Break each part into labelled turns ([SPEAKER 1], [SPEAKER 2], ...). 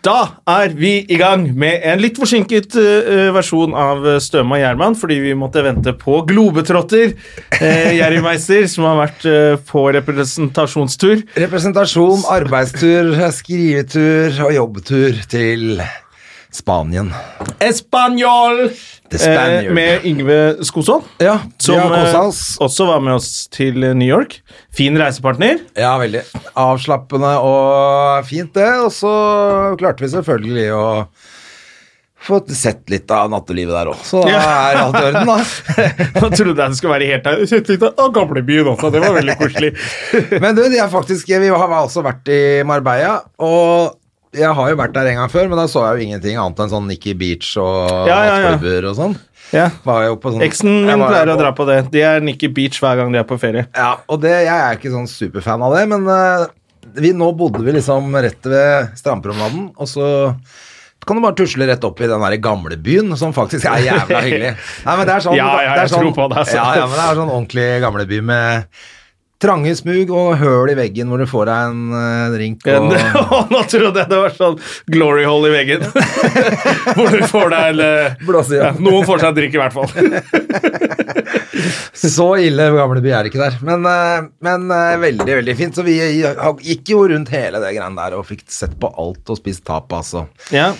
[SPEAKER 1] Da er vi i gang med en litt forsinket eh, versjon av eh, Støme og Gjerman, fordi vi måtte vente på globetrotter eh, Jerry Meister, som har vært eh, på representasjonstur.
[SPEAKER 2] Representasjon, arbeidstur, skrivetur og jobbtur til Spanien.
[SPEAKER 1] Espanol!
[SPEAKER 2] The
[SPEAKER 1] Eh,
[SPEAKER 2] Spaniard.
[SPEAKER 1] med Yngve Skosson,
[SPEAKER 2] ja,
[SPEAKER 1] som
[SPEAKER 2] vi har
[SPEAKER 1] eh,
[SPEAKER 2] kosa oss.
[SPEAKER 1] også var med oss til eh, New York. Fin reisepartner.
[SPEAKER 2] Ja, veldig. Avslappende og fint, det. Og så klarte vi selvfølgelig å få sett litt av nattelivet der òg. Så da
[SPEAKER 1] Ja.
[SPEAKER 2] er alt i orden, da.
[SPEAKER 1] Jeg trodde jeg det skulle være helt her. Jeg tenkte, Å, gamlebyen også, det var veldig koselig.
[SPEAKER 2] Men du, de er faktisk, vi har altså vært i Marbella, og jeg har jo vært der en gang før, men da så jeg jo ingenting annet enn sånn Nikki Beach og
[SPEAKER 1] Ja, ja, ja.
[SPEAKER 2] nattklubber og sånn.
[SPEAKER 1] Ja.
[SPEAKER 2] Var jo på sånn
[SPEAKER 1] Eksen
[SPEAKER 2] Jeg var
[SPEAKER 1] min
[SPEAKER 2] jo
[SPEAKER 1] pleier å
[SPEAKER 2] på-
[SPEAKER 1] dra på det. De er Nikki Beach hver gang de er på ferie.
[SPEAKER 2] Ja, og det, jeg er ikke sånn superfan av det, men eh, vi, nå bodde vi liksom rett ved strandpromenaden, og så kan du bare tusle rett opp i den der gamle byen, som faktisk er jævla hyggelig. Nei, men det er sånn,
[SPEAKER 1] Ja,
[SPEAKER 2] det
[SPEAKER 1] ja,
[SPEAKER 2] er
[SPEAKER 1] jeg
[SPEAKER 2] sånn,
[SPEAKER 1] tror på det, altså.
[SPEAKER 2] Ja, ja, men det er sånn ordentlig gamleby med trange smug og høl i veggen hvor du får deg en eh, drink
[SPEAKER 1] En,
[SPEAKER 2] og
[SPEAKER 1] nå trodde jeg det var sånn glory hole i veggen. Hvor du får deg en
[SPEAKER 2] Blåse i.
[SPEAKER 1] ja, Noen får seg en drikk, i hvert fall.
[SPEAKER 2] Så ille gamleby er det ikke der. Men, eh, men eh, veldig, veldig fint. Så vi eh, gikk jo rundt hele det greiene der og fikk sett på alt og spist tapas og
[SPEAKER 1] Ja,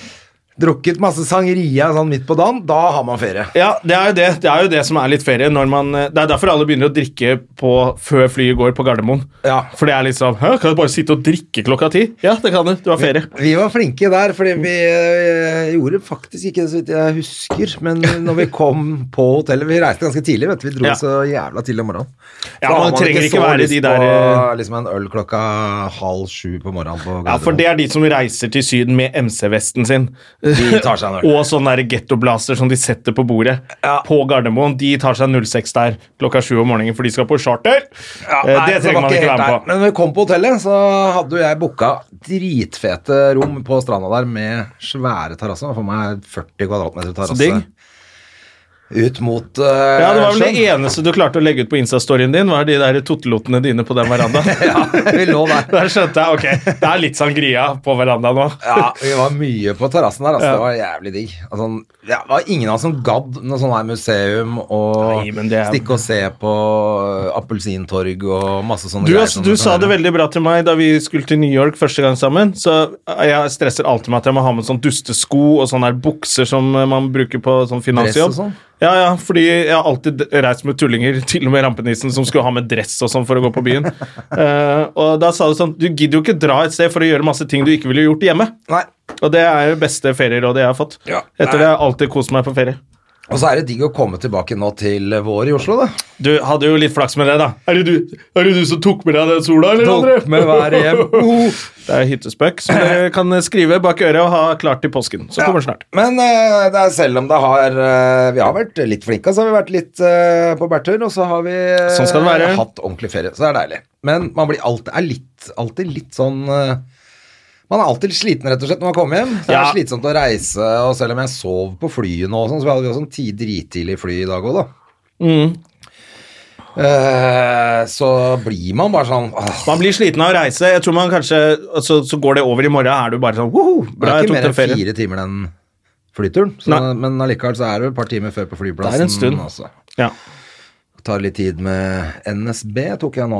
[SPEAKER 2] Drukket masse sangeria sånn midt på dagen, da har man ferie.
[SPEAKER 1] ja det, er jo det, det er jo det som er litt ferie. Når man, eh, det er derfor alle begynner å drikke på, før flyet går på Gardermoen.
[SPEAKER 2] Ja.
[SPEAKER 1] For det er litt sånn Hæ, kan du bare sitte og drikke klokka ti? Ja, det kan du. Du har ferie.
[SPEAKER 2] Vi var flinke der, fordi vi eh, gjorde faktisk ikke det så vidt jeg husker, men når vi kom på hotellet Vi reiste ganske tidlig, vet du. Vi dro
[SPEAKER 1] Ja.
[SPEAKER 2] så jævla tidlig om morgenen.
[SPEAKER 1] Ja,
[SPEAKER 2] Da
[SPEAKER 1] man
[SPEAKER 2] har
[SPEAKER 1] trenger ikke
[SPEAKER 2] så
[SPEAKER 1] være
[SPEAKER 2] lyst
[SPEAKER 1] de der, eh,
[SPEAKER 2] på liksom en øl klokka halv sju på morgenen på
[SPEAKER 1] Ja, For det er de som reiser til Syden med MC-vesten sin.
[SPEAKER 2] De tar seg en øl.
[SPEAKER 1] Og sånn der gettoblaster som de setter på bordet
[SPEAKER 2] Ja.
[SPEAKER 1] på Gardermoen. De tar seg 06 der klokka sju om morgenen, for de skal på charter.
[SPEAKER 2] Ja,
[SPEAKER 1] Eh,
[SPEAKER 2] nei, så
[SPEAKER 1] det
[SPEAKER 2] var
[SPEAKER 1] trenger man ikke
[SPEAKER 2] helt
[SPEAKER 1] være med
[SPEAKER 2] der.
[SPEAKER 1] på.
[SPEAKER 2] Men når vi kom på hotellet, så hadde jo jeg booka dritfete rom på stranda der med svære terrasser. Det var For meg 40 kvadratmeter terrasse.
[SPEAKER 1] digg.
[SPEAKER 2] Ut mot uh,
[SPEAKER 1] Ja, Det var vel det eneste du klarte å legge ut på Insta-storyen din, var de der tuttelotene dine på den verandaen.
[SPEAKER 2] vi lå der.
[SPEAKER 1] Der skjønte jeg, ok, det er litt sangria på verandaen nå.
[SPEAKER 2] Ja, vi var mye på terrassen der. Altså,
[SPEAKER 1] Ja.
[SPEAKER 2] Det var jævlig digg. Altså, ja, det var ingen av oss som gadd noe sånn her museum og
[SPEAKER 1] Nei, men det er-
[SPEAKER 2] stikke og se på uh, appelsintorg og masse sånne
[SPEAKER 1] Du,
[SPEAKER 2] greier.
[SPEAKER 1] altså, du sa
[SPEAKER 2] sånn-
[SPEAKER 1] det veldig bra til meg da vi skulle til New York første gang sammen. Så jeg stresser alltid med at jeg må ha med sånn dustesko og sånne der bukser som eh, man bruker på sånn finansjobb.
[SPEAKER 2] Dress og sånn?
[SPEAKER 1] Ja, ja, fordi jeg har alltid reist med tullinger, til og med rampenissen, som skulle ha med dress og sånn for å gå på byen. Eh, og da sa du sånn Du gidder jo ikke dra et sted for å gjøre masse ting du ikke ville gjort hjemme.
[SPEAKER 2] Nei.
[SPEAKER 1] Og det er jo beste ferierådet jeg har fått.
[SPEAKER 2] Ja.
[SPEAKER 1] Etter det har jeg alltid kost meg på ferie.
[SPEAKER 2] Og så er det digg å komme tilbake nå til vår i Oslo, da.
[SPEAKER 1] Du hadde jo litt flaks med det, da. Er det du, er det du som tok med deg den sola, eller? André? Oh.
[SPEAKER 2] Tok med hver hjem.
[SPEAKER 1] Det er hyttespøk, som dere kan skrive bak øret og ha klart til påsken. Så kommer den snart.
[SPEAKER 2] Men eh, det er selv om det har eh, Vi har vært litt flinke, så har vi vært litt eh, på bærtur, og så har vi eh,
[SPEAKER 1] Sånn skal det være.
[SPEAKER 2] hatt ordentlig ferie. Så det er deilig. Men man blir alltid, er litt, alltid litt sånn eh, Man er alltid sliten, rett og slett, når man kommer hjem. Det er
[SPEAKER 1] Ja.
[SPEAKER 2] slitsomt å reise, og selv om jeg sov på flyet nå, og sånn, så hadde vi også en ti drittidlig fly i dag òg, da.
[SPEAKER 1] Mm.
[SPEAKER 2] Eh, så blir man bare sånn åh,
[SPEAKER 1] Man blir sliten av å reise. Jeg tror man kanskje, altså, Så går det over i morgen, er du bare sånn woho,
[SPEAKER 2] Det
[SPEAKER 1] bra,
[SPEAKER 2] er
[SPEAKER 1] jeg
[SPEAKER 2] ikke
[SPEAKER 1] tok
[SPEAKER 2] mer
[SPEAKER 1] den
[SPEAKER 2] enn
[SPEAKER 1] ferien.
[SPEAKER 2] fire timer den flyturen, så,
[SPEAKER 1] Nei.
[SPEAKER 2] men allikevel så er det jo et par timer før på flyplassen.
[SPEAKER 1] Det er en stund.
[SPEAKER 2] altså.
[SPEAKER 1] Ja.
[SPEAKER 2] tar litt tid med NSB, tok jeg nå.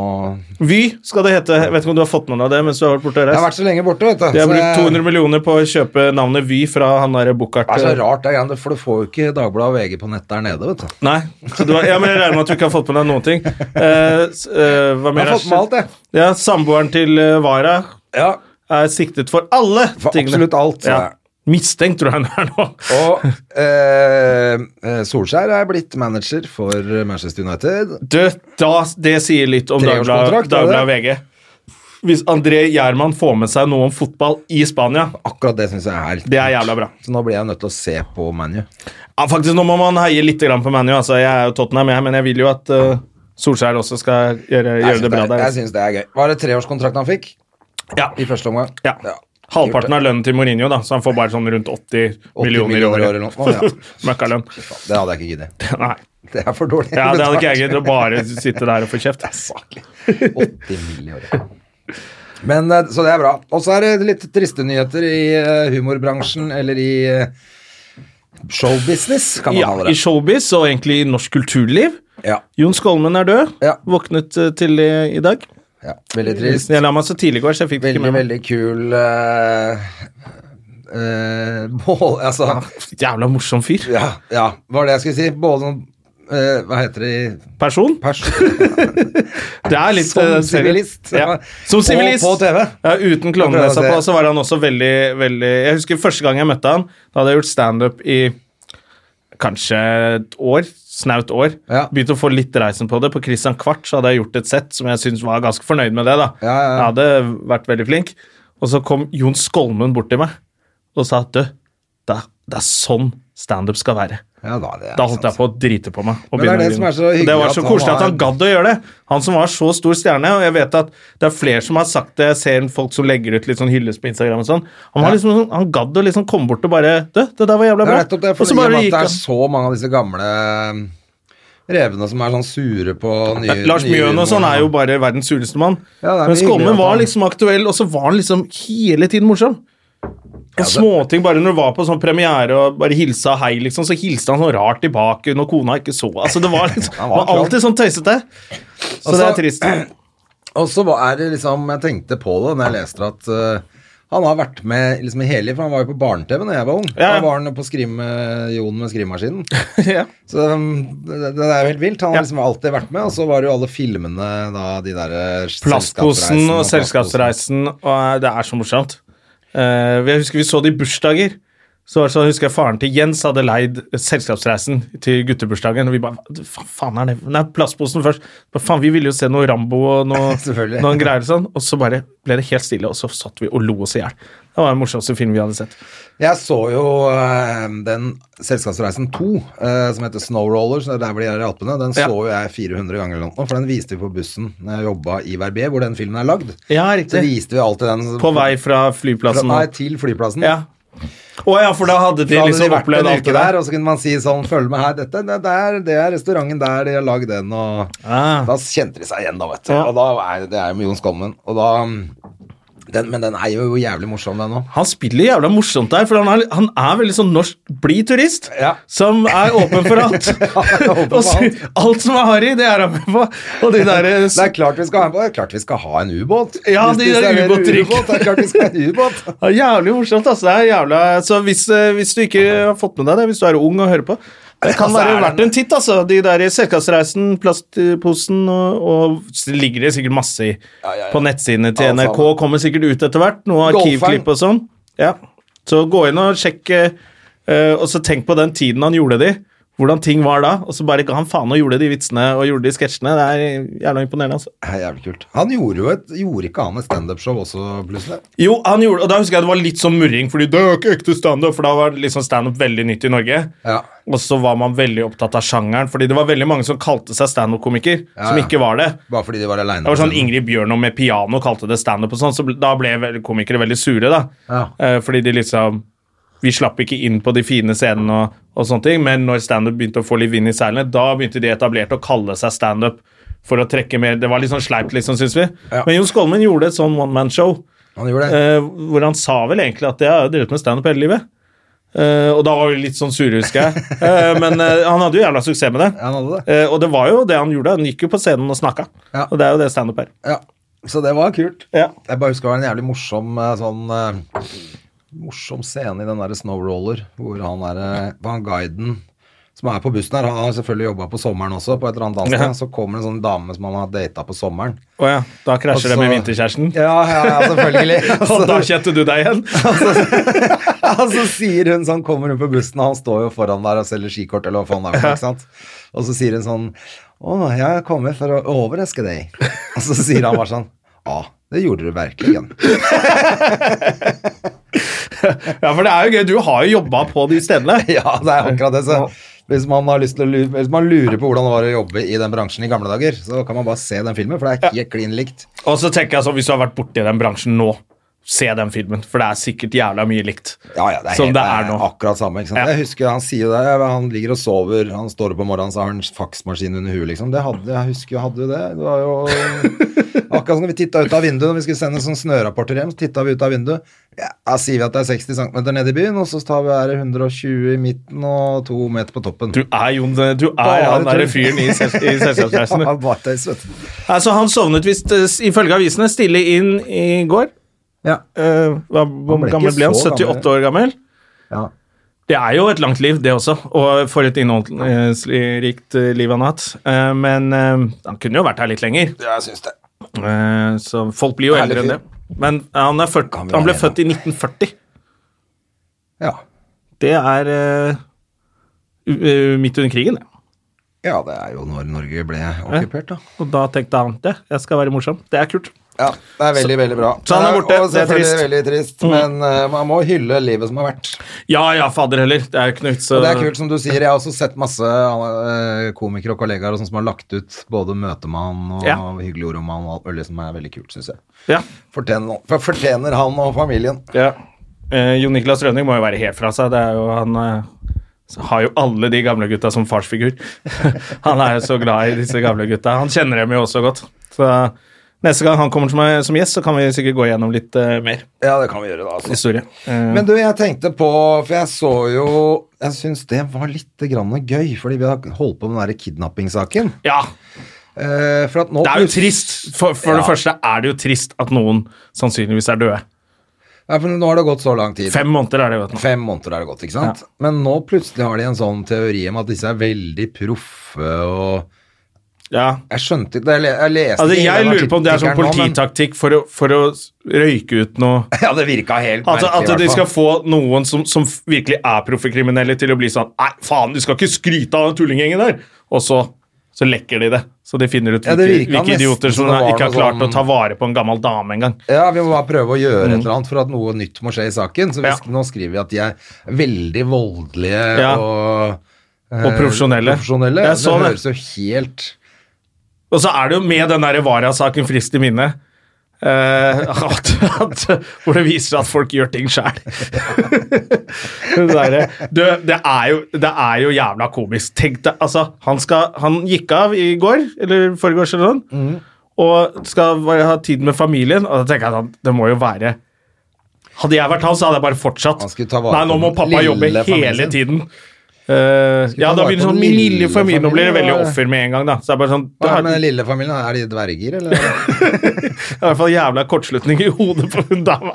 [SPEAKER 1] Vy skal det hete. Jeg vet ikke om du har fått med deg det mens du har vært borte og
[SPEAKER 2] Jeg har
[SPEAKER 1] reist.
[SPEAKER 2] vært så lenge borte, vet du.
[SPEAKER 1] De har
[SPEAKER 2] så
[SPEAKER 1] brukt
[SPEAKER 2] jeg-
[SPEAKER 1] 200 millioner på å kjøpe navnet Vy fra han derre Bukkart.
[SPEAKER 2] Det er så rart, det greiene, for du får jo ikke Dagbladet og VG på nett der nede, vet du.
[SPEAKER 1] Nei. Så du har, ja, men jeg regner med at du ikke har fått med deg noen ting. Eh, s- eh, hva mer
[SPEAKER 2] Jeg har fått med alt, jeg.
[SPEAKER 1] Ja, Samboeren til eh, Wara
[SPEAKER 2] Ja,
[SPEAKER 1] er siktet for alle
[SPEAKER 2] for
[SPEAKER 1] tingene.
[SPEAKER 2] absolutt alt.
[SPEAKER 1] Ja.
[SPEAKER 2] Ja.
[SPEAKER 1] Mistenkt, tror jeg han er nå.
[SPEAKER 2] Og eh, eh, Solskjær er blitt manager for Manchester United.
[SPEAKER 1] Du, da, det sier litt om
[SPEAKER 2] Treårskontrakt,
[SPEAKER 1] Dagbladet
[SPEAKER 2] er det?
[SPEAKER 1] Dagbladet VG. hvis André Gjerman får med seg noe om fotball i Spania.
[SPEAKER 2] Akkurat det syns jeg er helt
[SPEAKER 1] Det er jævla bra.
[SPEAKER 2] Så nå blir jeg nødt til å se på ManU.
[SPEAKER 1] Ja, faktisk, Nå må man heie litt grann på ManU. Altså, jeg er jo Tottenham, jeg, men jeg vil jo at eh, Solskjær også skal gjøre,
[SPEAKER 2] Jeg
[SPEAKER 1] gjøre
[SPEAKER 2] syns
[SPEAKER 1] det
[SPEAKER 2] det,
[SPEAKER 1] bra
[SPEAKER 2] er-
[SPEAKER 1] der.
[SPEAKER 2] jeg syns det er gøy. Var det treårskontrakt han fikk
[SPEAKER 1] Ja,
[SPEAKER 2] i første omgang?
[SPEAKER 1] ja. Halvparten av lønnen til Mourinho, da, så han får bare sånn rundt 80,
[SPEAKER 2] 80
[SPEAKER 1] millioner i
[SPEAKER 2] millioner
[SPEAKER 1] året.
[SPEAKER 2] i året eller noe,
[SPEAKER 1] Møkkalønn.
[SPEAKER 2] Det hadde jeg ikke giddet.
[SPEAKER 1] Nei.
[SPEAKER 2] Det er for dårlig.
[SPEAKER 1] Ja, det hadde ikke jeg giddet å bare sitte der og få kjeft.
[SPEAKER 2] 80 mill. i året. Men, eh, så det er bra. Og så er det litt triste nyheter i eh, humorbransjen, eller i eh, showbusiness, kan man
[SPEAKER 1] Ja,
[SPEAKER 2] kalle
[SPEAKER 1] I
[SPEAKER 2] det.
[SPEAKER 1] showbiz og egentlig i norsk kulturliv.
[SPEAKER 2] Ja,
[SPEAKER 1] Jon Skolmen er død.
[SPEAKER 2] Ja.
[SPEAKER 1] Våknet eh, til i, i dag.
[SPEAKER 2] ja, veldig trist.
[SPEAKER 1] Jeg la meg så tidlig i går, så jeg fikk det
[SPEAKER 2] Veldig,
[SPEAKER 1] ikke med meg.
[SPEAKER 2] veldig kul eh, eh, Bål Altså,
[SPEAKER 1] Jævla morsom fyr.
[SPEAKER 2] ja, ja, var det jeg skulle si. Både sånn eh, Hva heter det i
[SPEAKER 1] Person.
[SPEAKER 2] pers...
[SPEAKER 1] Det er litt
[SPEAKER 2] Som
[SPEAKER 1] eh, seriøst.
[SPEAKER 2] sivilist.
[SPEAKER 1] Ja.
[SPEAKER 2] På-
[SPEAKER 1] Som sivilist.
[SPEAKER 2] på altså. TV.
[SPEAKER 1] Ja, uten
[SPEAKER 2] Jeg
[SPEAKER 1] klovnenesa
[SPEAKER 2] prøvde å
[SPEAKER 1] på,
[SPEAKER 2] se.
[SPEAKER 1] så var han også veldig, veldig Jeg husker første gang jeg møtte han, da hadde jeg gjort standup i kanskje et år. Snaut år.
[SPEAKER 2] Ja.
[SPEAKER 1] Begynte å få litt reisen på det. På Christian Kvart så hadde jeg gjort et sett som jeg syntes var ganske fornøyd med det. da.
[SPEAKER 2] Ja, ja,
[SPEAKER 1] Jeg
[SPEAKER 2] ja.
[SPEAKER 1] hadde vært veldig flink. Og så kom Jon Skolmen bort til meg og sa at du, det er, det er sånn standup skal være.
[SPEAKER 2] Ja, da, det er
[SPEAKER 1] Da holdt
[SPEAKER 2] sant.
[SPEAKER 1] jeg på å drite på meg.
[SPEAKER 2] Men
[SPEAKER 1] Og
[SPEAKER 2] det er
[SPEAKER 1] begynne å
[SPEAKER 2] det som
[SPEAKER 1] grine.
[SPEAKER 2] er så hyggelig
[SPEAKER 1] det var
[SPEAKER 2] at
[SPEAKER 1] så
[SPEAKER 2] han
[SPEAKER 1] koselig at
[SPEAKER 2] har-
[SPEAKER 1] han gadd å gjøre det. Han som var så stor stjerne, og jeg vet at det er flere som har sagt det. Jeg ser folk som legger ut litt sånn hyllest på Instagram og sånn. Han, var liksom, sånn- han gadd å liksom komme bort og bare Du, det der var jævla
[SPEAKER 2] Det
[SPEAKER 1] bra.
[SPEAKER 2] er nettopp det,
[SPEAKER 1] og
[SPEAKER 2] for i
[SPEAKER 1] så
[SPEAKER 2] og med
[SPEAKER 1] bare
[SPEAKER 2] at
[SPEAKER 1] gikk
[SPEAKER 2] det er
[SPEAKER 1] han.
[SPEAKER 2] så mange av disse gamle eh, revene som er sånn sure på nye
[SPEAKER 1] Lars
[SPEAKER 2] nye
[SPEAKER 1] Mjøen og sånn
[SPEAKER 2] humor.
[SPEAKER 1] er jo bare verdens sureste mann.
[SPEAKER 2] Ja, det er
[SPEAKER 1] Men
[SPEAKER 2] mye hyggelig
[SPEAKER 1] Skolmen
[SPEAKER 2] at
[SPEAKER 1] var
[SPEAKER 2] han-
[SPEAKER 1] liksom aktuell, og så var han liksom hele tiden morsom. Og småting, bare når du var på sånn premiere og bare hilsa hei, liksom, så hilste han sånn rart tilbake når kona ikke så. Altså, det var liksom,
[SPEAKER 2] Han
[SPEAKER 1] var
[SPEAKER 2] var
[SPEAKER 1] alltid sånn tøysete. Så
[SPEAKER 2] Og
[SPEAKER 1] det
[SPEAKER 2] så-
[SPEAKER 1] er trist.
[SPEAKER 2] Og så var- er det liksom Jeg tenkte på det når jeg leste at eh, han har vært med liksom i hele livet, for han var jo på barne-TV da jeg var ung.
[SPEAKER 1] Ja,
[SPEAKER 2] Da
[SPEAKER 1] ja.
[SPEAKER 2] var han på skrim, eh, Jon med skrivemaskinen.
[SPEAKER 1] ja.
[SPEAKER 2] Så um, det, det er jo helt vilt. Han
[SPEAKER 1] Ja.
[SPEAKER 2] har liksom alltid vært med, og så var det jo alle filmene da, de der eh,
[SPEAKER 1] Plastposen
[SPEAKER 2] selskapsreisen
[SPEAKER 1] og
[SPEAKER 2] plastposen.
[SPEAKER 1] selskapsreisen, og eh, det er så morsomt. Eh, jeg husker vi så det i bursdager. Så, så husker jeg faren til Jens hadde leid selskapsreisen til guttebursdagen. Og vi bare "Hva fa- faen er det? Nei, plastposen først. Bare, faen, vi ville jo se noe Rambo og noe,
[SPEAKER 2] Selvfølgelig.
[SPEAKER 1] noen greier og sånn. Og så bare ble det helt stille, og så satt vi og lo oss i hjel. Det var den morsomste filmen vi hadde sett.
[SPEAKER 2] Jeg så jo eh, den Selskapsreisen 2, eh, som heter Snow Rollers, det er der hvor de er i Alpene, den
[SPEAKER 1] Ja.
[SPEAKER 2] så jo jeg 400 ganger eller noe, for den viste vi på bussen når jeg jobba i Verbier, hvor den filmen er lagd.
[SPEAKER 1] Ja,
[SPEAKER 2] Så
[SPEAKER 1] riktig.
[SPEAKER 2] viste vi alltid den
[SPEAKER 1] På vei
[SPEAKER 2] fra,
[SPEAKER 1] fra flyplassen.
[SPEAKER 2] nei, til flyplassen.
[SPEAKER 1] Ja. Å ja, for da hadde de
[SPEAKER 2] Da hadde de
[SPEAKER 1] liksom
[SPEAKER 2] vært
[SPEAKER 1] opplevd
[SPEAKER 2] en
[SPEAKER 1] alt
[SPEAKER 2] uke
[SPEAKER 1] det
[SPEAKER 2] der,
[SPEAKER 1] der.
[SPEAKER 2] og så kunne man si sånn Følg med her, dette, det, der, det er restauranten der, de har lagd den, og
[SPEAKER 1] Ah.
[SPEAKER 2] Da kjente de seg igjen, da, vet du.
[SPEAKER 1] Ja.
[SPEAKER 2] Og da er det er jo med Jon Skolmen. Og da den, Men den er jo jævlig morsom, den òg.
[SPEAKER 1] Han spiller jævla morsomt der, for han er, han er veldig sånn norsk blid turist.
[SPEAKER 2] Ja.
[SPEAKER 1] Som er åpen for alt.
[SPEAKER 2] er åpen for
[SPEAKER 1] Og så- alt. som er harry, det er han med på. Og de der, eh, s-
[SPEAKER 2] Det er klart vi skal ha, det er klart vi skal ha en ubåt.
[SPEAKER 1] Ja,
[SPEAKER 2] Hvis
[SPEAKER 1] de der
[SPEAKER 2] serverer
[SPEAKER 1] ubåttrykk.
[SPEAKER 2] ubåt, Det er klart vi skal ha en ubåt.
[SPEAKER 1] det er jævlig morsomt. Altså. Det er jævla, så hvis, eh, hvis du ikke har fått med deg det, hvis du er ung og hører på det kan
[SPEAKER 2] Altså,
[SPEAKER 1] være
[SPEAKER 2] er
[SPEAKER 1] verdt
[SPEAKER 2] den-
[SPEAKER 1] en titt, altså. De der i Selskapsreisen, Plastposen og, og s- ligger det sikkert masse i på nettsidene til
[SPEAKER 2] Alt
[SPEAKER 1] NRK.
[SPEAKER 2] sammen.
[SPEAKER 1] Kommer sikkert ut etter hvert. Noe
[SPEAKER 2] Golferen.
[SPEAKER 1] arkivklipp og sånn. Ja. Så gå inn og sjekk, eh, eh, og så tenk på den tiden han gjorde de. Hvordan ting var da, og så bare ga han faen og gjorde de vitsene og gjorde de sketsjene. Det er jævla imponerende, altså.
[SPEAKER 2] Det er jævlig kult. Han gjorde jo et Gjorde ikke han et standup-show også, plutselig?
[SPEAKER 1] Jo, han gjorde, og da husker jeg det var litt sånn murring, fordi det er jo ikke ekte standup, for da var liksom standup veldig nytt i Norge.
[SPEAKER 2] Ja.
[SPEAKER 1] Og så var man veldig opptatt av sjangeren, fordi det var veldig mange som kalte seg standup-komiker,
[SPEAKER 2] Ja,
[SPEAKER 1] som
[SPEAKER 2] ja.
[SPEAKER 1] ikke var det.
[SPEAKER 2] Bare fordi de var aleine.
[SPEAKER 1] Det var sånn Ingrid Bjørnov med piano kalte det standup, og sånn, så ble- da ble vel komikere veldig sure, da.
[SPEAKER 2] Ja.
[SPEAKER 1] Eh, fordi de liksom Vi slapp ikke inn på de fine scenene og, og sånne ting, men når standup begynte å få litt vind i seilene, da begynte de etablerte å kalle seg standup for å trekke mer Det var litt sånn sleipt, liksom, syns vi.
[SPEAKER 2] Ja.
[SPEAKER 1] Men Jon Skolmen gjorde et sånn one man-show.
[SPEAKER 2] Han gjorde det.
[SPEAKER 1] Eh, hvor han sa vel egentlig at jeg har jo drevet med standup hele livet. Eh, og da var vi litt sånn sure, husker jeg. Eh, men eh, han hadde jo jævla suksess med det.
[SPEAKER 2] Ja, han hadde det.
[SPEAKER 1] Eh, og det var jo det han gjorde. Han gikk jo på scenen og snakka.
[SPEAKER 2] Ja.
[SPEAKER 1] Og det er jo det standup er.
[SPEAKER 2] Ja. Så det var kult.
[SPEAKER 1] Ja.
[SPEAKER 2] Jeg bare husker det var en jævlig morsom eh, sånn eh, Morsom scene i den derre Snow Roller, hvor han er eh, var han guiden som er på bussen her, han har selvfølgelig jobba på sommeren også, på et eller annet danssted.
[SPEAKER 1] Ja.
[SPEAKER 2] Så kommer det en sånn dame som han har data på sommeren.
[SPEAKER 1] Å ja, da
[SPEAKER 2] Og
[SPEAKER 1] krasjer det med
[SPEAKER 2] så-
[SPEAKER 1] vinterkjæresten.
[SPEAKER 2] Altså- Ja, altså- ja, ja selvfølgelig.
[SPEAKER 1] Og da kjente du deg igjen?
[SPEAKER 2] Og så sier hun sånn, kommer hun på bussen, og han står jo foran der og selger skikort, eller hva faen det er for noe, ikke sant? Og så sier hun sånn, å, jeg kommer for å overraske deg. Og så sier han bare sånn, ja, Det gjorde du virkelig igjen.
[SPEAKER 1] Ja, for det er jo gøy. Du har jo jobba på de stedene.
[SPEAKER 2] Ja, det er akkurat det. Så hvis man, har lyst til å lure, hvis man lurer på hvordan det var å jobbe i den bransjen i gamle dager, så kan man bare se den filmen, for det er helt klin likt.
[SPEAKER 1] Og så tenker jeg sånn, hvis du har vært borti den bransjen nå, se den filmen, for det er sikkert jævla mye likt.
[SPEAKER 2] Ja, ja, det er,
[SPEAKER 1] Som
[SPEAKER 2] helt,
[SPEAKER 1] det er nå.
[SPEAKER 2] akkurat samme. Ikke sant?
[SPEAKER 1] Ja.
[SPEAKER 2] Jeg husker Han sier jo det, han ligger og sover, han står opp om morgenen, så har han faksmaskin under huet, liksom. Det hadde, jeg husker jeg hadde jo det. Det var jo Akkurat som når vi titta ut av vinduet når vi skulle sende sånn snørapporter hjem, så titta vi ut av vinduet. Ja, da sier vi at det er 60 cm nede i byen, og så tar vi her 120 i midten og to meter på toppen.
[SPEAKER 1] Du er Jon, du er
[SPEAKER 2] Bare
[SPEAKER 1] han derre
[SPEAKER 2] tull.
[SPEAKER 1] fyren i, ses- i Selskapsreisene.
[SPEAKER 2] Ja, bare tøys, vet du.
[SPEAKER 1] Altså, han sovnet visst, eh, ifølge avisene, stille inn i går.
[SPEAKER 2] Ja.
[SPEAKER 1] Eh, hva, hvor
[SPEAKER 2] ble ikke
[SPEAKER 1] gammel ble han?
[SPEAKER 2] så
[SPEAKER 1] 78 år gammel?
[SPEAKER 2] ja.
[SPEAKER 1] Det er jo et langt liv, det også, og for et innholdsrikt eh, liv han har hatt. Eh, Men eh, han kunne jo vært her litt lenger,
[SPEAKER 2] Jeg syns det.
[SPEAKER 1] eh, så folk blir jo
[SPEAKER 2] Herlig
[SPEAKER 1] eldre enn det.
[SPEAKER 2] fyr.
[SPEAKER 1] Men eh, han, er ført-
[SPEAKER 2] Kan vi
[SPEAKER 1] han ble
[SPEAKER 2] være
[SPEAKER 1] født i 1940.
[SPEAKER 2] Ja.
[SPEAKER 1] Det er eh, u- eh, midt under krigen, det.
[SPEAKER 2] ja, det er jo når Norge ble okkupert, da.
[SPEAKER 1] Og da tenkte han det, jeg skal være morsom. Det er kult.
[SPEAKER 2] Ja, det er veldig, veldig bra.
[SPEAKER 1] så han er
[SPEAKER 2] Ja,
[SPEAKER 1] borte.
[SPEAKER 2] Og
[SPEAKER 1] Det er
[SPEAKER 2] selvfølgelig
[SPEAKER 1] trist. Mm.
[SPEAKER 2] veldig trist, men eh, man må hylle livet som har vært.
[SPEAKER 1] Ja ja, fader heller. Det er jo Knut, så
[SPEAKER 2] Og det er kult, som du sier. Jeg har også sett masse eh, komikere og kollegaer og sånn som har lagt ut både møte med han og
[SPEAKER 1] Ja.
[SPEAKER 2] hyggelige ord om han og alt mulig som er veldig kult, syns jeg.
[SPEAKER 1] Ja.
[SPEAKER 2] Fortjener, for fortjener han og familien.
[SPEAKER 1] Ja. Eh, Jon Niklas Rønning må jo være helt fra seg. Det er jo, han eh, har jo alle de gamle gutta som farsfigur. han er jo så glad i disse gamle gutta. Han kjenner dem jo også godt. Så neste gang han kommer som, eh, som gjest, så kan vi sikkert gå gjennom litt eh, mer
[SPEAKER 2] Ja, det kan vi gjøre, da. altså.
[SPEAKER 1] historie. Eh,
[SPEAKER 2] Men du, jeg tenkte på For jeg så jo Jeg syns det var litt grann gøy, fordi vi har holdt på med den derre kidnappingssaken.
[SPEAKER 1] ja,
[SPEAKER 2] Eh, for at nå
[SPEAKER 1] det er jo trist. For, for det
[SPEAKER 2] Ja.
[SPEAKER 1] første er det jo trist at noen sannsynligvis er døde.
[SPEAKER 2] Ja, for nå har det gått så lang tid.
[SPEAKER 1] Fem måneder er det jo. nå.
[SPEAKER 2] Fem måneder er det gått, ikke sant? Men nå plutselig har de en sånn teori om at disse er veldig proffe og
[SPEAKER 1] Ja.
[SPEAKER 2] Jeg skjønte ikke Jeg, le- jeg leste
[SPEAKER 1] Altså,
[SPEAKER 2] ikke
[SPEAKER 1] jeg
[SPEAKER 2] hele den
[SPEAKER 1] lurer på om det er sånn
[SPEAKER 2] artikkelen nå, men-
[SPEAKER 1] polititaktikk for å, for å røyke ut noe
[SPEAKER 2] Ja, det virka helt
[SPEAKER 1] At,
[SPEAKER 2] merkelig. i
[SPEAKER 1] at
[SPEAKER 2] hvert
[SPEAKER 1] de
[SPEAKER 2] fall.
[SPEAKER 1] skal få noen som, som virkelig er proffekriminelle, til å bli sånn Nei, faen, du skal ikke skryte av den tullinggjengen der! Og så, så lekker de det. Så de finner ut
[SPEAKER 2] Ja,
[SPEAKER 1] hvilke,
[SPEAKER 2] det virka
[SPEAKER 1] hvilke
[SPEAKER 2] nesten
[SPEAKER 1] idioter som
[SPEAKER 2] som det var
[SPEAKER 1] ikke har
[SPEAKER 2] noe
[SPEAKER 1] klart
[SPEAKER 2] sånn-
[SPEAKER 1] å ta vare på en gammel dame engang.
[SPEAKER 2] Ja, vi må bare prøve å gjøre et eller annet for at noe nytt må skje i saken. Så vi,
[SPEAKER 1] Mm. Ja.
[SPEAKER 2] sk- nå skriver vi at de er veldig voldelige
[SPEAKER 1] Ja.
[SPEAKER 2] og eh,
[SPEAKER 1] Og profesjonelle.
[SPEAKER 2] profesjonelle.
[SPEAKER 1] Jeg
[SPEAKER 2] det
[SPEAKER 1] så det.
[SPEAKER 2] høres jo helt
[SPEAKER 1] Og så er det jo med den der Vara-saken frist i minne. eh, at, at, hvor det viser at folk gjør ting sjæl. det, det, er jo- det er jo jævla komisk. Tenk deg, altså, han, skal, han gikk av i går, eller foregårs eller noe,
[SPEAKER 2] Mhm.
[SPEAKER 1] og skal bare ha tid med familien. Og da tenker jeg at det må jo være Hadde jeg vært han, så hadde jeg bare fortsatt.
[SPEAKER 2] Han skulle ta vare
[SPEAKER 1] Nei, nå
[SPEAKER 2] på
[SPEAKER 1] må
[SPEAKER 2] den
[SPEAKER 1] pappa jobbe
[SPEAKER 2] lille familien
[SPEAKER 1] hele
[SPEAKER 2] sin.
[SPEAKER 1] tiden. Eh, ja,
[SPEAKER 2] ta
[SPEAKER 1] da
[SPEAKER 2] vare
[SPEAKER 1] blir det
[SPEAKER 2] på
[SPEAKER 1] sånn
[SPEAKER 2] den
[SPEAKER 1] min
[SPEAKER 2] lille
[SPEAKER 1] lille familie, nå blir det veldig
[SPEAKER 2] familien, da.
[SPEAKER 1] offer med en gang, da. Så det er bare sånn
[SPEAKER 2] Hva er det med den lille familien? Er de dverger, eller?
[SPEAKER 1] det er i hvert fall jævla kortslutning i hodet på hun dama.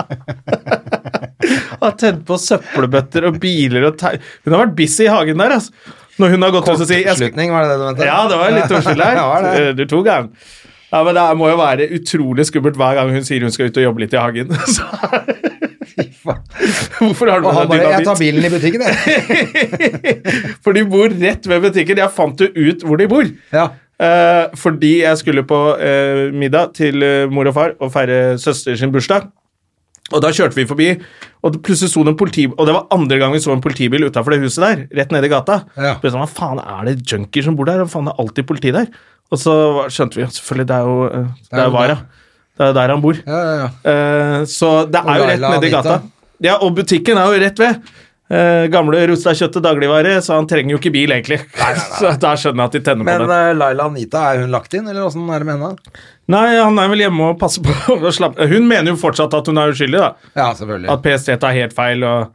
[SPEAKER 1] Har tent på søppelbøtter og biler og tau... Hun har vært busy i hagen der, altså. Når hun har gått ut og sier jeg skal-
[SPEAKER 2] Slutning, var det det du mente?
[SPEAKER 1] Ja, det var litt ordskill der.
[SPEAKER 2] Ja, det var det.
[SPEAKER 1] Eh, Du tok den. Ja, men det må jo være utrolig skummelt hver gang hun sier hun skal ut og jobbe litt i hagen. Så, hvorfor har du
[SPEAKER 2] Og han
[SPEAKER 1] med
[SPEAKER 2] bare
[SPEAKER 1] deg
[SPEAKER 2] 'Jeg tar
[SPEAKER 1] dynamitt?
[SPEAKER 2] bilen i butikken, jeg'.
[SPEAKER 1] For de bor rett ved butikken. Jeg fant jo ut hvor de bor.
[SPEAKER 2] Ja.
[SPEAKER 1] Eh, fordi jeg skulle på eh, middag til eh, mor og far og feire søster sin bursdag. Og da kjørte vi forbi, og det plutselig sto det en politi... Og det var andre gang vi så en politibil utafor det huset der, rett nede i gata.
[SPEAKER 2] Ja.
[SPEAKER 1] Ble sånn, Hva faen er det junkier som bor der? Hva faen det er alltid politi der? Og så var- skjønte vi at selvfølgelig, det er jo eh, Det er jo Vara. Det er jo der han bor.
[SPEAKER 2] Ja, ja, ja.
[SPEAKER 1] Eh, så det er jo rett
[SPEAKER 2] Laila
[SPEAKER 1] nedi gata.
[SPEAKER 2] Anita.
[SPEAKER 1] Ja, og butikken er jo rett ved. Eh, gamle Rustad kjøtt og dagligvare, så han trenger jo ikke bil, egentlig. så da skjønner jeg at de tenner
[SPEAKER 2] Men
[SPEAKER 1] på det.
[SPEAKER 2] eh, Laila Anita, er hun lagt inn, eller åssen er det med henne?
[SPEAKER 1] Nei, han er vel hjemme og passer på å slappe Hun mener jo fortsatt at hun er uskyldig, da.
[SPEAKER 2] Ja, selvfølgelig.
[SPEAKER 1] At PST tar helt feil, og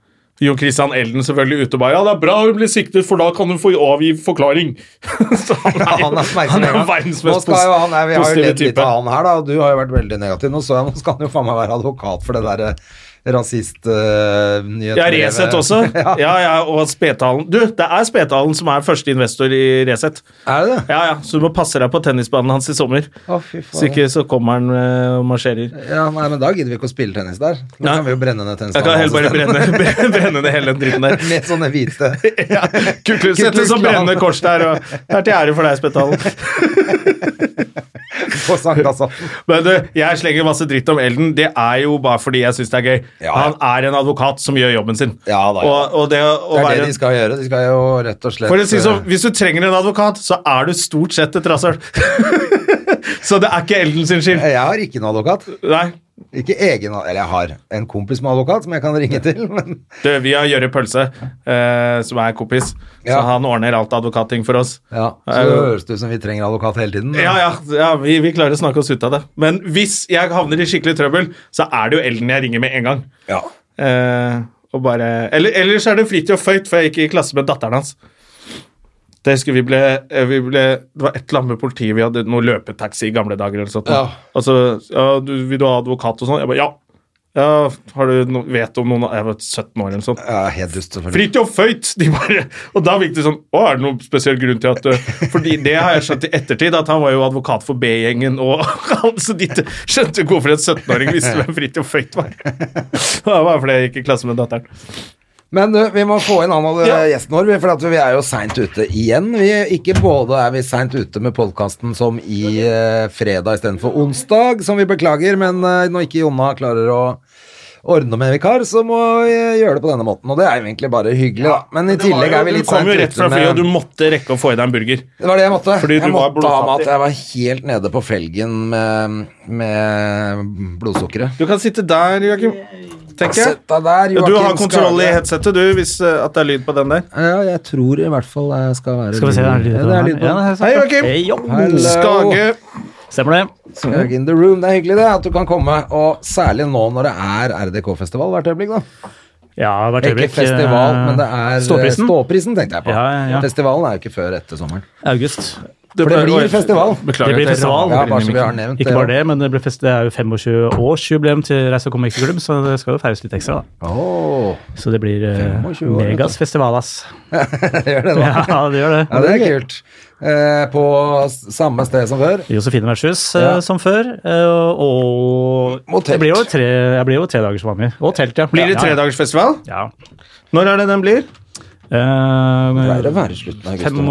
[SPEAKER 1] Jon Christian Elden selvfølgelig ute og bare Ja, det er bra hun blir siktet, for da kan hun få avgi forklaring. Så han er,
[SPEAKER 2] han er smertelig.
[SPEAKER 1] han er jo verdens
[SPEAKER 2] Nå
[SPEAKER 1] mest
[SPEAKER 2] skal jo han, Vi har jo
[SPEAKER 1] positive
[SPEAKER 2] ledd litt
[SPEAKER 1] type.
[SPEAKER 2] av han her, da. og Du har jo vært veldig negativ. Nå så jeg, nå skal han jo faen meg være advokat for det eh, derre rasistnyheten.
[SPEAKER 1] Ja, Resett også.
[SPEAKER 2] ja.
[SPEAKER 1] Ja, ja, og Spetalen. Du, det er Spetalen som er første investor i Resett.
[SPEAKER 2] Er det det?
[SPEAKER 1] Ja, ja, så du må passe deg på tennisbanen hans i sommer.
[SPEAKER 2] Å, fy
[SPEAKER 1] Så
[SPEAKER 2] faen.
[SPEAKER 1] ikke så kommer han eh, og marsjerer.
[SPEAKER 2] Ja, nei, men da gidder vi ikke å spille tennis der. Da
[SPEAKER 1] Nei.
[SPEAKER 2] kan vi jo brenne ned
[SPEAKER 1] Jeg kan heller
[SPEAKER 2] tennisbanen.
[SPEAKER 1] bare brenne, brenne ned hele den dritten der.
[SPEAKER 2] Med sånne hvite
[SPEAKER 1] Ja, Kuklus, sette
[SPEAKER 2] Kuklus
[SPEAKER 1] sånn
[SPEAKER 2] Klan.
[SPEAKER 1] brennende kors der, og det er til ære for deg, Spetalen.
[SPEAKER 2] på sandkassa.
[SPEAKER 1] Men du, jeg slenger masse dritt om Elden. Det er jo bare fordi jeg syns det er gøy.
[SPEAKER 2] Ja.
[SPEAKER 1] Han er en advokat som gjør jobben sin.
[SPEAKER 2] Ja da, ja.
[SPEAKER 1] Og, og det å
[SPEAKER 2] Det er
[SPEAKER 1] være
[SPEAKER 2] det de skal gjøre. De skal jo rett og slett eh,
[SPEAKER 1] For å si det sånn, Hvis du trenger en advokat, så er du stort sett et rasshøl. så det er ikke Elden sin skyld.
[SPEAKER 2] Jeg har ikke noen advokat.
[SPEAKER 1] Nei.
[SPEAKER 2] Ikke egen Eller jeg har en kompis med advokat som jeg kan ringe til, men
[SPEAKER 1] Du, vi har Jørre Pølse, eh, som er kompis, så
[SPEAKER 2] Ja.
[SPEAKER 1] han ordner alt advokatting for oss.
[SPEAKER 2] ja, Så det høres det ut som vi trenger advokat hele tiden.
[SPEAKER 1] Ja, ja, ja vi, vi klarer å snakke oss ut av det. Men hvis jeg havner i skikkelig trøbbel, så er det jo Elden jeg ringer med en gang.
[SPEAKER 2] Ja.
[SPEAKER 1] Eh, og bare eller, Ellers er det Fridtjof Føyt, for jeg gikk i klasse med datteren hans. Det husker vi ble, eh, vi ble Det var et eller annet med politiet. Vi hadde noe løpetaxi i gamle dager. eller sånt.
[SPEAKER 2] Ja.
[SPEAKER 1] Og så ja, du, 'Vil du ha advokat?' og sånn. Jeg bare 'ja'. ja 'Har du no vet om noen Jeg var 17 år eller noe sånt.
[SPEAKER 2] ja helt dust, selvfølgelig.
[SPEAKER 1] Fridtjof Føyt! De bare, og da virket det sånn Å, er det noen spesiell grunn til at uh, Fordi det har jeg skjønt i ettertid, at han var jo advokat for B-gjengen og altså, de skjønte jo ikke hvorfor en 17-åring visste hvem Fridtjof Føyt var. Det var bare fordi jeg gikk i klasse med datteren.
[SPEAKER 2] Men du, vi må få inn han og eh,
[SPEAKER 1] Ja.
[SPEAKER 2] gjesten vår, for at vi er jo seint ute igjen. Vi, ikke både er vi seint ute med podkasten som i eh, fredag istedenfor onsdag, som vi beklager, men eh, når ikke Jonna klarer å ordne med en vikar, så må vi eh, gjøre det på denne måten. Og det er jo egentlig bare hyggelig, da. Men i tillegg er vi litt
[SPEAKER 1] Du kom
[SPEAKER 2] seint
[SPEAKER 1] jo rett fra
[SPEAKER 2] ute
[SPEAKER 1] flyet, og
[SPEAKER 2] med
[SPEAKER 1] du måtte rekke å få i deg en burger.
[SPEAKER 2] Det var det jeg måtte.
[SPEAKER 1] Fordi
[SPEAKER 2] jeg
[SPEAKER 1] du var
[SPEAKER 2] måtte ha mat.
[SPEAKER 1] blodfattig.
[SPEAKER 2] Jeg var helt nede på felgen med, med blodsukkeret.
[SPEAKER 1] Du kan sitte der, Joakim. Tenker jeg.
[SPEAKER 2] Sett deg der,
[SPEAKER 1] Du har
[SPEAKER 2] Joakim
[SPEAKER 1] kontroll i
[SPEAKER 2] Skage.
[SPEAKER 1] headsetet, du, hvis uh, at det er lyd på den der.
[SPEAKER 2] Ja, jeg tror i hvert fall jeg skal være
[SPEAKER 3] Skal vi se, er det lyd
[SPEAKER 2] Ja,
[SPEAKER 3] på
[SPEAKER 2] det er
[SPEAKER 3] den
[SPEAKER 2] lyd
[SPEAKER 3] her?
[SPEAKER 2] på den.
[SPEAKER 3] Ja, det er sånn. sant.
[SPEAKER 1] Hei, Joakim.
[SPEAKER 3] Hei, jo.
[SPEAKER 2] Hello.
[SPEAKER 1] Skage.
[SPEAKER 3] Stemmer det.
[SPEAKER 2] Skag in the room. Det er hyggelig det, at du kan komme, og særlig nå når det er RDK-festival hvert øyeblikk, da.
[SPEAKER 3] Ja, hvert
[SPEAKER 2] Ikke
[SPEAKER 3] øyeblikk,
[SPEAKER 2] festival,
[SPEAKER 3] eh,
[SPEAKER 2] men det er
[SPEAKER 3] Ståprisen.
[SPEAKER 2] Ståprisen, tenkte jeg på.
[SPEAKER 3] Ja, ja, ja.
[SPEAKER 2] Festivalen er jo ikke før etter sommeren.
[SPEAKER 3] August.
[SPEAKER 2] For det blir festival.
[SPEAKER 1] Beklager
[SPEAKER 3] Det blir
[SPEAKER 1] at jeg
[SPEAKER 3] festival.
[SPEAKER 1] ramlet
[SPEAKER 2] Ja,
[SPEAKER 1] inn i
[SPEAKER 2] bare så vi har
[SPEAKER 1] mikrofonen.
[SPEAKER 2] nevnt
[SPEAKER 3] Ikke bare det, men det, ble fest, det er jo 25-årsjubileum til Reise og Komikerklubb, så det skal jo feires litt ekstra, da.
[SPEAKER 2] Åh,
[SPEAKER 3] Så det blir eh,
[SPEAKER 2] 25 år, vet du.
[SPEAKER 3] megas festival, ass.
[SPEAKER 2] gjør det nå.
[SPEAKER 3] Ja, det gjør
[SPEAKER 2] Ja,
[SPEAKER 3] det.
[SPEAKER 2] det er kult. Eh, på s- samme sted som før.
[SPEAKER 3] Josefine Vershus
[SPEAKER 2] Ja.
[SPEAKER 3] som før, eh, og
[SPEAKER 2] Og telt.
[SPEAKER 3] det blir jo tre, jeg blir jo tre dager som vanlig. Og telt, ja.
[SPEAKER 1] Blir det
[SPEAKER 3] Ja, ja.
[SPEAKER 1] tredagersfestival?
[SPEAKER 3] Ja.
[SPEAKER 1] Når er det den blir?
[SPEAKER 2] Det pleier å
[SPEAKER 3] Eh,
[SPEAKER 2] være sånn, i slutten av august.
[SPEAKER 3] fem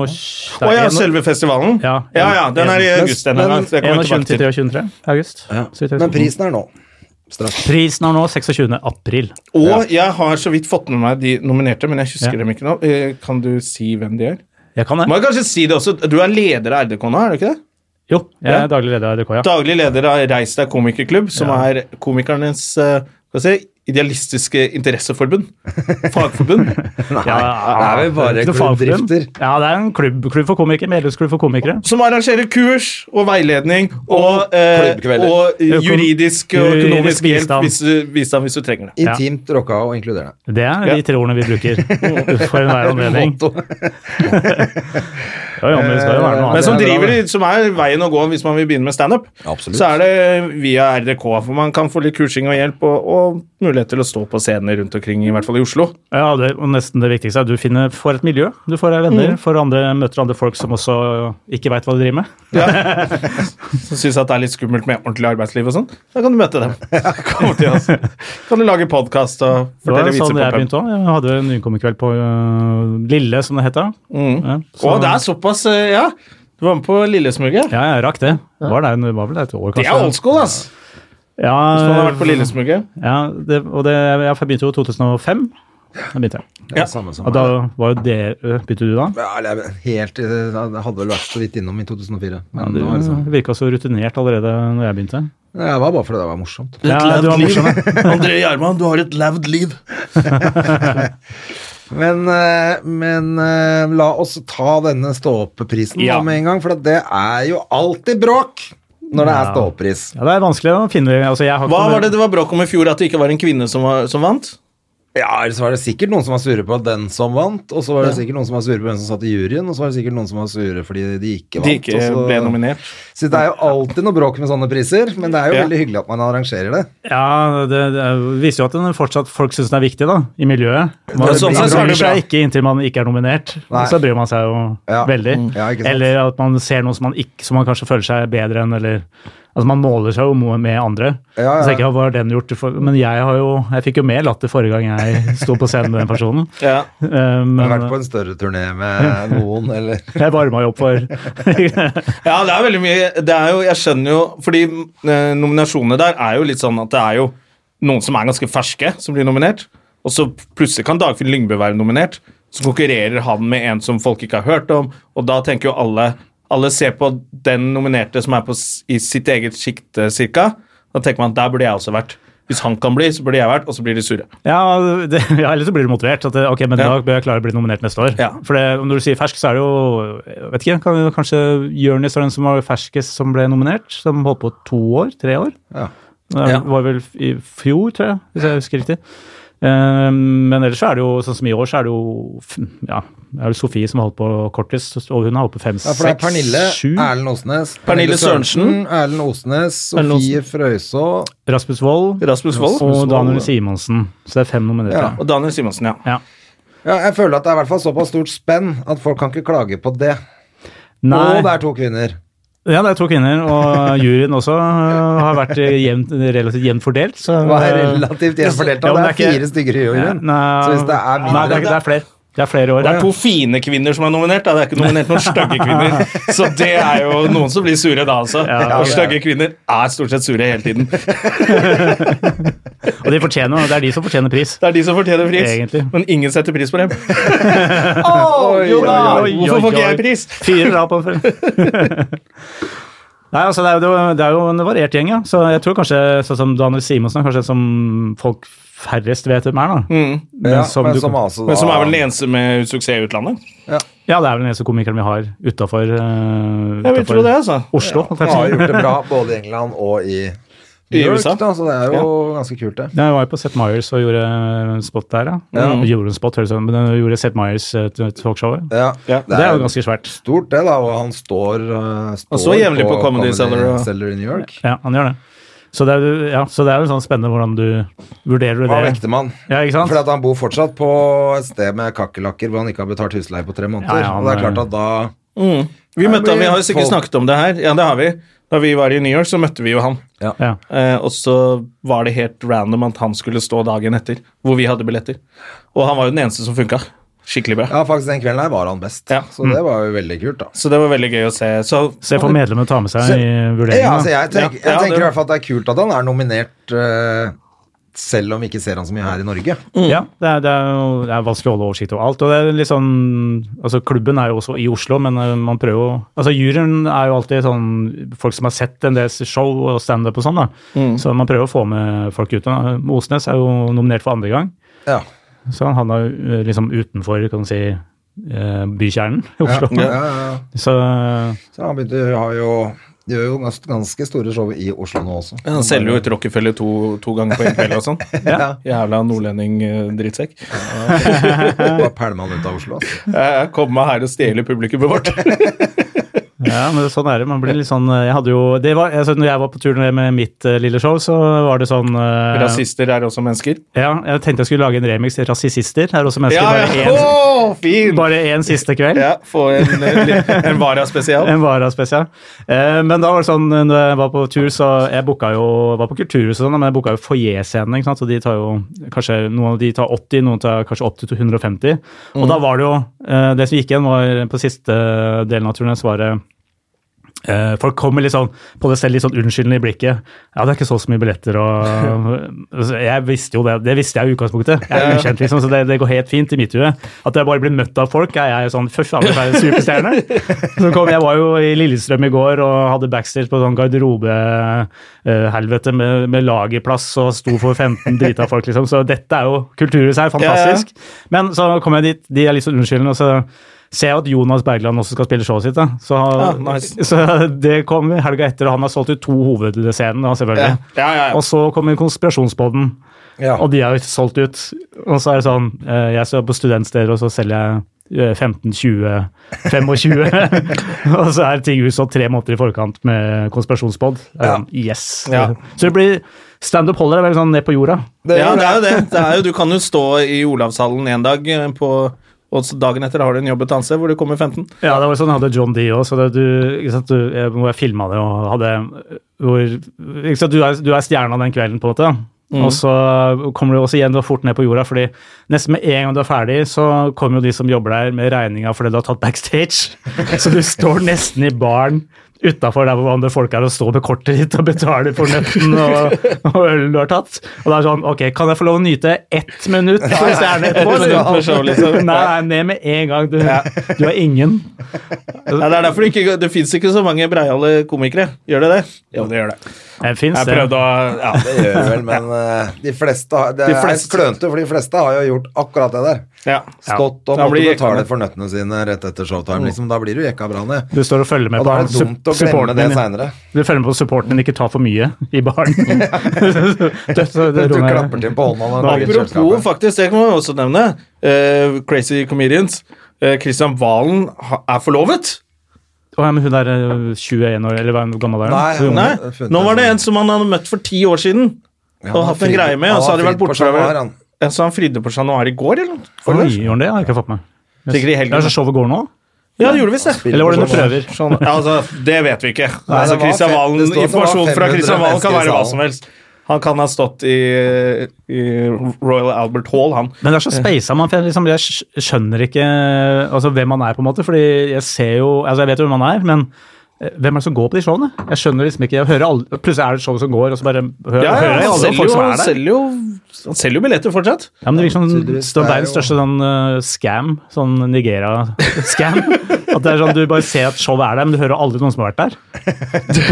[SPEAKER 3] år
[SPEAKER 1] Å ja, selve festivalen?
[SPEAKER 3] Ja.
[SPEAKER 1] ja, ja, den er i
[SPEAKER 2] Men-
[SPEAKER 1] august. Den
[SPEAKER 2] men-
[SPEAKER 1] her, så det kommer vi
[SPEAKER 3] 21
[SPEAKER 1] tilbake
[SPEAKER 3] til
[SPEAKER 1] til.
[SPEAKER 3] 23 august.
[SPEAKER 2] Ja.
[SPEAKER 3] så vidt jeg
[SPEAKER 2] Men
[SPEAKER 3] husker.
[SPEAKER 2] prisen er nå. Straks.
[SPEAKER 3] Prisen er nå 26. april.
[SPEAKER 1] Og jeg har så vidt fått med meg de nominerte, men jeg husker
[SPEAKER 3] Ja.
[SPEAKER 1] dem ikke nå. Eh, Kan du si hvem de er?
[SPEAKER 3] Jeg kan
[SPEAKER 1] Må
[SPEAKER 3] det.
[SPEAKER 1] jeg kanskje si det også? Du er leder av RDK nå, er du ikke det?
[SPEAKER 3] Jo, jeg
[SPEAKER 1] Ja.
[SPEAKER 3] er daglig leder av RDK, ja.
[SPEAKER 1] Daglig leder av Reis deg komikerklubb, som
[SPEAKER 3] Ja.
[SPEAKER 1] er komikernes eh, hva skal jeg si, idealistiske interesseforbund. Fagforbund.
[SPEAKER 3] ja,
[SPEAKER 2] det er vel bare
[SPEAKER 3] Ikke noe fagforbund.
[SPEAKER 2] klubbdrifter.
[SPEAKER 3] Ja, det er en klubb, klubb for komikere, medlemsklubb for komikere.
[SPEAKER 1] Som arrangerer kurs og veiledning og, eh,
[SPEAKER 2] klubbkvelder.
[SPEAKER 1] og eh, juridisk og
[SPEAKER 3] Juridisk
[SPEAKER 1] økonomisk hjelp
[SPEAKER 3] bistand.
[SPEAKER 1] hvis du, bistand hvis du trenger det.
[SPEAKER 3] Ja.
[SPEAKER 2] Intimt rocka og inkluderende.
[SPEAKER 3] Det er
[SPEAKER 1] Ja.
[SPEAKER 3] de tre ordene vi bruker for enhver anledning.
[SPEAKER 2] Motto.
[SPEAKER 3] Ja, ja, men det skal jo være noe
[SPEAKER 1] Men
[SPEAKER 3] annet.
[SPEAKER 1] som,
[SPEAKER 2] det er bra,
[SPEAKER 1] driver, som er veien å gå hvis man vil begynne med standup,
[SPEAKER 2] Absolutt.
[SPEAKER 1] så er det via RDK. For man kan få litt kursing og hjelp, og, og mulighet til å stå på scener rundt omkring, i hvert fall i Oslo.
[SPEAKER 3] Ja, det, og nesten det viktigste er at du finner, får et miljø. Du får deg
[SPEAKER 2] Mm.
[SPEAKER 3] venner, får andre, møter andre folk som også ikke veit hva de driver med.
[SPEAKER 1] Som syns at det er litt skummelt med ordentlig arbeidsliv og sånn. Da kan du møte dem. Kom til oss. Kan du lage podkast og
[SPEAKER 3] Det var
[SPEAKER 1] fortelle vitser på
[SPEAKER 3] sånn jeg
[SPEAKER 1] pub.
[SPEAKER 3] begynte også. Jeg hadde en nykommerkveld på øh, Lille, som det het da. Ja, så-
[SPEAKER 1] Mm. Å, det er såpass, eh, ja. Du var med på Lillesmugget.
[SPEAKER 3] Ja, jeg rakk det. Var der, en- var vel der et år, kanskje.
[SPEAKER 1] Det er old school, ass.
[SPEAKER 3] Ja,
[SPEAKER 1] Hvis man har vært på Lillesmugget.
[SPEAKER 3] Ja, det, og det, jeg begynte jo i 2005. Da begynte jeg.
[SPEAKER 2] Det er samme som
[SPEAKER 3] Og da var jo det øh, Begynte du da?
[SPEAKER 2] Ja, eller jeg- helt i det Jeg hadde vel vært så vidt innom i 2004. Men
[SPEAKER 3] Du
[SPEAKER 2] det var liksom,
[SPEAKER 3] virka så rutinert allerede når jeg begynte.
[SPEAKER 2] jeg var bare fordi det var morsomt.
[SPEAKER 3] Ja, du var morsom. ja.
[SPEAKER 1] André Gjerman, du har et lavd liv.
[SPEAKER 2] Men, eh, men eh, la oss ta denne stå-opp-prisen
[SPEAKER 3] Ja.
[SPEAKER 2] da med en gang, for at det er jo alltid bråk når det er
[SPEAKER 3] Ja.
[SPEAKER 2] stå-opp-pris.
[SPEAKER 3] Ja, det er vanskelig å finne altså, jeg har ikke
[SPEAKER 1] Hva
[SPEAKER 3] noe-
[SPEAKER 1] var det det var bråk om i fjor, at det ikke var en kvinne som, var, som vant?
[SPEAKER 2] Ja, ellers var det sikkert noen som var sure på den som vant, og så var det sikkert noen som var sure på hvem som satt i juryen, og så var det sikkert noen som var sure fordi de ikke vant.
[SPEAKER 1] De ikke
[SPEAKER 2] og så-
[SPEAKER 1] ble nominert.
[SPEAKER 2] Så det er jo alltid noe bråk med sånne priser, men det er jo
[SPEAKER 1] Ja.
[SPEAKER 2] veldig hyggelig at man arrangerer det.
[SPEAKER 3] Ja, det, det viser jo at den fortsatt folk syns den er viktig, da, i miljøet. Man
[SPEAKER 2] Ja, sånn
[SPEAKER 1] sett så er
[SPEAKER 3] bryr
[SPEAKER 1] det bra.
[SPEAKER 3] seg ikke inntil man ikke er nominert.
[SPEAKER 2] Nei.
[SPEAKER 3] Så bryr man seg jo
[SPEAKER 2] Ja. Mm.
[SPEAKER 3] veldig.
[SPEAKER 2] Ja, ikke sant.
[SPEAKER 3] eller at man ser noe som man, ikke, som man kanskje føler seg bedre enn, eller at Altså Man måler seg jo mo- med andre.
[SPEAKER 2] Ja, ja.
[SPEAKER 3] Så tenker jeg, hva har den gjort? For, men jeg har jo, jeg fikk jo mer latter forrige gang jeg sto på scenen med den personen.
[SPEAKER 1] Ja.
[SPEAKER 3] Eh,
[SPEAKER 2] Har du
[SPEAKER 3] Men
[SPEAKER 2] vært på en større turné med noen, eller
[SPEAKER 3] jeg varma jo opp for
[SPEAKER 1] Ja, det er veldig mye det er jo, Jeg skjønner jo Fordi eh, nominasjonene der er jo litt sånn at det er jo noen som er ganske ferske, som blir nominert. Og så plutselig kan Dagfinn Lyngbø være nominert. Så konkurrerer han med en som folk ikke har hørt om, og da tenker jo alle Alle ser på den nominerte som er på, s- i sitt eget sjikte, cirka. Da tenker man der burde jeg også vært. Hvis han kan bli, så burde jeg vært, og så blir de sure.
[SPEAKER 3] Ja, det, ja eller så blir du motivert. At det, ok, men
[SPEAKER 1] Ja.
[SPEAKER 3] da bør jeg klare å bli nominert neste år.
[SPEAKER 1] Ja.
[SPEAKER 3] For det, når du sier fersk, så er det jo jeg vet ikke, kan, Kanskje Jonis var den som var ferskest som ble nominert? Som holdt på to år? Tre år?
[SPEAKER 2] Ja.
[SPEAKER 3] Det
[SPEAKER 1] Ja.
[SPEAKER 3] var vel i fjor, tror jeg, hvis jeg husker riktig. Eh, Men ellers så er det jo sånn som i år, så er det jo f- ja, det er vel Sofie som har holdt på kortest, og hun har holdt på fem,
[SPEAKER 2] Ja, for det er Pernille,
[SPEAKER 3] seks, sju.
[SPEAKER 2] Erlend Osnes,
[SPEAKER 1] Pernille Sørensen,
[SPEAKER 2] Erlend Osnes,
[SPEAKER 1] Erlend
[SPEAKER 2] Sofie Frøysaa
[SPEAKER 3] Rasmus Wold
[SPEAKER 1] Rasmus Wold.
[SPEAKER 3] og Daniel Simonsen. Så det er fem
[SPEAKER 2] Ja.
[SPEAKER 3] nominerte.
[SPEAKER 1] Og Daniel Simonsen, ja.
[SPEAKER 3] Ja.
[SPEAKER 2] ja, Jeg føler at det er i hvert fall såpass stort spenn at folk kan ikke klage på det. Og det er to kvinner.
[SPEAKER 3] Ja, det er to kvinner, og juryen også øh, har vært øh, jevnt, relativt jevnt fordelt. Så,
[SPEAKER 2] Det var relativt jevnt fordelt,
[SPEAKER 3] Ja,
[SPEAKER 2] og
[SPEAKER 3] men
[SPEAKER 2] det er
[SPEAKER 3] ikke-
[SPEAKER 2] fire stykker i juryen.
[SPEAKER 3] Nei,
[SPEAKER 2] Så hvis det er
[SPEAKER 3] Nei, det er, ikke-
[SPEAKER 2] mindre
[SPEAKER 3] det er flere. Det er flere år.
[SPEAKER 1] Det er to fine kvinner som er nominert. Da. Det er ikke nominert noen stygge kvinner. Så det er jo noen som blir sure da, altså.
[SPEAKER 3] Ja,
[SPEAKER 1] og
[SPEAKER 2] ja.
[SPEAKER 1] stygge kvinner er stort sett sure hele tiden. Det
[SPEAKER 3] Og de fortjener, det er de som fortjener pris.
[SPEAKER 1] er de som fortjener pris,
[SPEAKER 3] Egentlig.
[SPEAKER 1] men ingen setter pris på dem.
[SPEAKER 2] Oi, oi, oi.
[SPEAKER 3] Oi,
[SPEAKER 1] Hvorfor
[SPEAKER 3] oi,
[SPEAKER 1] får ikke
[SPEAKER 3] oi.
[SPEAKER 1] jeg pris?
[SPEAKER 3] Fire drap på en Nei, altså det er, jo, det er jo en variert gjeng, ja. Så jeg tror kanskje sånn som Daniel Simonsen er kanskje den som folk færrest vet hvem er, da. Men
[SPEAKER 2] Mm. Ja,
[SPEAKER 3] som
[SPEAKER 2] men
[SPEAKER 3] du-
[SPEAKER 2] som altså da
[SPEAKER 1] Men som er vel den eneste med suksess i utlandet.
[SPEAKER 3] ja, det er vel den eneste komikeren vi har utafor eh,
[SPEAKER 1] Jeg vil tro det, altså.
[SPEAKER 3] Oslo. holdt jeg på å si.
[SPEAKER 2] har gjort det bra både i England og i
[SPEAKER 1] I
[SPEAKER 2] New York,
[SPEAKER 1] USA.
[SPEAKER 2] da, så det er jo ganske kult, det.
[SPEAKER 3] Ja, Jeg var jo på Seth Meyers og gjorde en spot der, ja.
[SPEAKER 2] Ja.
[SPEAKER 3] Gjorde en spot, høres det ut som, men jeg gjorde Seth Meyers eh, til- til talkshowet.
[SPEAKER 2] Ja,
[SPEAKER 1] Ja,
[SPEAKER 3] Det er jo ganske svært.
[SPEAKER 2] stort, det, da. Og han står, eh, står
[SPEAKER 1] står jevnlig på Comedy Cellar og-
[SPEAKER 2] Cellar i New York.
[SPEAKER 3] Ja, han gjør det. Så det er jo ja, så det er jo sånn spennende hvordan du vurderer
[SPEAKER 2] Hva
[SPEAKER 3] det.
[SPEAKER 2] vekter man?
[SPEAKER 3] Ja, ikke sant?
[SPEAKER 2] Fordi at han bor fortsatt på et sted med kakerlakker hvor han ikke har betalt husleie på tre måneder.
[SPEAKER 3] Ja, ja, han
[SPEAKER 2] og det er
[SPEAKER 3] er-
[SPEAKER 2] klart at da
[SPEAKER 1] Vi møtte ham, vi har jo
[SPEAKER 2] Folk-
[SPEAKER 1] sikkert snakket om det her. Ja, det har vi. Da vi var i New York, så møtte vi jo han.
[SPEAKER 3] Ja.
[SPEAKER 1] Eh, og så var det helt random at han skulle stå dagen etter, hvor vi hadde billetter. Og han var jo den eneste som funka. Skikkelig bra.
[SPEAKER 2] Ja, faktisk, den kvelden her var han best.
[SPEAKER 1] Ja.
[SPEAKER 2] Så det var jo veldig kult, da.
[SPEAKER 1] Så det var veldig gøy å se. Så
[SPEAKER 3] Så jeg får medlemmene ta med seg
[SPEAKER 2] Så-
[SPEAKER 3] i
[SPEAKER 2] Ja, altså,
[SPEAKER 3] vurderingen. da.
[SPEAKER 2] jeg tenker,
[SPEAKER 1] Ja, ja,
[SPEAKER 2] jeg tenker
[SPEAKER 1] det-
[SPEAKER 2] i hvert fall at det er kult at han er nominert, eh, selv om vi ikke ser han så mye her i Norge.
[SPEAKER 3] Ja, det er, det, er jo, det er vanskelig å holde oversikt over alt. og det er litt sånn, altså Klubben er jo også i Oslo, men eh, man prøver jo altså Juryen er jo alltid sånn folk som har sett en del show og standup og sånn, da.
[SPEAKER 2] Mm.
[SPEAKER 3] Så man prøver å få med folk ut. da. Osnes er jo nominert for andre gang.
[SPEAKER 2] Ja.
[SPEAKER 3] Så han havna jo, eh, liksom utenfor kan du si, eh, bykjernen
[SPEAKER 2] Ja,
[SPEAKER 3] i Oslo.
[SPEAKER 2] ja, ja.
[SPEAKER 3] Så eh,
[SPEAKER 2] Så han begynte, har jo, gjør jo gans- ganske store show i Oslo nå også.
[SPEAKER 1] Ja, Han selger jo ut Rockefeller to, to ganger på en kveld og sånn. Jævla eh, nordlending-drittsekk.
[SPEAKER 2] Bare pælma han ut av Oslo. Altså.
[SPEAKER 1] Eh, Kom meg her og stjele publikummet vårt.
[SPEAKER 3] ja, men sånn er det. Man blir litt sånn eh, Jeg hadde jo det var, altså, Når jeg var på turné med mitt eh, lille show, så var det sånn eh,
[SPEAKER 1] Rasister er også mennesker.
[SPEAKER 3] Ja, jeg tenkte jeg skulle lage en remix til Rasisister. Her er også mennesker.
[SPEAKER 1] Ja, ja.
[SPEAKER 3] Bare,
[SPEAKER 1] Å,
[SPEAKER 3] én,
[SPEAKER 1] fin!
[SPEAKER 3] bare én siste kveld.
[SPEAKER 1] Ja, få en, eh, en Vara-spesial.
[SPEAKER 3] En varaspesial. Eh, men da var det sånn, eh, når jeg var på tur, så jeg booka jo var på Kulturhuset, og sånn, men jeg booka jo foajé-scenen. ikke sant? Så de tar jo kanskje noen av de tar 80, noen tar kanskje opptil 150. Og da var det jo eh, Det som gikk igjen, var på siste delen av turneen, så var det eh, folk kommer litt sånn på det selv litt sånn unnskyldende i blikket. Ja, det er ikke så, så mye billetter og Så Jeg visste jo det, det visste jeg i utgangspunktet. Jeg er ukjent, liksom, så det, det går helt fint i mitt hue. At jeg bare blir møtt av folk, er jeg sånn Fy faen, jeg er en superstjerne. Så kom, jeg var jo i Lillestrøm i går og hadde backstage på sånn garderobehelvete med, med lagerplass og sto for 15 drita folk, liksom. Så dette er jo Kulturhuset er fantastisk. Men så kom jeg dit, de er litt sånn unnskyldende, og så ser jeg at Jonas Bergland også skal spille showet sitt. Da. Så,
[SPEAKER 1] Ja, Ah, nice.
[SPEAKER 3] så det kom helga etter, og han har solgt ut to hovedscener, da, selvfølgelig.
[SPEAKER 1] Ja, ja, ja.
[SPEAKER 3] Og så kommer konspirasjonspodden,
[SPEAKER 2] Ja.
[SPEAKER 3] og de er jo solgt ut. Og så er det sånn, eh, jeg står på studentsteder, og så selger jeg eh, 15, 20, 25. og så er ting utsolgt tre måneder i forkant med konspirasjonspod. Det er
[SPEAKER 2] Ja.
[SPEAKER 3] sånn, Yes!
[SPEAKER 1] Ja.
[SPEAKER 3] Så det blir Standup holder er veldig sånn ned på jorda.
[SPEAKER 1] Ja, det er jo det. det er jo, du kan jo stå i Olavshallen en dag, eh, på, og så dagen etter har du en jobb et annet sted hvor det kommer 15.
[SPEAKER 3] Ja, det var sånn jeg hadde John D også, så det, du, ikke sant, du, jeg, hvor jeg filma det og hadde hvor ikke sant, du, er, du er stjerna den kvelden, på en måte. Og så kommer du også igjen du er fort ned på jorda, fordi nesten med en gang du er ferdig, så kommer jo de som jobber der med regninga fordi du har tatt backstage. Så du står nesten i baren utafor der hvor andre folk er og står med kortet ditt og betaler for nøtten og, og ølen du har tatt. Og det er sånn Ok, kan jeg få lov å nyte ett minutt av stjerne etterpå?
[SPEAKER 1] minutt med show, liksom.
[SPEAKER 3] Nei, nei, ned med en gang. Du, du er ingen.
[SPEAKER 1] Nei, det er derfor det ikke det fins ikke så mange breiale komikere. Gjør det det? Jo, det gjør det.
[SPEAKER 3] Jeg finnes
[SPEAKER 1] Jeg
[SPEAKER 3] det.
[SPEAKER 1] prøvde å ja.
[SPEAKER 2] Det gjør vel, men eh, de fleste har Det
[SPEAKER 1] De fleste-
[SPEAKER 2] er klønete, for de fleste har jo gjort akkurat det der.
[SPEAKER 1] ja.
[SPEAKER 2] Stått og
[SPEAKER 1] Da blir
[SPEAKER 2] måtte
[SPEAKER 1] jekka
[SPEAKER 2] betale
[SPEAKER 1] ned.
[SPEAKER 2] for nøttene sine rett etter showtime, liksom. Da blir du jekka bra ned.
[SPEAKER 3] Du står og følger med
[SPEAKER 2] Og
[SPEAKER 3] på
[SPEAKER 2] da er det
[SPEAKER 3] sup-
[SPEAKER 2] dumt å glemme
[SPEAKER 3] supporten
[SPEAKER 2] det
[SPEAKER 3] din.
[SPEAKER 2] seinere.
[SPEAKER 3] Du følger med på supporten din, ikke ta for mye i baren. Det- så det
[SPEAKER 2] Du
[SPEAKER 3] rommet-
[SPEAKER 2] klapper til på hånda når du ligger i
[SPEAKER 1] Apropos,
[SPEAKER 2] kjøleskapet.
[SPEAKER 1] faktisk, det kan man også nevne. eh, crazy Comedians. Eh, Christian Valen ha- er forlovet.
[SPEAKER 3] Å, ja, men hun er eh, 21 år, eller hva er hun gammel er? hun?
[SPEAKER 2] Nei,
[SPEAKER 3] Hun-
[SPEAKER 2] hun-
[SPEAKER 1] Nei,
[SPEAKER 2] har funnet
[SPEAKER 1] nå var det
[SPEAKER 2] en-
[SPEAKER 1] en som han hadde møtt for ti år siden.
[SPEAKER 2] Ja,
[SPEAKER 1] og
[SPEAKER 2] han
[SPEAKER 1] hatt en
[SPEAKER 2] frir-
[SPEAKER 1] greie med, og
[SPEAKER 2] han
[SPEAKER 1] så har de
[SPEAKER 2] frir
[SPEAKER 1] vært
[SPEAKER 2] på
[SPEAKER 1] borte fra
[SPEAKER 2] januar,
[SPEAKER 1] hverandre.
[SPEAKER 2] han.
[SPEAKER 1] En som han fridde på Chat Noir i går, eller?
[SPEAKER 3] Oi,
[SPEAKER 1] Forløs.
[SPEAKER 3] gjorde hun det? Jeg har ikke fått med
[SPEAKER 1] Sikkert i helgen.
[SPEAKER 3] Ja, Så showet går nå?
[SPEAKER 1] Ja, det gjorde visst det.
[SPEAKER 3] Eller var det under prøver?
[SPEAKER 1] Sånn, altså, det vet vi ikke.
[SPEAKER 2] Nei,
[SPEAKER 1] altså,
[SPEAKER 2] det var
[SPEAKER 1] Christian
[SPEAKER 2] fem-
[SPEAKER 1] Valen,
[SPEAKER 2] det står at det
[SPEAKER 1] informasjon
[SPEAKER 2] var
[SPEAKER 1] fra Christian
[SPEAKER 2] 500
[SPEAKER 1] Valen kan
[SPEAKER 2] mennesker i
[SPEAKER 1] være
[SPEAKER 2] salen.
[SPEAKER 1] hva som helst. Han kan ha stått i, i Royal Albert Hall, han.
[SPEAKER 3] Men det er så speisa man, for jeg, liksom, jeg skj- skjønner ikke eh, altså, hvem han er, på en måte. Fordi jeg ser jo Altså, jeg vet jo hvem han er, men eh, hvem er det som går på de showene? Jeg skjønner liksom ikke, jeg hører aldri, Plutselig er det et show som går, og så bare hører,
[SPEAKER 1] Ja,
[SPEAKER 3] hører
[SPEAKER 1] ja,
[SPEAKER 3] jeg
[SPEAKER 1] han,
[SPEAKER 3] alle
[SPEAKER 1] selger
[SPEAKER 3] folk
[SPEAKER 1] jo,
[SPEAKER 3] som er
[SPEAKER 1] han,
[SPEAKER 3] der.
[SPEAKER 1] selger jo, han selger jo billetter fortsatt.
[SPEAKER 3] Ja, men det virker som
[SPEAKER 2] tydeligvis,
[SPEAKER 3] det er
[SPEAKER 2] det er
[SPEAKER 3] verdens
[SPEAKER 2] jo-
[SPEAKER 3] største sånn eh, scam, sånn Nigeria-scam. At det er sånn, Du bare ser at showet er der, men du hører aldri noen som har vært der.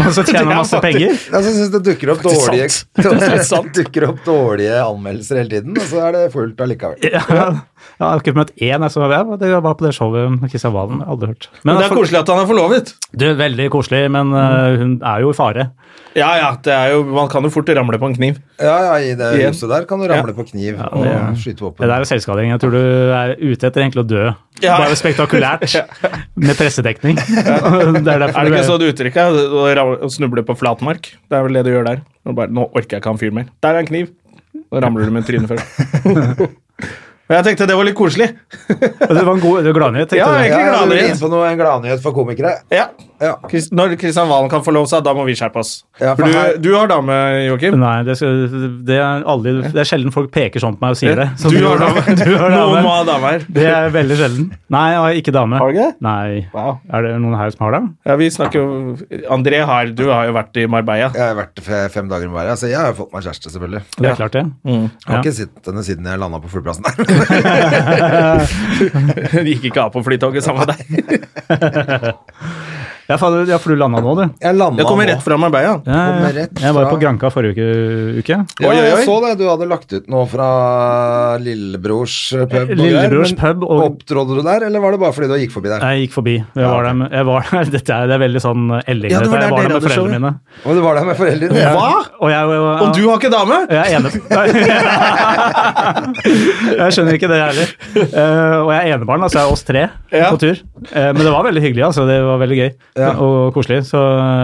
[SPEAKER 3] Og så tjener man masse penger.
[SPEAKER 2] Jeg syns det dukker opp dårlige
[SPEAKER 1] sant.
[SPEAKER 2] Det dukker opp dårlige anmeldelser hele tiden, og så er det fullt allikevel.
[SPEAKER 3] Ja, jeg har ikke møtt én jeg så ja, det var på det showet med Kristian Valen. Aldri hørt.
[SPEAKER 1] Men det er koselig at han er forlovet.
[SPEAKER 3] Det er veldig koselig, men eh, hun er jo i fare.
[SPEAKER 1] Ja, ja, det er jo, man kan jo fort ramle på en kniv.
[SPEAKER 2] Ja, ja, i det
[SPEAKER 1] Igjen.
[SPEAKER 2] huset der kan du ramle på kniv
[SPEAKER 3] det-
[SPEAKER 2] og skyte
[SPEAKER 3] Det
[SPEAKER 2] våpen.
[SPEAKER 3] der er selvskading. Jeg tror du er ute etter egentlig å dø.
[SPEAKER 1] Ja.
[SPEAKER 3] Bare spektakulært. Med pressedekning. Det er
[SPEAKER 1] Er
[SPEAKER 3] derfor
[SPEAKER 1] det ikke
[SPEAKER 3] du
[SPEAKER 1] sånn uttrykk er? Å ramle- å snuble på flatmark? Det er vel det du gjør der. Når du bare, nå orker jeg ikke han fyren mer. Der er en kniv. Da ramler du med trynet først. Men jeg tenkte det var litt koselig.
[SPEAKER 3] Det var en god det var gladnyhet,
[SPEAKER 1] Ja,
[SPEAKER 2] Ja,
[SPEAKER 1] jeg-
[SPEAKER 3] tenkte du.
[SPEAKER 2] du
[SPEAKER 1] Egentlig
[SPEAKER 2] er
[SPEAKER 1] gladnyhet.
[SPEAKER 2] inne på noe, en gladnyhet for komikere.
[SPEAKER 1] Ja.
[SPEAKER 2] Ja.
[SPEAKER 1] Chris- Når Kristian Valen kan forlove seg, da må vi skjerpe oss.
[SPEAKER 2] Ja,
[SPEAKER 1] for
[SPEAKER 2] for her-
[SPEAKER 1] du, du har dame, Joakim.
[SPEAKER 3] Nei, det, skal, det, er aldri, det er sjelden folk peker sånn på meg og sier det. Så
[SPEAKER 1] Du har dame.
[SPEAKER 3] Du har
[SPEAKER 1] Noen må
[SPEAKER 3] dame.
[SPEAKER 1] ha dame her.
[SPEAKER 3] Det er veldig sjelden. Nei, jeg har ikke dame.
[SPEAKER 1] Har du ikke det?
[SPEAKER 3] Nei.
[SPEAKER 1] Wow.
[SPEAKER 3] Er det noen her som har det?
[SPEAKER 1] Ja, vi snakker jo André har Du har jo vært i Marbella.
[SPEAKER 2] Jeg har vært fe- fem dager med hver, så jeg har jo fått meg kjæreste, selvfølgelig.
[SPEAKER 3] Det er klart det.
[SPEAKER 1] Mm.
[SPEAKER 2] Jeg har
[SPEAKER 3] Ja.
[SPEAKER 2] ikke sett henne siden jeg landa på flyplassen der.
[SPEAKER 1] Gikk ikke av på flytoget sammen med deg.
[SPEAKER 3] Ja, for, ja, for du landa nå, du.
[SPEAKER 2] Jeg landa
[SPEAKER 1] Jeg kommer rett fra Marbella.
[SPEAKER 3] Ja,
[SPEAKER 2] Kommer
[SPEAKER 3] ja.
[SPEAKER 2] rett
[SPEAKER 3] jeg var
[SPEAKER 2] fra-
[SPEAKER 3] på Granka forrige uke. uke.
[SPEAKER 2] Ja,
[SPEAKER 1] Oi, oi, oi.
[SPEAKER 2] jeg så det. Du hadde lagt ut noe fra lillebrors pub. og
[SPEAKER 3] Lillebrors
[SPEAKER 2] greier, men
[SPEAKER 3] pub og-
[SPEAKER 2] Opptrådde du der, eller var det bare fordi du gikk forbi der?
[SPEAKER 3] Jeg gikk forbi. Jeg var der, med- jeg var der. Dette er, det er veldig sånn elling.
[SPEAKER 1] Ja, det var
[SPEAKER 3] dette.
[SPEAKER 1] der
[SPEAKER 3] jeg
[SPEAKER 1] dere
[SPEAKER 3] var der med
[SPEAKER 1] hadde showet.
[SPEAKER 3] foreldrene mine.
[SPEAKER 2] Og du var der med foreldrene dine?
[SPEAKER 3] Og jeg, jeg,
[SPEAKER 1] Og du har ikke dame?
[SPEAKER 3] Jeg er enebarn. jeg skjønner ikke det heller. Eh, og jeg er enebarn, altså jeg er oss tre
[SPEAKER 1] Ja.
[SPEAKER 3] på tur. Eh, men det var veldig hyggelig, altså. Det var veldig gøy og koselig. Så,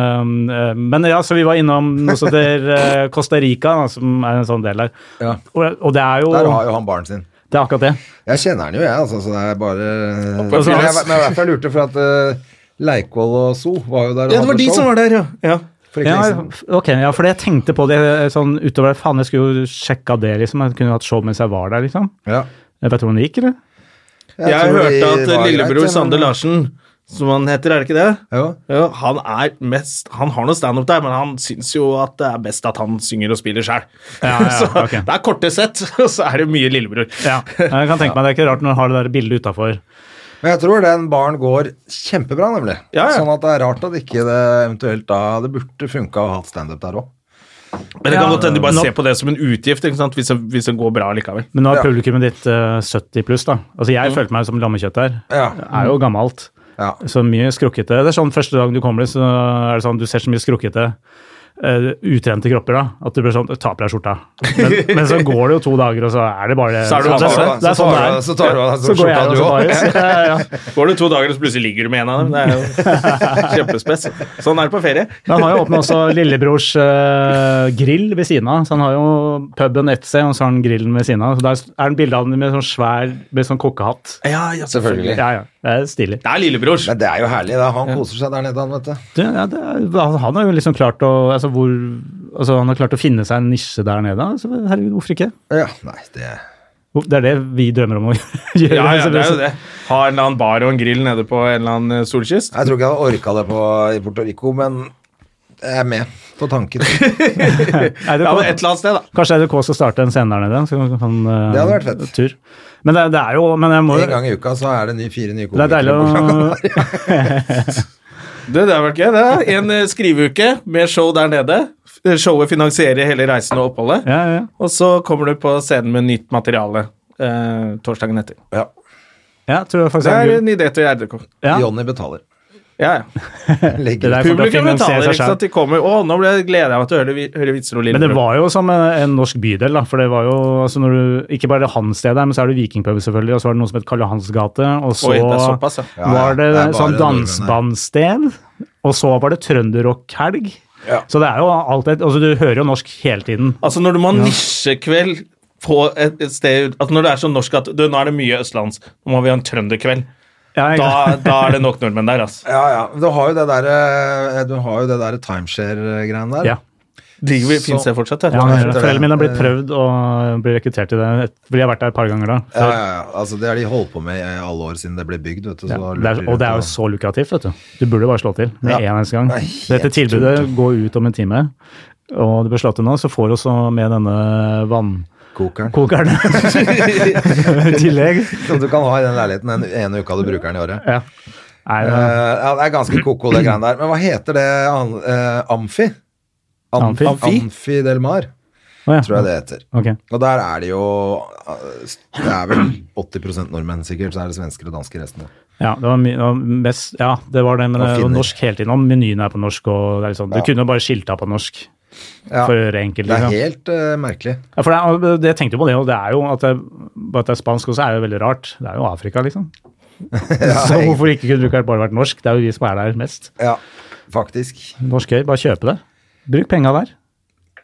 [SPEAKER 3] eh, men ja, så vi var innom noe som heter eh, Costa Rica, da, som er en sånn del der.
[SPEAKER 2] Ja.
[SPEAKER 3] Og, og det er jo
[SPEAKER 2] Der har jo han barnet sin.
[SPEAKER 3] Det er akkurat det.
[SPEAKER 2] Jeg kjenner han jo, jeg, altså, så det er bare
[SPEAKER 1] på
[SPEAKER 2] Men jeg,
[SPEAKER 1] fjellet.
[SPEAKER 2] men jeg, jeg lurte, for at eh, Leikvoll og So var jo der. og
[SPEAKER 1] Ja, det var
[SPEAKER 2] hadde
[SPEAKER 1] de
[SPEAKER 2] show
[SPEAKER 1] som var der, ja. ja.
[SPEAKER 2] for ikke sånn.
[SPEAKER 3] Ja,
[SPEAKER 2] lenge siden.
[SPEAKER 3] ok, ja, for jeg tenkte på det eh, sånn utover det. Faen, jeg skulle jo sjekka det, liksom. Jeg kunne hatt show mens jeg var der, liksom.
[SPEAKER 2] Ja.
[SPEAKER 3] Jeg vet du hvordan det gikk, eller?
[SPEAKER 1] Jeg,
[SPEAKER 2] tror de
[SPEAKER 1] hørte at
[SPEAKER 2] var greit,
[SPEAKER 1] lillebror
[SPEAKER 2] men-
[SPEAKER 1] Sander Larsen, som han heter, er det ikke det?
[SPEAKER 2] Jo.
[SPEAKER 1] Ja, han er mest Han har noe standup der, men han syns jo at det er best at han synger og spiller sjæl.
[SPEAKER 3] Ja, ja,
[SPEAKER 1] så
[SPEAKER 3] ok.
[SPEAKER 1] det er korte sett, og så er det mye lillebror.
[SPEAKER 3] Ja, jeg kan tenke meg Det er ikke rart når du har det der bildet utafor.
[SPEAKER 2] Men jeg tror den baren går kjempebra, nemlig.
[SPEAKER 1] Ja, ja.
[SPEAKER 2] Sånn at det er rart at ikke det eventuelt da Det burde funka å ha hatt standup der òg.
[SPEAKER 1] Men det kan
[SPEAKER 3] Ja.
[SPEAKER 1] godt hende de bare
[SPEAKER 3] Nå-
[SPEAKER 1] ser på det som en utgift, ikke sant? Hvis, det, hvis det går bra likevel.
[SPEAKER 3] Men nå er
[SPEAKER 2] Ja. Mm.
[SPEAKER 3] publikummet ditt eh, 70 pluss, da. Altså, jeg følte meg som lammekjøtt der.
[SPEAKER 2] Ja.
[SPEAKER 3] Det er jo gammelt.
[SPEAKER 2] Ja.
[SPEAKER 3] Så mye skrukkete. Det er sånn første dag du kommer dit, så er det sånn du ser så mye skrukkete. eh, utrente kropper, da. At du blir sånn Ta på deg skjorta. Men, men så går det jo to dager, og så er det bare
[SPEAKER 1] Så er du-
[SPEAKER 3] det,
[SPEAKER 1] så
[SPEAKER 3] er- det er
[SPEAKER 2] tar
[SPEAKER 3] sånn det
[SPEAKER 2] du-
[SPEAKER 3] er.
[SPEAKER 2] så tar du av deg
[SPEAKER 3] Så går jeg
[SPEAKER 2] skjorta,
[SPEAKER 3] og
[SPEAKER 2] du
[SPEAKER 3] så
[SPEAKER 2] også.
[SPEAKER 3] bare ja, ja, ja.
[SPEAKER 1] Går det to dager, så plutselig ligger du med en av dem. Det er jo kjempespess. Sånn er det på ferie.
[SPEAKER 3] Men han har jo åpna også lillebrors eh, grill ved siden av. Så han har jo puben etter seg, og så har han grillen ved siden av. Så der er det bilde av ham med sånn svær med sånn kokkehatt.
[SPEAKER 1] Ja, ja,
[SPEAKER 2] Selvfølgelig.
[SPEAKER 3] Ja, ja. Det er stilig.
[SPEAKER 1] Det er lillebrors.
[SPEAKER 2] Men det er jo herlig, da. Han koser seg der nede, han, vet du.
[SPEAKER 3] Det, ja, det, er- han han har jo liksom klart å altså, hvor, altså, Han har klart å finne seg en nisje der nede. Altså, herregud, hvorfor ikke?
[SPEAKER 2] Ja, nei, det
[SPEAKER 3] Hvor- Det er det vi drømmer om å gjøre.
[SPEAKER 1] Ja, ja, det er jo
[SPEAKER 3] Så-
[SPEAKER 1] det. Ha en eller annen bar og en grill nede på en eller annen eh, solkyst.
[SPEAKER 2] Jeg tror ikke jeg hadde orka det på, i Puerto Rico, men jeg er med på tanken. Det
[SPEAKER 3] Er det
[SPEAKER 1] Ja,
[SPEAKER 3] på-
[SPEAKER 1] men Et eller annet sted, da.
[SPEAKER 3] Kanskje RDK skal starte en scene der nede. Så kan, kan, eh,
[SPEAKER 2] Det hadde vært fett.
[SPEAKER 3] Tur. Men det, det er jo men jeg må,
[SPEAKER 2] En gang i uka så er det ny, fire nye
[SPEAKER 3] Det er deilig
[SPEAKER 2] komikere.
[SPEAKER 3] å
[SPEAKER 1] Det, det har vært gøy. det. En eh, skriveuke med show der nede. F- eh, Showet finansierer hele reisen og oppholdet.
[SPEAKER 3] ja, ja.
[SPEAKER 1] Og så kommer du på scenen med nytt materiale eh, torsdagen etter.
[SPEAKER 2] Ja.
[SPEAKER 3] ja, tror jeg faktisk
[SPEAKER 1] Det
[SPEAKER 3] det
[SPEAKER 1] er
[SPEAKER 3] er en
[SPEAKER 1] en idé til RDK.
[SPEAKER 3] Ja.
[SPEAKER 2] Johnny betaler.
[SPEAKER 1] Ja, ja.
[SPEAKER 2] Legger
[SPEAKER 3] Det
[SPEAKER 2] ut.
[SPEAKER 3] der- kommer til å
[SPEAKER 1] Publikum
[SPEAKER 3] finansiere
[SPEAKER 1] betaler,
[SPEAKER 3] seg
[SPEAKER 1] ikke sant. liksom, De kommer Å, nå ble jeg gleder jeg meg til å høre, vi- høre vitser og
[SPEAKER 3] Men det
[SPEAKER 1] lillebror.
[SPEAKER 3] var jo som en, en norsk bydel, da. For det var jo altså når du, Ikke bare hans sted der, men så er det vikingpub, selvfølgelig, og så var det noe som het Karl Johans gate, og så
[SPEAKER 1] Oi, det er såpass, ja.
[SPEAKER 2] Ja,
[SPEAKER 3] var det,
[SPEAKER 2] det er bare
[SPEAKER 3] sånn
[SPEAKER 2] nordmenn her.
[SPEAKER 3] dansbandsted, og så var det trønderrock-helg.
[SPEAKER 2] Ja.
[SPEAKER 3] Så det er jo alt et Altså, du hører jo norsk hele tiden.
[SPEAKER 1] Altså, når du må ha nisjekveld på et, et sted altså Når det er så norsk at du, nå er det mye østlands, nå må vi ha en trønderkveld.
[SPEAKER 3] Ja, ikke
[SPEAKER 1] Da,
[SPEAKER 3] sant?
[SPEAKER 1] da er det nok nordmenn der, altså.
[SPEAKER 2] Ja, ja. Du har jo det derre Du har jo det derre timeshare-greiene der.
[SPEAKER 3] ja.
[SPEAKER 1] Driver vi- Fins
[SPEAKER 2] Så-
[SPEAKER 1] det fortsatt?
[SPEAKER 3] Ja,
[SPEAKER 1] Ja.
[SPEAKER 3] han
[SPEAKER 2] jeg
[SPEAKER 3] gjør det.
[SPEAKER 2] tror det.
[SPEAKER 3] Foreldrene mine har blitt prøvd og blir rekruttert til det. et- Fordi jeg har vært der et par ganger da.
[SPEAKER 2] Ja, ja, ja. Altså, det har de holdt på med i alle år siden det ble bygd, vet du.
[SPEAKER 3] Ja,
[SPEAKER 2] så da
[SPEAKER 3] det er,
[SPEAKER 2] lurer de
[SPEAKER 3] og det er jo
[SPEAKER 2] rundt
[SPEAKER 3] så lukrativt, vet du. Du burde bare slå til med
[SPEAKER 2] Ja.
[SPEAKER 3] en eneste gang.
[SPEAKER 2] Det er helt
[SPEAKER 3] Dette tilbudet går ut om en time, og det bør slå til nå. Så får du også med denne vannkokeren
[SPEAKER 2] kokeren.
[SPEAKER 3] i tillegg.
[SPEAKER 2] Som du kan ha i den leiligheten den ene uka du bruker den i året.
[SPEAKER 3] Ja. Nei,
[SPEAKER 2] Eh,
[SPEAKER 3] det-
[SPEAKER 2] ja, det er ganske koko, det greiene der. Men hva heter det an, eh, Amfi? Am-
[SPEAKER 3] Amfi?
[SPEAKER 2] Amfi Del Mar,
[SPEAKER 3] Å, ja.
[SPEAKER 2] tror jeg det heter.
[SPEAKER 3] Ok.
[SPEAKER 2] Og der er det jo eh, Det er vel 80 nordmenn, sikkert, så er det svensker og dansker resten.
[SPEAKER 3] Ja, det var, my- det var mest, ja, det var det, men
[SPEAKER 2] Og
[SPEAKER 3] det var
[SPEAKER 2] finner.
[SPEAKER 3] norsk hele tiden. Og menyen er på norsk, og det er litt sånn. Du kunne jo bare skilta på norsk
[SPEAKER 2] Ja,
[SPEAKER 3] for å gjøre enkelt.
[SPEAKER 2] det er
[SPEAKER 3] liksom.
[SPEAKER 2] helt eh, merkelig.
[SPEAKER 3] Ja, for det, er- det tenkte jo på det, og det er jo at det, bare at det er spansk også er jo veldig rart. Det er jo Afrika, liksom. så hvorfor ikke kunne du ikke bare vært norsk? Det er jo vi som er der mest.
[SPEAKER 2] Ja, faktisk.
[SPEAKER 3] Norsk øy, bare kjøpe det. Bruk penga der.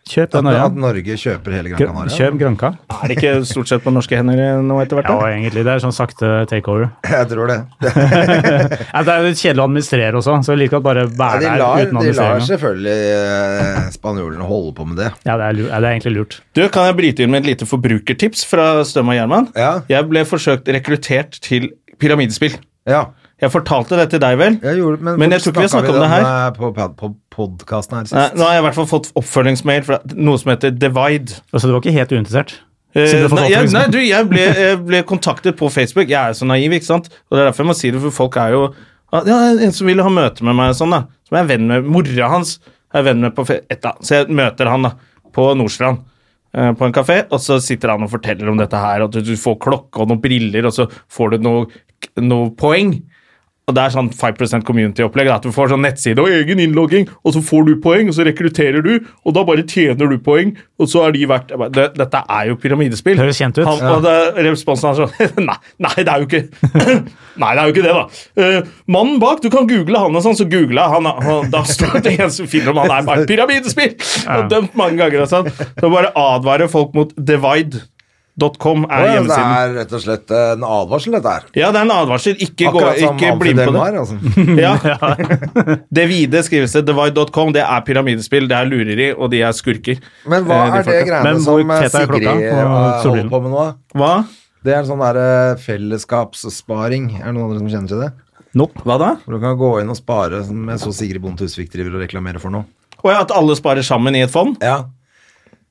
[SPEAKER 3] Kjøp
[SPEAKER 2] At,
[SPEAKER 3] den øya.
[SPEAKER 2] at Norge kjøper hele Gran
[SPEAKER 3] Gr-
[SPEAKER 2] Canaria.
[SPEAKER 3] Kjøp Granca.
[SPEAKER 1] Er det ikke stort sett på norske hender eh, nå etter hvert?
[SPEAKER 3] Ja,
[SPEAKER 1] da?
[SPEAKER 3] egentlig. Det er sånn sakte takeover.
[SPEAKER 2] Jeg tror det.
[SPEAKER 3] Ja, det er jo litt kjedelig å administrere også, så jeg liker at bare
[SPEAKER 2] Ja,
[SPEAKER 3] være
[SPEAKER 2] de,
[SPEAKER 3] der
[SPEAKER 2] lar, de
[SPEAKER 3] uten
[SPEAKER 2] lar
[SPEAKER 3] administrering.
[SPEAKER 2] selvfølgelig eh, spanjolene holde på med det.
[SPEAKER 3] Ja, det er, lu- ja, det er egentlig lurt.
[SPEAKER 1] Du, Kan jeg bryte inn med et lite forbrukertips fra Støm og Gjerman?
[SPEAKER 2] Ja.
[SPEAKER 1] Jeg ble forsøkt rekruttert til pyramidespill.
[SPEAKER 2] Ja,
[SPEAKER 1] Jeg fortalte det til deg, vel?
[SPEAKER 2] jeg gjorde, men,
[SPEAKER 1] Men jeg tror ikke vi har snakket om det her.
[SPEAKER 2] denne På, pod- på podkasten her
[SPEAKER 1] Nei,
[SPEAKER 2] sist.
[SPEAKER 1] nå har jeg i hvert fall fått oppfølgingsmail fra noe som heter Divide.
[SPEAKER 3] Altså, du var ikke helt uinteressert? Siden
[SPEAKER 1] Eh,
[SPEAKER 3] du har fått
[SPEAKER 1] nei, jeg,
[SPEAKER 3] oppmerksomhet.
[SPEAKER 1] nei, du, jeg ble, jeg ble kontaktet på Facebook. Jeg er jo så naiv, ikke sant? Og det er derfor jeg må si det, for folk er jo ja, det er En som ville ha møte med meg, og sånn da som jeg er venn med mora hans. er venn med på fe- et, da. Så jeg møter han da på Nordstrand eh, på en kafé, og så sitter han og forteller om dette her. At du, du får klokke og noen briller, og så får du noe, noe poeng. Og det er sånn 5 community-opplegg. da, At du får sånn nettside og egen innlogging, og så får du poeng, og så rekrutterer du, og da bare tjener du poeng, og så er de verdt jeg bare, det, Dette er jo pyramidespill.
[SPEAKER 3] Høres kjent ut.
[SPEAKER 1] Han, og det, responsen hans var nei, nei, det er jo ikke Nei, det er jo ikke det, da. Eh, mannen bak, du kan google han og sånn, så googla han, og da står det en som finner om han er bare pyramidespill! Og dømt mange ganger og sånn. Så bare advarer folk mot divide.com
[SPEAKER 2] Å,
[SPEAKER 1] er
[SPEAKER 2] ja, det
[SPEAKER 1] hjemmesiden.
[SPEAKER 2] er rett og slett eh, en advarsel, dette her.
[SPEAKER 1] Ja, det er en advarsel. Ikke, gå,
[SPEAKER 2] Akkurat som
[SPEAKER 1] ikke bli med
[SPEAKER 2] Amfidel
[SPEAKER 1] på det.
[SPEAKER 2] Mar, altså.
[SPEAKER 1] Ja. det vide skrives det divide.com. Det er pyramidespill, det er lureri, og de er skurker.
[SPEAKER 2] Men hva
[SPEAKER 1] Eh, de
[SPEAKER 2] er det
[SPEAKER 1] folka.
[SPEAKER 2] greiene
[SPEAKER 3] Men hvor
[SPEAKER 2] som eh,
[SPEAKER 3] tett er
[SPEAKER 2] Sigrid
[SPEAKER 3] klokka på
[SPEAKER 2] eh, holder
[SPEAKER 3] solbrillene?
[SPEAKER 2] på med nå? da?
[SPEAKER 1] Hva?
[SPEAKER 2] Det er en sånn der eh, fellesskapssparing. Er det noen andre som kjenner til det?
[SPEAKER 3] Nope.
[SPEAKER 1] Hva da?
[SPEAKER 2] Hvor du kan gå inn og spare som jeg så Sigrid Bonde Tusvik driver og reklamerer for nå.
[SPEAKER 1] Og ja, at alle sparer sammen i et fond?
[SPEAKER 2] Ja.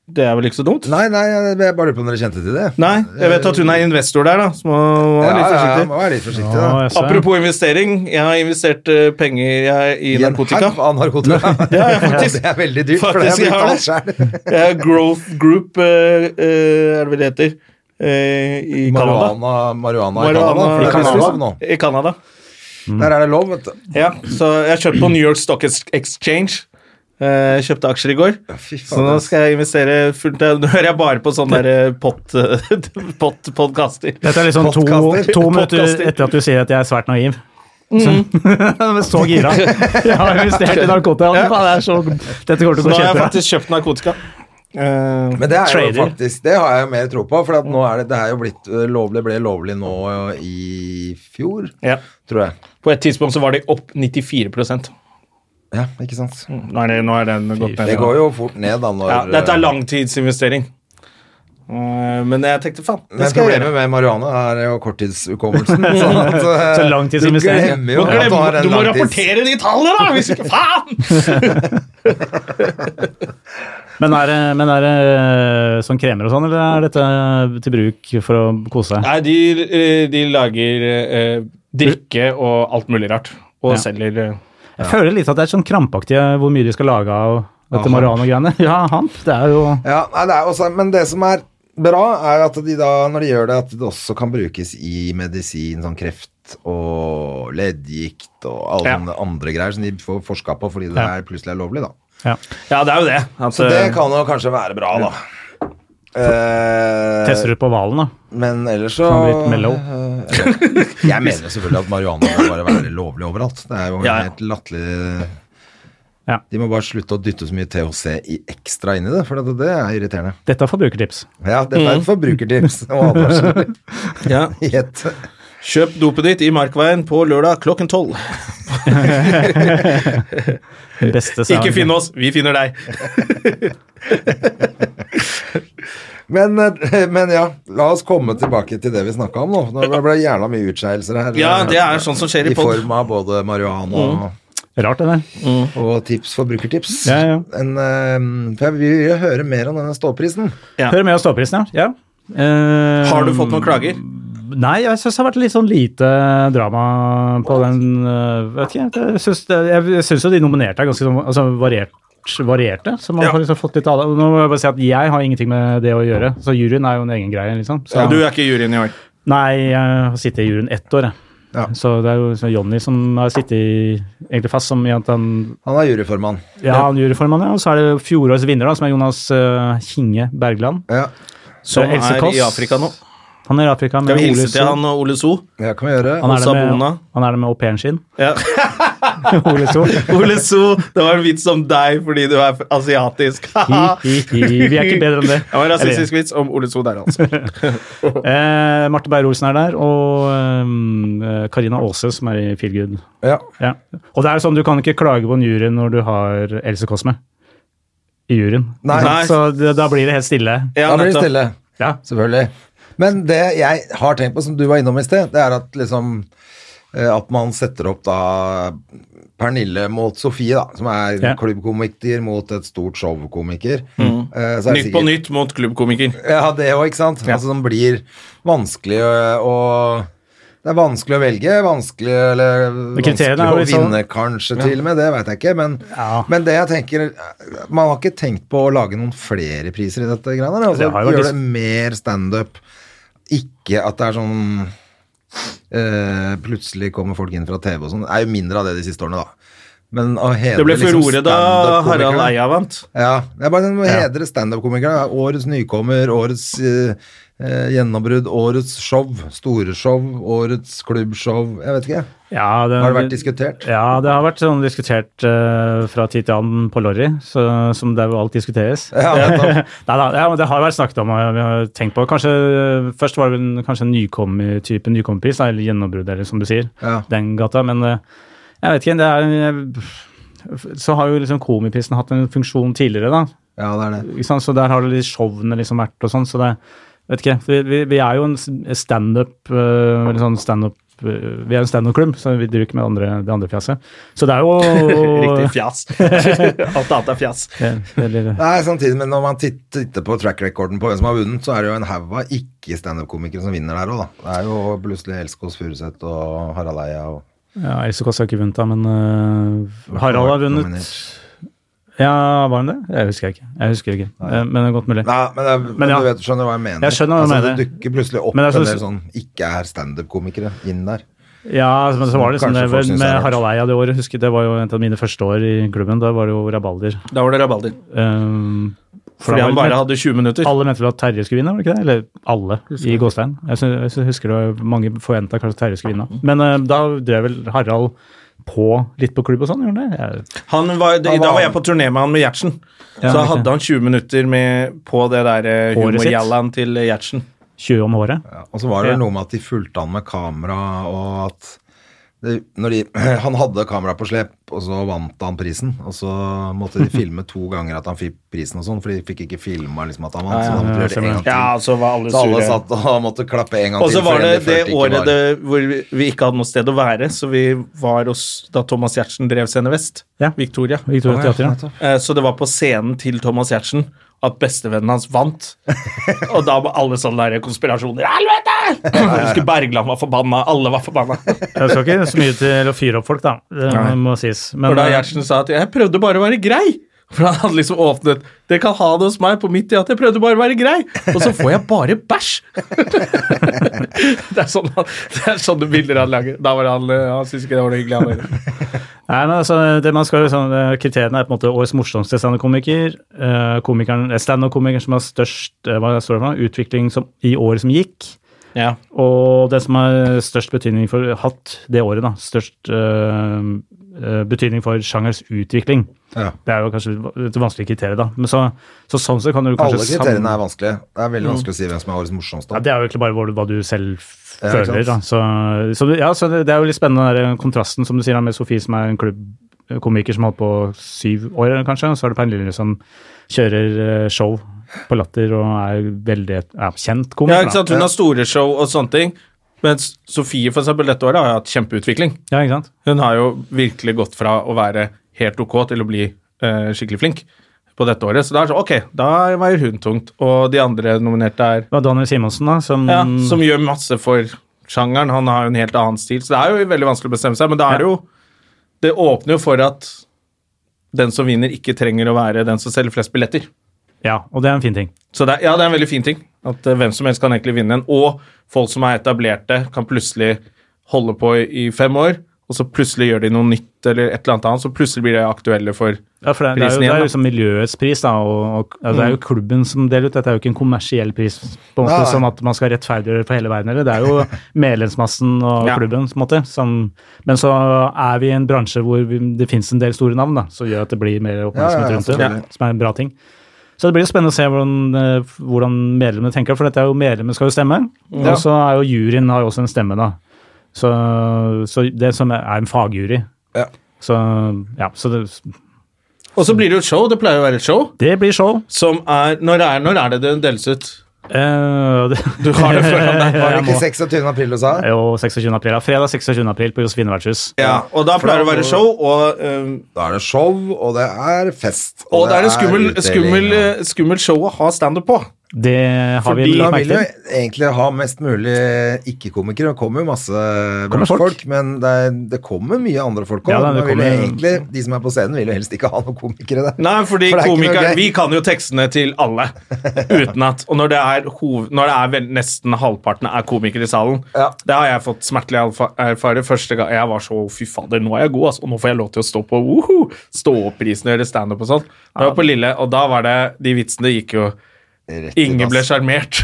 [SPEAKER 1] Det er vel ikke så dumt?
[SPEAKER 2] Nei, nei, jeg jeg bare lurer på om dere kjente til det.
[SPEAKER 1] Nei, jeg vet at hun er investor der, da. Så må må
[SPEAKER 2] Ja,
[SPEAKER 1] være
[SPEAKER 2] ja,
[SPEAKER 1] litt
[SPEAKER 2] ja,
[SPEAKER 1] forsiktig.
[SPEAKER 2] må være litt forsiktig, da.
[SPEAKER 3] Ja, jeg ser.
[SPEAKER 1] Apropos investering, jeg har investert eh, penger jeg, i
[SPEAKER 2] I en
[SPEAKER 1] narkotika.
[SPEAKER 2] haug av narkotika.
[SPEAKER 1] Det har jeg faktisk.
[SPEAKER 2] det er veldig dyrt, for det
[SPEAKER 1] Faktisk, jeg
[SPEAKER 2] har
[SPEAKER 1] har
[SPEAKER 2] jeg brukt alt sjøl.
[SPEAKER 1] Jeg er Growth Group, eh, eh, er det vel det heter, eh, i Canada.
[SPEAKER 2] Marihuana, marihuana i Canada. for
[SPEAKER 1] Marihuana-
[SPEAKER 2] det er
[SPEAKER 1] Marihuana-
[SPEAKER 2] lov nå.
[SPEAKER 1] I Canada. Mm.
[SPEAKER 2] Der er det lov, vet du.
[SPEAKER 1] Ja, så jeg kjøpte på New York Stock Ex- Exchange. Eh, Jeg kjøpte aksjer i går,
[SPEAKER 2] Fy faen,
[SPEAKER 1] så nå skal jeg investere fullt Nå hører jeg bare på sånne der eh, pott-podkaster.
[SPEAKER 3] Dette er liksom to,
[SPEAKER 2] Podcaster.
[SPEAKER 3] to minutter
[SPEAKER 1] Podcaster.
[SPEAKER 3] etter at du sier at jeg er svært naiv. Så, men så gira. Jeg har investert i narkotika. Faen, det er så, dette kommer
[SPEAKER 1] Så nå har jeg
[SPEAKER 3] til å gå kjempebra.
[SPEAKER 1] faktisk kjøpt narkotika. Eh,
[SPEAKER 2] Men det er jo
[SPEAKER 3] Trader.
[SPEAKER 2] faktisk Det har jeg jo mer tro på, for at nå er det, det er jo blitt eh, lovlig, ble lovlig nå eh, i fjor,
[SPEAKER 1] ja.
[SPEAKER 2] tror jeg.
[SPEAKER 1] På et tidspunkt så var de opp 94
[SPEAKER 2] Ja, ikke sant.
[SPEAKER 1] Nå er, det, nå er den gått ned.
[SPEAKER 2] Det går jo fort ned da når eh,
[SPEAKER 1] Mm. ja, dette er langtidsinvestering. Eh, men jeg tenkte faen, det
[SPEAKER 2] Men
[SPEAKER 1] skal jeg
[SPEAKER 2] problemet
[SPEAKER 1] gjøre.
[SPEAKER 2] med marihuana er jo korttidshukommelsen. Sånn at, eh,
[SPEAKER 3] Så langtidsinvestering.
[SPEAKER 2] Du glemmer
[SPEAKER 1] Du
[SPEAKER 2] jo at du
[SPEAKER 1] må,
[SPEAKER 2] har
[SPEAKER 1] glemme,
[SPEAKER 2] en
[SPEAKER 1] du må
[SPEAKER 2] langtids-
[SPEAKER 1] rapportere de tallene, da! Hvis ikke, faen!
[SPEAKER 3] Men er, det- men er det sånn kremer og sånn, eller er dette til bruk for å kose seg?
[SPEAKER 1] Nei, de, eh, de lager eh, drikke og alt mulig rart. Og
[SPEAKER 3] Ja.
[SPEAKER 1] selger eh,
[SPEAKER 3] Jeg føler litt at det er sånn krampaktig eh, hvor mye de skal lage av dette marihuana-greiene. Ja, hamp. Det er jo
[SPEAKER 2] Ja, nei, det er også, men det som er bra, er at de da, når de gjør det, at det også kan brukes i medisin, sånn kreft og leddgikt og alle
[SPEAKER 1] Ja.
[SPEAKER 2] sånne andre greier som de får forska på fordi det
[SPEAKER 3] Ja.
[SPEAKER 2] er plutselig er lovlig, da.
[SPEAKER 3] ja.
[SPEAKER 1] Ja, det er jo det. At,
[SPEAKER 2] Så det
[SPEAKER 1] eh,
[SPEAKER 2] kan jo kanskje være bra, da. Eh,
[SPEAKER 3] Tester ut på hvalen, da.
[SPEAKER 2] men ellers så
[SPEAKER 3] Kan bli litt mellow.
[SPEAKER 2] Eh, Jeg mener jo selvfølgelig at marihuana må bare være lovlig overalt. Det er jo
[SPEAKER 1] Ja, ja.
[SPEAKER 2] helt latterlig
[SPEAKER 3] Ja.
[SPEAKER 2] De må bare slutte å dytte så mye THC i ekstra inn i det, for det, det er irriterende.
[SPEAKER 3] Dette er forbrukertips.
[SPEAKER 2] Ja, dette er et forbrukertips og advarsel
[SPEAKER 1] Mm. ja.
[SPEAKER 2] i ett.
[SPEAKER 1] Kjøp dopet ditt i Markveien på lørdag klokken tolv.
[SPEAKER 3] Den Beste
[SPEAKER 1] Ikke finn oss, vi finner deg.
[SPEAKER 2] Men, eh, men ja, la oss komme tilbake til det vi snakka om nå. Nå ble det jævla mye utskeielser her. eh,
[SPEAKER 1] Ja, det er sånn som skjer i
[SPEAKER 2] I
[SPEAKER 1] pod.
[SPEAKER 2] form av både marihuana og,
[SPEAKER 3] Rart, det der.
[SPEAKER 1] Mm.
[SPEAKER 2] og tips, forbrukertips.
[SPEAKER 3] Ja, ja.
[SPEAKER 2] En, eh, for jeg vil jo høre mer om denne ståprisen.
[SPEAKER 1] Ja.
[SPEAKER 3] Hør med oss ståprisen, ja. ja. Eh,
[SPEAKER 1] Har du fått noen klager?
[SPEAKER 3] Nei, jeg syns det har vært litt sånn lite drama på den øh, Vet ikke, jeg syns det- jeg syns jo de nominerte er ganske sånn altså variert, varierte. Så man
[SPEAKER 1] Ja.
[SPEAKER 3] har liksom fått litt av det. Nå må jeg bare si at jeg har ingenting med det å gjøre, så juryen er jo en egen greie, liksom. Så,
[SPEAKER 1] Du er ikke i juryen i år.
[SPEAKER 3] Nei, jeg har sittet i juryen ett år, jeg.
[SPEAKER 2] Ja.
[SPEAKER 3] Så det er jo så Jonny som har sittet i, egentlig fast som i at han
[SPEAKER 2] Han er juryformann.
[SPEAKER 3] Ja, han er juryformann, ja. Og så er det fjorårets vinner, da, som er Jonas øh, Kinge Bergland.
[SPEAKER 2] Ja,
[SPEAKER 1] Som
[SPEAKER 3] Else
[SPEAKER 1] er
[SPEAKER 3] Kåss.
[SPEAKER 1] i Afrika nå.
[SPEAKER 3] Han er i Afrika med
[SPEAKER 1] Skal vi
[SPEAKER 3] Ole
[SPEAKER 1] hilse til
[SPEAKER 3] Sol.
[SPEAKER 1] han og Ole So?
[SPEAKER 2] det kan vi gjøre.
[SPEAKER 3] Han er, det med,
[SPEAKER 1] Sabona.
[SPEAKER 3] han er det med au pairen sin.
[SPEAKER 1] Ja.
[SPEAKER 3] Ole Sol.
[SPEAKER 1] Ole So, det var en vits om deg fordi du er asiatisk.
[SPEAKER 3] Hi, hi, hi. Vi er ikke bedre enn det.
[SPEAKER 1] Det var en rasistisk vits om Ole So der, altså.
[SPEAKER 3] Eh, Marte Beyer-Olsen er der, og ehm, eh, Karina Aase, som er i Feel Good.
[SPEAKER 2] Ja.
[SPEAKER 3] Ja. Og det er sånn, du kan ikke klage på en jury når du har Else Kåss med i juryen.
[SPEAKER 2] Nei.
[SPEAKER 1] Nei.
[SPEAKER 3] Så det, da blir det helt stille.
[SPEAKER 1] Ja,
[SPEAKER 2] Da blir det
[SPEAKER 1] nettopp.
[SPEAKER 2] stille.
[SPEAKER 3] Ja.
[SPEAKER 2] Selvfølgelig. Men det jeg har tenkt på, som du var innom i sted, det er at liksom eh, At man setter opp da Pernille mot Sofie, da, som er
[SPEAKER 3] Ja.
[SPEAKER 2] klubbkomiker mot et stort showkomiker. Eh, så er det
[SPEAKER 1] Mm. Nytt på
[SPEAKER 2] sikkert-
[SPEAKER 1] nytt mot klubbkomiker.
[SPEAKER 2] Ja, det òg, ikke sant. Altså, som blir vanskelig å, å Det er vanskelig å velge, vanskelig eller
[SPEAKER 3] Men kriteriene
[SPEAKER 2] vanskelig
[SPEAKER 3] er
[SPEAKER 2] å
[SPEAKER 3] jo litt sånn-
[SPEAKER 2] vinne, kanskje, til og med. Det veit jeg ikke. Men,
[SPEAKER 3] Ja.
[SPEAKER 2] men det jeg tenker Man har ikke tenkt på å lage noen flere priser i dette greiene. Altså,
[SPEAKER 3] Det har jo vært
[SPEAKER 2] gjøre
[SPEAKER 3] dis-
[SPEAKER 2] det mer standup. Ikke at det er sånn eh, Plutselig kommer folk inn fra TV og sånn. Det er jo mindre av det de siste årene, da. Men å liksom hedre
[SPEAKER 1] Det ble furore da
[SPEAKER 2] standup-komikerne-
[SPEAKER 1] Harald Eia vant.
[SPEAKER 2] ja, det er bare å hedre standup-komikere. Årets nykommer, årets eh, eh, gjennombrudd, årets show, store show, årets klubbshow. Jeg vet ikke.
[SPEAKER 3] Ja,
[SPEAKER 2] Har det vært diskutert?
[SPEAKER 3] Ja, det har vært sånn diskutert eh, fra tid til annen på Lorry, så- som der hvor alt diskuteres.
[SPEAKER 2] Ja, nettopp.
[SPEAKER 3] Nei, da, ja, men det har vært snakket om, og vi har tenkt på Kanskje, Først var det vel kanskje en nykommer type nykommerpris, da, eller gjennombrudd, eller som du sier.
[SPEAKER 2] Ja.
[SPEAKER 3] Den gata. Men eh, jeg vet ikke, det er Så har jo liksom komiprisen hatt en funksjon tidligere, da.
[SPEAKER 2] ja, det er det.
[SPEAKER 3] Ikke sant? Så der har det litt showene liksom vært og sånn, så det Vet ikke. Vi, vi, vi er jo en standup uh, Eller sånn standup eh, Vi er en standup-klubb, så vi driver ikke med andre, det andre fjaset. Så det er jo
[SPEAKER 1] Riktig fjas. Alt annet er fjas.
[SPEAKER 3] Ja, eller-
[SPEAKER 2] Nei, samtidig, men når man titt- titter på track recorden på hvem som har vunnet, så er det jo en haug av ikke-standup-komikere som vinner der òg, da. Det er jo plutselig Else Kåss Furuseth og Harald Eia og
[SPEAKER 3] Ja, Else Kåss har ikke vunnet, da, men øh, Harald har vunnet.
[SPEAKER 2] Nominert.
[SPEAKER 3] Ja, var han det? Jeg husker ikke. Jeg husker ikke. Eh, Men det er godt mulig.
[SPEAKER 2] Nei, men, det, men,
[SPEAKER 3] Men ja.
[SPEAKER 2] du vet, skjønner hva jeg mener.
[SPEAKER 3] Jeg skjønner hva du
[SPEAKER 2] altså,
[SPEAKER 3] mener.
[SPEAKER 2] Det dukker plutselig opp
[SPEAKER 3] Men jeg
[SPEAKER 2] en
[SPEAKER 3] synes-
[SPEAKER 2] del sånn ikke-er-standup-komikere inn der.
[SPEAKER 3] Ja, men så var det liksom
[SPEAKER 2] Kanskje
[SPEAKER 3] det
[SPEAKER 2] folk
[SPEAKER 3] med,
[SPEAKER 2] synes det er
[SPEAKER 3] med
[SPEAKER 2] rart.
[SPEAKER 3] Harald Eia det året. Husker jeg, Det var jo et av mine første år i klubben. Da var det jo rabalder.
[SPEAKER 1] Da var det rabalder.
[SPEAKER 3] Um, for
[SPEAKER 1] Fordi
[SPEAKER 3] da var
[SPEAKER 1] han
[SPEAKER 3] det-
[SPEAKER 1] bare hadde 20 minutter.
[SPEAKER 3] alle mente vel at Terje skulle vinne, var det ikke det? Eller alle, i Gåstein. Jeg, synes, jeg synes- husker det var mange forventa kanskje at Terje skulle vinne. Men eh, da drev vel Harald på, litt på klubb og sånn? Gjorde han det? Jeg-
[SPEAKER 1] Han var, da
[SPEAKER 2] var-
[SPEAKER 1] var jeg på turné med han med Gjertsen.
[SPEAKER 3] Ja,
[SPEAKER 1] så da
[SPEAKER 3] riktig.
[SPEAKER 1] hadde han 20 minutter med, på det der eh,
[SPEAKER 3] Håret sitt.
[SPEAKER 1] humorjallaen til Gjertsen.
[SPEAKER 3] 20 om håret?
[SPEAKER 2] Ja, og så var det
[SPEAKER 3] Ja.
[SPEAKER 2] noe med at de fulgte han med kamera, og at det, når de, Han hadde kamera på slep, og så vant han prisen. Og så måtte de filme to ganger at han fikk prisen og sånn, for de fikk ikke filma liksom, at han vant. så da måtte de gjøre det en gang til.
[SPEAKER 1] Ja, så var alle
[SPEAKER 2] så alle
[SPEAKER 1] sure.
[SPEAKER 2] satt og måtte klappe en gang
[SPEAKER 1] Og så
[SPEAKER 2] til.
[SPEAKER 1] var
[SPEAKER 2] fordi
[SPEAKER 1] det det
[SPEAKER 2] følte ikke
[SPEAKER 1] året
[SPEAKER 2] var-
[SPEAKER 1] det, hvor vi, vi ikke hadde noe sted å være, så vi var hos da Thomas Gjertsen drev Scene Vest.
[SPEAKER 3] Ja.
[SPEAKER 1] Victoria.
[SPEAKER 3] Victoria Teater, ja.
[SPEAKER 1] Eh, Så det var på scenen til Thomas Gjertsen at bestevennen hans vant. Og da var alle sånne der konspirasjoner. Helvete! Jeg husker Bergland var forbanna. Alle var forbanna.
[SPEAKER 3] Jeg skal ikke så mye til å fyre opp folk, da. Det
[SPEAKER 1] Nei.
[SPEAKER 3] må sies. Men
[SPEAKER 1] Og da
[SPEAKER 3] eh,
[SPEAKER 1] Gjertsen sa at 'jeg prøvde bare å være grei'. For han hadde liksom åpnet 'Dere kan ha det hos meg på mitt teater', jeg prøvde bare å være grei. Og så får jeg bare bæsj! det, er sånn, han- det er sånne bilder han lager. Da var han, eh, han syntes ikke det var noe hyggelig. Han heller.
[SPEAKER 3] Nei, men altså, det man skal, jo sånn, eh, Kriteriene er på en måte årets morsomste standup-komiker. eh, komikeren- eh, Standup-komikeren som har størst eh, hva står det for, noe? utvikling som, i året som gikk.
[SPEAKER 1] Ja.
[SPEAKER 3] Og den som har størst betydning for hatt det året, da. Størst eh, eh, betydning for sjangers utvikling.
[SPEAKER 2] Ja.
[SPEAKER 3] Det er jo kanskje et vanskelig kriterium, da. Men så, så sånn så kan du kanskje
[SPEAKER 2] Alle kriteriene er vanskelige. Det er
[SPEAKER 1] Mm.
[SPEAKER 2] veldig vanskelig å si hvem som er årets morsomste.
[SPEAKER 3] Ja, det er jo egentlig bare hvor, hva du selv f-
[SPEAKER 2] Ja, ikke
[SPEAKER 3] føler.
[SPEAKER 2] sant?
[SPEAKER 3] Da. Så, så, det- ja, så det, det er jo litt spennende den der kontrasten som du sier da, med Sofie, som er en klubbkomiker som holdt på syv år, eller kanskje. Og så er det Pernille Lilje som kjører eh, show på Latter og er veldig ja, kjent
[SPEAKER 1] ja,
[SPEAKER 3] komiker.
[SPEAKER 1] ikke sant? Hun har store show og sånne ting. Mens Sofie for eksempel, dette året har hatt kjempeutvikling.
[SPEAKER 3] Da. Ja, ikke sant?
[SPEAKER 1] Hun har jo virkelig gått fra å være helt ok til å bli eh, skikkelig flink på dette året. Så da er det sånn, ok, da veier hun tungt. Og de andre nominerte er
[SPEAKER 3] Det var Daniel Simonsen, da, som
[SPEAKER 1] Ja, som gjør masse for sjangeren. Han har jo en helt annen stil, så det er jo veldig vanskelig å bestemme seg. Men da er det jo Det åpner jo for at den som vinner, ikke trenger å være den som selger flest billetter.
[SPEAKER 3] Ja, og det er en fin ting.
[SPEAKER 1] Så det er, ja, det er en veldig fin ting. At eh, hvem som helst kan egentlig vinne en. Og folk som er etablerte, kan plutselig holde på i, i fem år, og så plutselig gjør de noe nytt eller et eller annet annet, så plutselig blir de aktuelle for
[SPEAKER 3] Ja, for det, det er jo,
[SPEAKER 1] Prisen igjen,
[SPEAKER 3] det er
[SPEAKER 1] da. Mm.
[SPEAKER 3] jo liksom miljøets pris, da, og, og altså, det er jo klubben som deler ut. Dette er jo ikke en kommersiell pris, på en måte,
[SPEAKER 2] Nei.
[SPEAKER 3] sånn at man skal rettferdiggjøre for hele verden. Eller? Det er jo medlemsmassen og
[SPEAKER 1] Ja.
[SPEAKER 3] klubben, på en måte. Som, men så er vi i en bransje hvor vi, det finnes en del store navn, da, som gjør at det blir mer
[SPEAKER 2] Ja, ja,
[SPEAKER 3] oppmerksomhet
[SPEAKER 2] ja,
[SPEAKER 3] rundt det,
[SPEAKER 2] selvfølgelig.
[SPEAKER 3] som er en bra ting. Så det blir jo spennende å se hvordan, eh, hvordan medlemmene tenker, for dette er jo medlemmene skal jo stemme.
[SPEAKER 1] Ja.
[SPEAKER 3] Og så er jo juryen har jo også en stemme, da. Så, så det som er er en fagjury.
[SPEAKER 2] Ja.
[SPEAKER 3] Så ja, så det,
[SPEAKER 1] Og så blir det jo et show. Det pleier å være et show
[SPEAKER 3] det blir show.
[SPEAKER 1] som er Når er, når er det det deles ut?
[SPEAKER 3] Eh, det,
[SPEAKER 1] Du har det foran
[SPEAKER 2] Var
[SPEAKER 1] deg.
[SPEAKER 2] det
[SPEAKER 3] jeg må-
[SPEAKER 2] ikke 26. april du sa?
[SPEAKER 3] jo, 26. april. Ja. Fredag 26. april på Josefine vertshus.
[SPEAKER 1] Ja, og da
[SPEAKER 2] For
[SPEAKER 1] pleier det å
[SPEAKER 2] da-
[SPEAKER 1] være show, og eh,
[SPEAKER 2] Da er det show, og det er fest.
[SPEAKER 1] Og det er en skummel,
[SPEAKER 2] utdeling,
[SPEAKER 1] skummel,
[SPEAKER 2] og-
[SPEAKER 1] eh, skummel show å ha standup på.
[SPEAKER 3] Det har
[SPEAKER 1] Fordi
[SPEAKER 3] vi
[SPEAKER 2] Man
[SPEAKER 3] lagt merke
[SPEAKER 2] vil jo
[SPEAKER 3] til.
[SPEAKER 2] egentlig ha mest mulig ikke-komikere. Det kommer jo masse
[SPEAKER 3] Kommer folk.
[SPEAKER 2] bransjefolk, men det, er, det kommer mye andre folk òg.
[SPEAKER 3] Ja, da, det kommer-
[SPEAKER 2] egentlig De som er på scenen, vil jo helst ikke ha noen komikere der.
[SPEAKER 1] Nei, fordi
[SPEAKER 2] For det er ikke noe
[SPEAKER 1] komikere
[SPEAKER 2] gøy.
[SPEAKER 1] Vi kan jo tekstene til alle utenat. Og når det er, hov, når det er vel, nesten halvparten er komikere i salen
[SPEAKER 2] Ja.
[SPEAKER 1] Det har jeg fått smertelig alfa- erfare første gang. Jeg var så Fy fader, nå er jeg god, altså. Og nå får jeg lov til å stå på woho, stå opp-prisen og gjøre standup og sånn. Da var jeg på Lille, og da var det De vitsene gikk jo
[SPEAKER 2] Rett i
[SPEAKER 1] Ingen ble
[SPEAKER 2] dass.
[SPEAKER 1] sjarmert.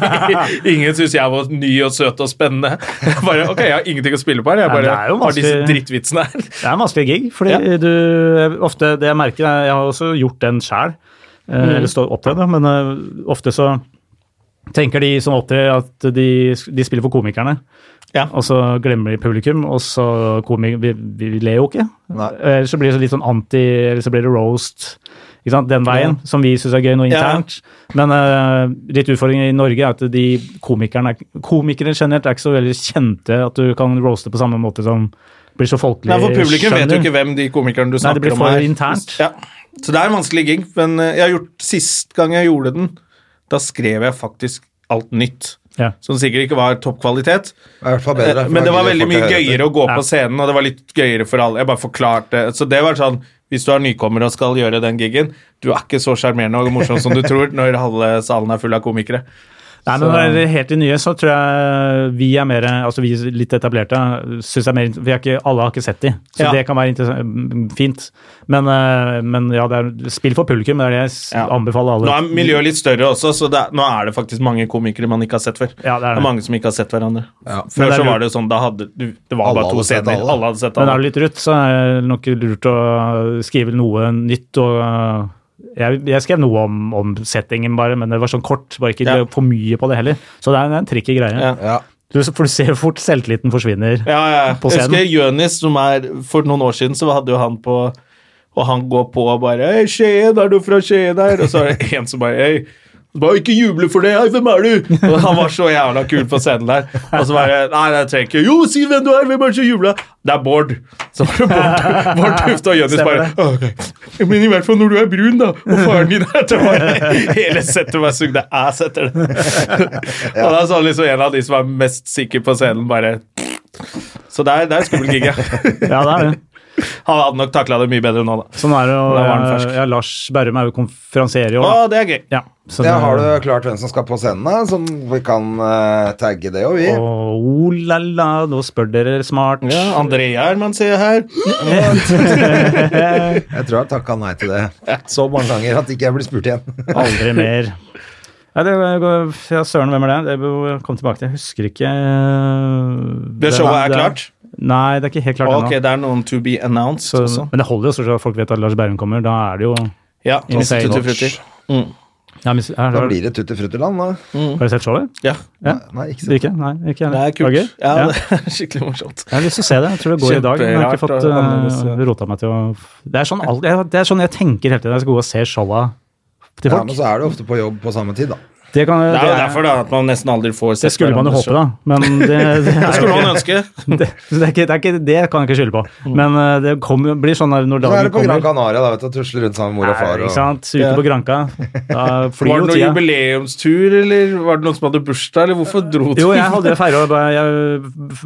[SPEAKER 1] ingen syntes jeg var ny og søt og spennende. Jeg bare, ok, jeg har ingenting å spille på her. Jeg
[SPEAKER 3] Nei,
[SPEAKER 1] bare
[SPEAKER 3] det er jo
[SPEAKER 1] har disse
[SPEAKER 3] vanskelig-
[SPEAKER 1] drittvitsene her.
[SPEAKER 3] Det er en vanskelig gig, fordi du ofte Det jeg merker, er- jeg har også gjort den sjæl, eller står opptredd, da, men eh, ofte så tenker de som opptrer at de, de spiller for komikerne,
[SPEAKER 1] Ja.
[SPEAKER 3] og så glemmer de publikum, og så komik, vi, vi ler jo ikke.
[SPEAKER 2] Nei.
[SPEAKER 3] Eller så blir det så litt sånn anti, eller så blir det roast. Ikke sant? Den veien, som vi syns er gøy nå internt. Men eh, litt utfordringen i Norge er at de komikerne er, komikere generelt er ikke så veldig kjente at du kan roaste på samme måte som blir så folkelig.
[SPEAKER 1] Nei, for publikum vet jo
[SPEAKER 3] skjønner.
[SPEAKER 1] ikke hvem de komikerne du
[SPEAKER 3] Nei, det
[SPEAKER 1] snakker
[SPEAKER 3] blir
[SPEAKER 1] om
[SPEAKER 3] for
[SPEAKER 1] er.
[SPEAKER 3] internt.
[SPEAKER 1] Ja. Så det er en vanskelig gig, men eh, jeg har gjort sist gang jeg gjorde den, da skrev jeg faktisk alt nytt.
[SPEAKER 3] Ja.
[SPEAKER 1] Som sikkert ikke var topp kvalitet,
[SPEAKER 2] Det er i hvert fall
[SPEAKER 1] eh,
[SPEAKER 2] bedre. for da
[SPEAKER 1] men det var
[SPEAKER 2] gidder
[SPEAKER 1] veldig
[SPEAKER 2] folk å
[SPEAKER 1] mye
[SPEAKER 2] høre etter.
[SPEAKER 1] gøyere å gå
[SPEAKER 3] Ja.
[SPEAKER 1] på scenen, og det var litt gøyere for alle. Jeg bare forklarte. Så det var sånn, hvis du er nykommer og skal gjøre den gigen, du er ikke så sjarmerende og morsom som du tror når halve salen er full av komikere.
[SPEAKER 3] Nei, men når det er helt de nye, så tror jeg vi er mer Altså vi litt etablerte synes jeg er mer Vi er ikke Alle har ikke sett de, så
[SPEAKER 1] Ja.
[SPEAKER 3] det kan være interessant, fint. Men, eh, men ja, det er spill for publikum, det er det jeg s-
[SPEAKER 1] Ja.
[SPEAKER 3] anbefaler alle.
[SPEAKER 1] Nå er miljøet litt større også, så det er, nå er det faktisk mange komikere man ikke har sett før.
[SPEAKER 3] Ja, det er det.
[SPEAKER 1] mange som ikke har sett hverandre.
[SPEAKER 2] Ja.
[SPEAKER 3] Men
[SPEAKER 1] Før
[SPEAKER 3] det er
[SPEAKER 1] så var
[SPEAKER 3] lurt.
[SPEAKER 1] det jo sånn, da hadde du, det var
[SPEAKER 2] Alle
[SPEAKER 1] bare to
[SPEAKER 2] hadde sett
[SPEAKER 1] scener.
[SPEAKER 2] alle.
[SPEAKER 1] Alle hadde sett
[SPEAKER 3] Men er
[SPEAKER 1] alle.
[SPEAKER 3] du litt rutt, så er det nok lurt å skrive noe nytt. og eh, jeg, jeg skrev noe om, om settingen, bare, men det var sånn kort. bare ikke
[SPEAKER 1] Ja.
[SPEAKER 3] for mye på det heller. Så det er en, en tricky greie.
[SPEAKER 1] Ja.
[SPEAKER 2] Ja.
[SPEAKER 3] Du, for du ser jo fort selvtilliten forsvinner.
[SPEAKER 1] Ja, ja.
[SPEAKER 3] På
[SPEAKER 1] Jeg husker
[SPEAKER 3] scenen.
[SPEAKER 1] Jonis, som er For noen år siden så hadde jo han på Og han går på og bare Hei, Skien, er du fra Skien her? Og så er det en som bare Hei, bare ikke juble for det, hei, hvem er du? Og han var så jævla kul på scenen der. Og så bare Nei, jeg trenger ikke Jo, si hvem du er, hvem er det som jubler? Det er Bård. Så var det Bård, Bård Tufte og Jonis bare «Ok, Men i hvert fall når du er brun, da, og faren din er til bare Hele settet var sugd av ass etter det. Og da så han liksom en av de som er mest sikker på scenen, bare så det er, det er en skummel gig, ja.
[SPEAKER 3] Ja, det er det.
[SPEAKER 1] Han hadde nok takla det mye bedre nå, da.
[SPEAKER 3] Sånn er det jo.
[SPEAKER 1] Da var den fersk.
[SPEAKER 3] Ja, Lars Berrum er jo konferansier i år.
[SPEAKER 1] Å,
[SPEAKER 3] da.
[SPEAKER 1] det er gøy.
[SPEAKER 3] Ja, så
[SPEAKER 2] Ja,
[SPEAKER 3] det-
[SPEAKER 2] har du klart hvem som skal på scenen, da? Som vi kan eh, tagge det og vi.
[SPEAKER 3] Å, oh, la, la, nå spør dere smart.
[SPEAKER 1] Ja, Andrea er man ser her.
[SPEAKER 2] Jeg tror jeg har takka nei til det så mange ganger at ikke jeg blir spurt igjen.
[SPEAKER 3] Aldri mer. Ja, det går, ja, søren, hvem er det? Det må jeg komme tilbake til. Jeg husker ikke øh,
[SPEAKER 1] Det
[SPEAKER 3] hvem
[SPEAKER 1] showet er klart?
[SPEAKER 3] Nei, det er ikke helt klart
[SPEAKER 1] ok,
[SPEAKER 3] ennå.
[SPEAKER 1] det er sånn. noen to be announced
[SPEAKER 3] Så-
[SPEAKER 1] også.
[SPEAKER 3] Men det holder jo stort sett at folk vet at Lars Berrum kommer. Da er det jo
[SPEAKER 1] Ja,
[SPEAKER 3] Insane
[SPEAKER 1] Tutti
[SPEAKER 3] Notch.
[SPEAKER 1] Frutti.
[SPEAKER 3] ja, men, her,
[SPEAKER 2] Da
[SPEAKER 3] har,
[SPEAKER 2] blir det tutti fruttiland, da.
[SPEAKER 3] har du sett showet?
[SPEAKER 1] Ja,
[SPEAKER 2] Nei, ikke sant.
[SPEAKER 3] Ikke? Nei, ikke heller.
[SPEAKER 1] det er
[SPEAKER 3] Var
[SPEAKER 1] kult.
[SPEAKER 3] det gøy?
[SPEAKER 1] Ja,
[SPEAKER 3] Ja.
[SPEAKER 1] det er skikkelig morsomt.
[SPEAKER 3] Jeg har lyst til å se det. Jeg tror det går i dag. Men jeg har ikke
[SPEAKER 1] Kjemperart
[SPEAKER 3] fått
[SPEAKER 1] og annerledes,
[SPEAKER 3] uh, rota meg til å Det er sånn, alt- jeg- det er sånn jeg tenker hele tiden. Jeg skal gå og se showa til
[SPEAKER 2] Ja,
[SPEAKER 3] folk.
[SPEAKER 2] men så er du ofte på jobb på samme tid, da.
[SPEAKER 3] det, kan,
[SPEAKER 1] Det er jo
[SPEAKER 3] det er-
[SPEAKER 1] derfor da, at man nesten aldri får sett
[SPEAKER 3] det skulle man jo
[SPEAKER 1] hverandres
[SPEAKER 3] håpe, da.
[SPEAKER 1] show.
[SPEAKER 3] Men det, det, er jo
[SPEAKER 1] Det skulle
[SPEAKER 3] ikke-
[SPEAKER 1] man ønske.
[SPEAKER 3] det, det, er ikke, det, er ikke, det kan jeg ikke skylde på. Men eh, det kommer- blir sånn der når
[SPEAKER 2] Mm. Så er
[SPEAKER 3] dagen
[SPEAKER 2] du på Gran
[SPEAKER 3] kommer.
[SPEAKER 2] Canaria da, vet du, og tusler rundt sammen med mor og
[SPEAKER 3] Nei,
[SPEAKER 2] far.
[SPEAKER 3] ikke
[SPEAKER 2] Og...
[SPEAKER 3] sant? Ute på Granca. Da
[SPEAKER 1] Var det
[SPEAKER 3] flyr jo
[SPEAKER 1] noen
[SPEAKER 3] tida.
[SPEAKER 1] jubileumstur, eller var det noen som hadde bursdag, eller hvorfor dro du?
[SPEAKER 3] Jo, jeg hadde det feira. Jeg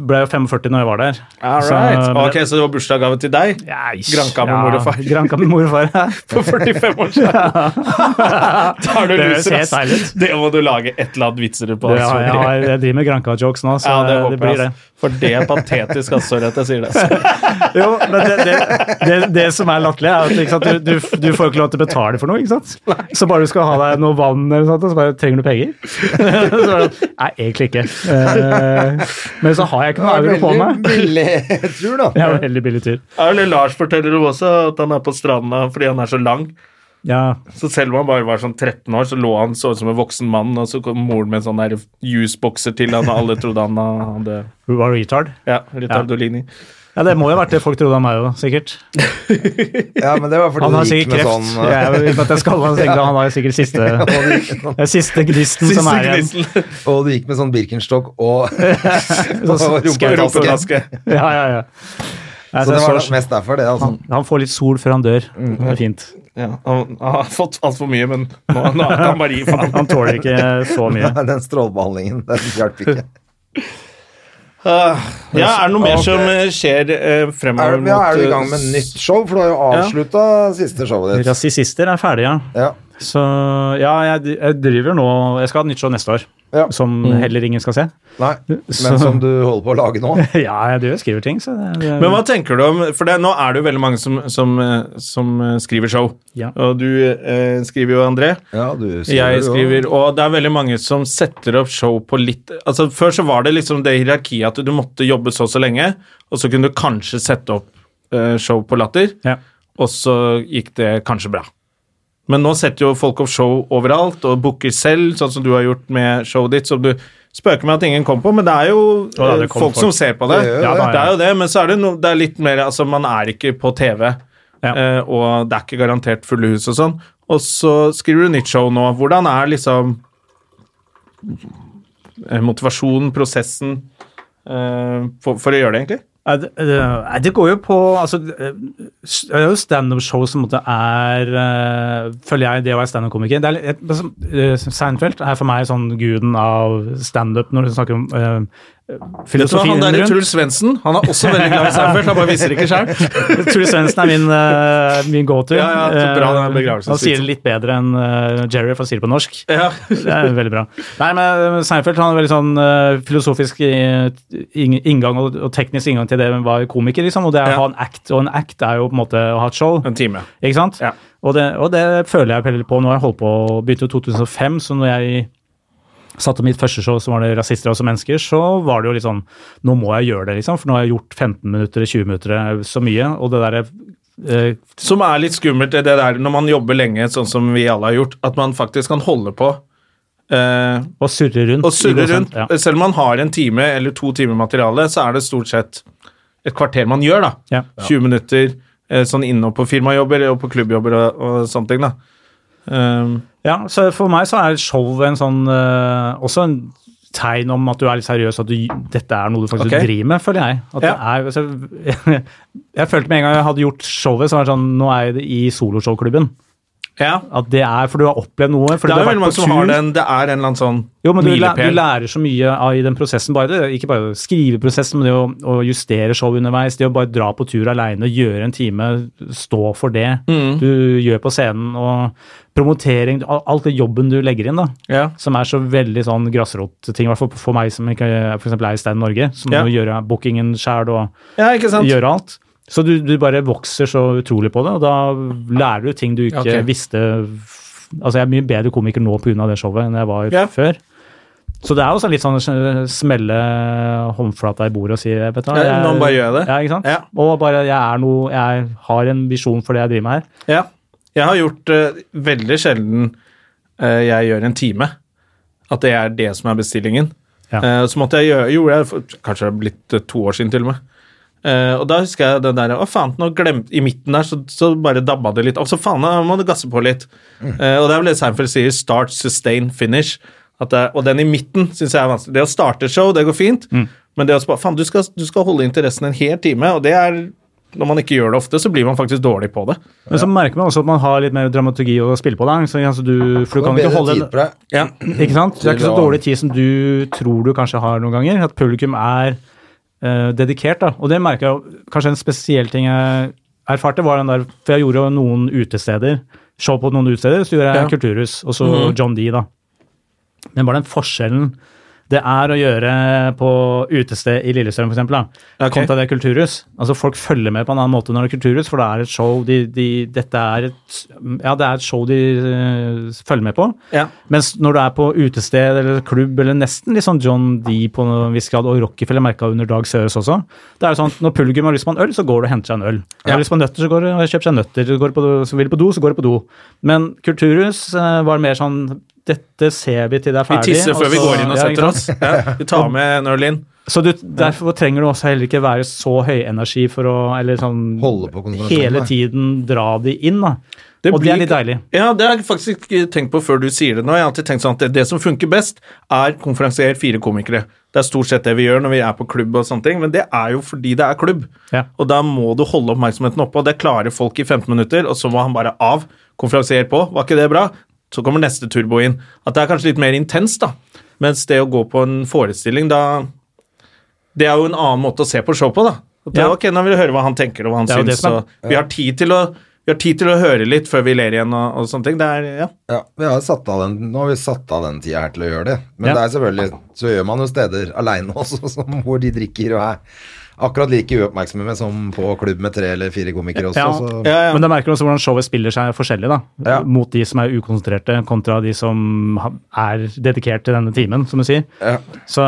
[SPEAKER 3] ble jo 45 når jeg var der.
[SPEAKER 1] All
[SPEAKER 3] Så-
[SPEAKER 1] right. Ok, så det var bursdagsgave til deg?
[SPEAKER 3] Ja, ish.
[SPEAKER 1] Granca med mor og far.
[SPEAKER 3] Ja, Granca med mor og far.
[SPEAKER 1] På 45 år siden? Da er du
[SPEAKER 3] Det
[SPEAKER 1] loser,
[SPEAKER 3] ser
[SPEAKER 1] ass.
[SPEAKER 3] feil ut.
[SPEAKER 1] Det må du lage et eller annet vitser på.
[SPEAKER 3] Det
[SPEAKER 1] ass.
[SPEAKER 3] har, jeg, har, jeg driver med Granca-jokes nå, så
[SPEAKER 1] Ja, det
[SPEAKER 3] det,
[SPEAKER 1] håper
[SPEAKER 3] blir
[SPEAKER 1] jeg.
[SPEAKER 3] det.
[SPEAKER 1] ass. For det er patetisk, ass. Sorry at jeg sier det. ass.
[SPEAKER 3] Jo, men det, det, det, det som er latterlig, er at ikke sant, du, du, du får jo ikke lov til å betale for noe. ikke sant? Så bare du skal ha deg noe vann, eller noe sånt, og så bare trenger du penger. Så bare, Nei, egentlig ikke. Eh, Men så har jeg ikke noe
[SPEAKER 2] Det
[SPEAKER 3] agro
[SPEAKER 2] er
[SPEAKER 3] på
[SPEAKER 2] veldig
[SPEAKER 3] meg.
[SPEAKER 2] billig tur,
[SPEAKER 3] Det
[SPEAKER 2] da.
[SPEAKER 3] er en veldig billig tur.
[SPEAKER 1] Eller Lars forteller jo også at han er på stranda fordi han er så lang.
[SPEAKER 3] Ja,
[SPEAKER 1] Så selv om han bare var sånn 13 år, så lå han så ut som en voksen mann, og så kom moren med en sånn der juicebokser til han, og alle trodde han hadde
[SPEAKER 3] Hun var retard.
[SPEAKER 1] Ja, Ritardolini.
[SPEAKER 3] Ja, Det må jo ha vært det folk trodde om meg òg, sikkert.
[SPEAKER 2] Ja, men det var fordi
[SPEAKER 3] Han har
[SPEAKER 2] du gikk
[SPEAKER 3] sikkert
[SPEAKER 2] med
[SPEAKER 3] kreft.
[SPEAKER 2] sånn eh,
[SPEAKER 3] Jeg vet at jeg skal, han, tenkte, han har jo sikkert siste, det er siste gnisten som
[SPEAKER 1] Siste
[SPEAKER 3] er igjen.
[SPEAKER 1] gnisten.
[SPEAKER 2] Og du gikk med sånn Birkenstock og
[SPEAKER 3] Sånn
[SPEAKER 2] Og
[SPEAKER 3] skau-
[SPEAKER 2] rumpetaske.
[SPEAKER 1] Rumpetaske.
[SPEAKER 3] Ja, ja, ja. Nei,
[SPEAKER 2] Så
[SPEAKER 3] så
[SPEAKER 2] det
[SPEAKER 3] jeg
[SPEAKER 2] var Mm.
[SPEAKER 3] så-
[SPEAKER 2] nok mest derfor, det, altså.
[SPEAKER 3] han, han får litt sol før han dør. Det er fint.
[SPEAKER 1] Ja, han, han har fått altfor mye, men nå, nå kan han bare gi faen.
[SPEAKER 3] Han tåler ikke så mye.
[SPEAKER 2] Nei, Den strålebehandlingen, den hjalp ikke.
[SPEAKER 1] Ah, ja, er det noe mer
[SPEAKER 2] Ok.
[SPEAKER 1] som eh, skjer eh,
[SPEAKER 2] Er,
[SPEAKER 1] fremover?
[SPEAKER 2] du- ja, er du i
[SPEAKER 1] mot, eh,
[SPEAKER 2] gang med nytt show? For du har jo avslutta siste showet ditt.
[SPEAKER 3] Rasisister er ferdig, ja.
[SPEAKER 2] Ja.
[SPEAKER 3] Så ja, jeg, jeg driver nå Jeg skal ha et nytt show neste år,
[SPEAKER 2] Ja.
[SPEAKER 3] som heller ingen skal se.
[SPEAKER 2] Nei,
[SPEAKER 3] Så-
[SPEAKER 2] men som du holder på å lage nå?
[SPEAKER 3] Ja, jeg driver og skriver ting, så det, det,
[SPEAKER 1] Men hva tenker du om For det, nå er det jo veldig mange som, som, eh, som eh, skriver show.
[SPEAKER 3] Ja.
[SPEAKER 1] Og du eh, skriver jo, André.
[SPEAKER 2] Ja, du
[SPEAKER 1] Jeg
[SPEAKER 2] jo-
[SPEAKER 1] skriver, og det er veldig mange som setter opp show på litt Altså Før så var det liksom det hierarkiet at du måtte jobbe så og så lenge, og så kunne du kanskje sette opp eh, show på Latter,
[SPEAKER 3] Ja.
[SPEAKER 1] og så gikk det kanskje bra. Men nå setter jo folk opp show overalt og booker selv, sånn som du har gjort med showet ditt. Som du spøker med at ingen kom på, men det er jo
[SPEAKER 3] da, det
[SPEAKER 1] eh,
[SPEAKER 3] kom
[SPEAKER 1] folk, som
[SPEAKER 3] folk.
[SPEAKER 1] ser på det.
[SPEAKER 2] Det gjør jo
[SPEAKER 3] Ja, det.
[SPEAKER 1] det er jo det, men så er det, no, det er litt mer Altså, man er ikke på TV,
[SPEAKER 3] Ja.
[SPEAKER 1] eh, og det er ikke garantert fulle hus og sånn. Og så skriver du nytt show nå. Hvordan er liksom eh, motivasjonen, prosessen, eh, for, for å gjøre det, egentlig?
[SPEAKER 3] Nei, det, det, nei, det går jo på altså, det- Det er jo standup-show som på en måte er eh, Føler jeg det å være standup-komiker. Det er litt- et- altså, eh, Seinfeld er for meg sånn guden av standup når du snakker om eh,
[SPEAKER 1] Vet du hva,
[SPEAKER 3] filosofien
[SPEAKER 1] han der er
[SPEAKER 3] rundt.
[SPEAKER 1] Truls Svendsen. Han er også veldig glad i Seinfeld, han bare viser ikke sjøl.
[SPEAKER 3] Truls Svendsen er min, eh, min go-to.
[SPEAKER 1] Ja, ja, så bra, den
[SPEAKER 3] Eh,
[SPEAKER 1] begravelsen.
[SPEAKER 3] han sier det litt bedre enn eh, Jerry, for han sier det på norsk.
[SPEAKER 1] Ja.
[SPEAKER 3] Det er veldig bra. Nei, men eh, Seinfeld han har veldig sånn eh, filosofisk eh, ing- inngang og, og teknisk inngang til det med å være komiker, liksom. Og det er
[SPEAKER 1] Ja.
[SPEAKER 3] å ha en act, og en act er jo på en måte å ha et show.
[SPEAKER 1] En time.
[SPEAKER 3] Ikke sant?
[SPEAKER 1] Ja.
[SPEAKER 3] Og, det, og det føler jeg veldig på. Nå har jeg holdt på å begynte i 2005, så når jeg satte mitt første show som var det rasister og også mennesker, så var det jo litt sånn Nå må jeg gjøre det, liksom, for nå har jeg gjort 15 minutter, 20 minutter, eh, så mye. Og det derre eh,
[SPEAKER 1] Som er litt skummelt, det der når man jobber lenge, sånn som vi alle har gjort, at man faktisk kan holde på. eh,
[SPEAKER 3] å surre rundt.
[SPEAKER 1] og surre
[SPEAKER 3] i god
[SPEAKER 1] rundt. Eh,
[SPEAKER 3] sant, ja.
[SPEAKER 1] Selv om man har en time eller to timer materiale, så er det stort sett et kvarter man gjør, da.
[SPEAKER 3] Ja.
[SPEAKER 1] 20 minutter eh, sånn innom på firmajobber og på klubbjobber og, og sånne ting, da. Ehm,
[SPEAKER 3] Ja, så for meg så er show en sånn eh, Også en tegn om at du er litt seriøs, at du, dette er noe du faktisk
[SPEAKER 1] Ok.
[SPEAKER 3] driver med, føler jeg. At
[SPEAKER 1] Ja.
[SPEAKER 3] det er, altså, jeg følte med en gang jeg hadde gjort showet, så var det sånn Nå er jeg i soloshowklubben.
[SPEAKER 1] ja.
[SPEAKER 3] At det er For du har opplevd noe.
[SPEAKER 1] Det
[SPEAKER 3] Fordi
[SPEAKER 1] er
[SPEAKER 3] du
[SPEAKER 1] jo
[SPEAKER 3] har
[SPEAKER 1] veldig
[SPEAKER 3] vært
[SPEAKER 1] mange
[SPEAKER 3] på
[SPEAKER 1] som har
[SPEAKER 3] tur.
[SPEAKER 1] den Det er en eller annen sånn
[SPEAKER 3] Jo, men du, læ- du
[SPEAKER 1] milepæl.
[SPEAKER 3] lærer så mye av, i den prosessen. Bare, det- ikke bare skriveprosessen, men det å, å justere show underveis. Det å bare dra på tur aleine, gjøre en time, stå for det
[SPEAKER 1] Mm.
[SPEAKER 3] du gjør på scenen. Og promotering. al- Alt det jobben du legger inn, da.
[SPEAKER 1] Ja.
[SPEAKER 3] Som er så veldig sånn grasrotting, i hvert fall for meg som ikke er- for eksempel er i Stein Norge. Som
[SPEAKER 1] Ja.
[SPEAKER 3] må gjøre bookingen sjæl og
[SPEAKER 1] ja, ikke sant?
[SPEAKER 3] gjøre alt. Så du, du bare vokser så utrolig på det, og da lærer du ting du ikke
[SPEAKER 1] Ok.
[SPEAKER 3] visste f- Altså, jeg er mye bedre komiker nå pga. det showet enn jeg var
[SPEAKER 1] Ja.
[SPEAKER 3] før. Så det er også litt sånn å smelle håndflata i bordet og si vet du, hva,
[SPEAKER 1] Ja, nå bare gjør jeg det.
[SPEAKER 3] Ja, ikke sant?
[SPEAKER 1] Ja.
[SPEAKER 3] Og bare jeg er noe Jeg har en visjon for det jeg driver med her.
[SPEAKER 1] Ja. Jeg har gjort eh, veldig sjelden eh, jeg gjør en time. At det er det som er bestillingen.
[SPEAKER 3] Ja.
[SPEAKER 1] Eh, så måtte jeg gjøre Gjorde jeg for, Kanskje det er blitt eh, to år siden, til og med. Eh, og da husker jeg den der Å, faen, nå glemt I midten der så, så bare dabba det litt. Og så faen, da må du gasse på litt. Eh, og det er vel det Seinfeld sier. Start, sustain, finish. At det, er- og den i midten syns jeg er vanskelig. Det å starte show, det går fint. Men det å spå, faen, du skal, du skal holde interessen en hel time, og det er Når man ikke gjør det ofte, så blir man faktisk dårlig på det.
[SPEAKER 3] Men så merker man også at man har litt mer dramaturgi å spille på. Da. Så, altså, du,
[SPEAKER 2] Det
[SPEAKER 3] for du
[SPEAKER 2] var
[SPEAKER 3] kan ikke
[SPEAKER 2] bedre
[SPEAKER 3] holde
[SPEAKER 2] tid for deg.
[SPEAKER 1] Ja.
[SPEAKER 3] Ikke sant? Det er ikke så dårlig tid som du tror du kanskje har noen ganger. At publikum er eh, dedikert, da. Og det merker jeg jo- Kanskje en spesiell ting jeg erfarte, var den der For jeg gjorde jo noen utesteder. Show på noen utesteder, så gjorde jeg
[SPEAKER 1] Ja.
[SPEAKER 3] Kulturhus, og så John D, da. Men bare den forskjellen det er å gjøre på utested i Lillestrøm, f.eks.,
[SPEAKER 1] Ok.
[SPEAKER 3] okay. kontra det er kulturhus. Altså Folk følger med på en annen måte når det er kulturhus, for det er et show de, de, dette er et, ja, det er et show de eh, følger med på.
[SPEAKER 1] Ja.
[SPEAKER 3] Mens når du er på utested eller klubb, eller nesten litt sånn John D på en viss grad, og Rockefeller merka under Dag Søres også, det er jo sånn at når publikum har lyst på en øl, så går du og henter seg en øl.
[SPEAKER 1] Ja.
[SPEAKER 3] Har lyst på nøtter, så går du og kjøper seg nøtter. Går du på, så vil du på do, så går du på do. Men kulturhus eh, var mer sånn dette ser vi til det er
[SPEAKER 1] Vi
[SPEAKER 3] ferdig.
[SPEAKER 1] tisser før vi
[SPEAKER 3] så-
[SPEAKER 1] går inn og
[SPEAKER 3] Ja,
[SPEAKER 1] setter
[SPEAKER 3] ikke sant?
[SPEAKER 1] oss. Ja, vi tar med en øl inn.
[SPEAKER 3] Så du, derfor trenger du også heller ikke være så høyenergi for å eller sånn,
[SPEAKER 2] Holde på konsentrasjonen,
[SPEAKER 3] hele
[SPEAKER 2] nei.
[SPEAKER 3] tiden dra de inn. da. og det
[SPEAKER 1] blir-
[SPEAKER 3] er litt deilig.
[SPEAKER 1] Ja, det har jeg faktisk ikke tenkt på før du sier det nå. Jeg har alltid tenkt sånn at det, det som funker best, er konferansier fire komikere. Det er stort sett det vi gjør når vi er på klubb og sånne ting, men det er jo fordi det er klubb.
[SPEAKER 3] Ja.
[SPEAKER 1] Og da må du holde oppmerksomheten oppe, og det klarer folk i 15 minutter, og så må han bare av. Konferansier på, var ikke det bra? Så kommer neste turbo inn. At det er kanskje litt mer intenst, da. Mens det å gå på en forestilling, da Det er jo en annen måte å se på show på, da. At det,
[SPEAKER 3] Ja.
[SPEAKER 1] Ok, nå vil jeg høre hva han tenker og hva han
[SPEAKER 3] Det er jo det
[SPEAKER 1] syns.
[SPEAKER 3] som er-
[SPEAKER 1] og vi, har tid til å, vi har tid til å høre litt før vi ler igjen og, og sånne ting. Det er, ja.
[SPEAKER 2] Ja, vi har satt av den, nå har vi satt av den tida her til å gjøre det. Men
[SPEAKER 3] Ja.
[SPEAKER 2] det er selvfølgelig, så gjør man jo steder aleine også, som hvor de drikker og er akkurat like uoppmerksomme som på klubb med tre eller fire komikere også.
[SPEAKER 3] Ja.
[SPEAKER 2] Så.
[SPEAKER 1] Ja, ja.
[SPEAKER 3] Men da merker du også hvordan showet spiller seg forskjellig. da.
[SPEAKER 2] Ja.
[SPEAKER 3] Mot de som er ukonsentrerte, kontra de som ha- er dedikert til denne timen, som du sier.
[SPEAKER 2] Ja.
[SPEAKER 3] Så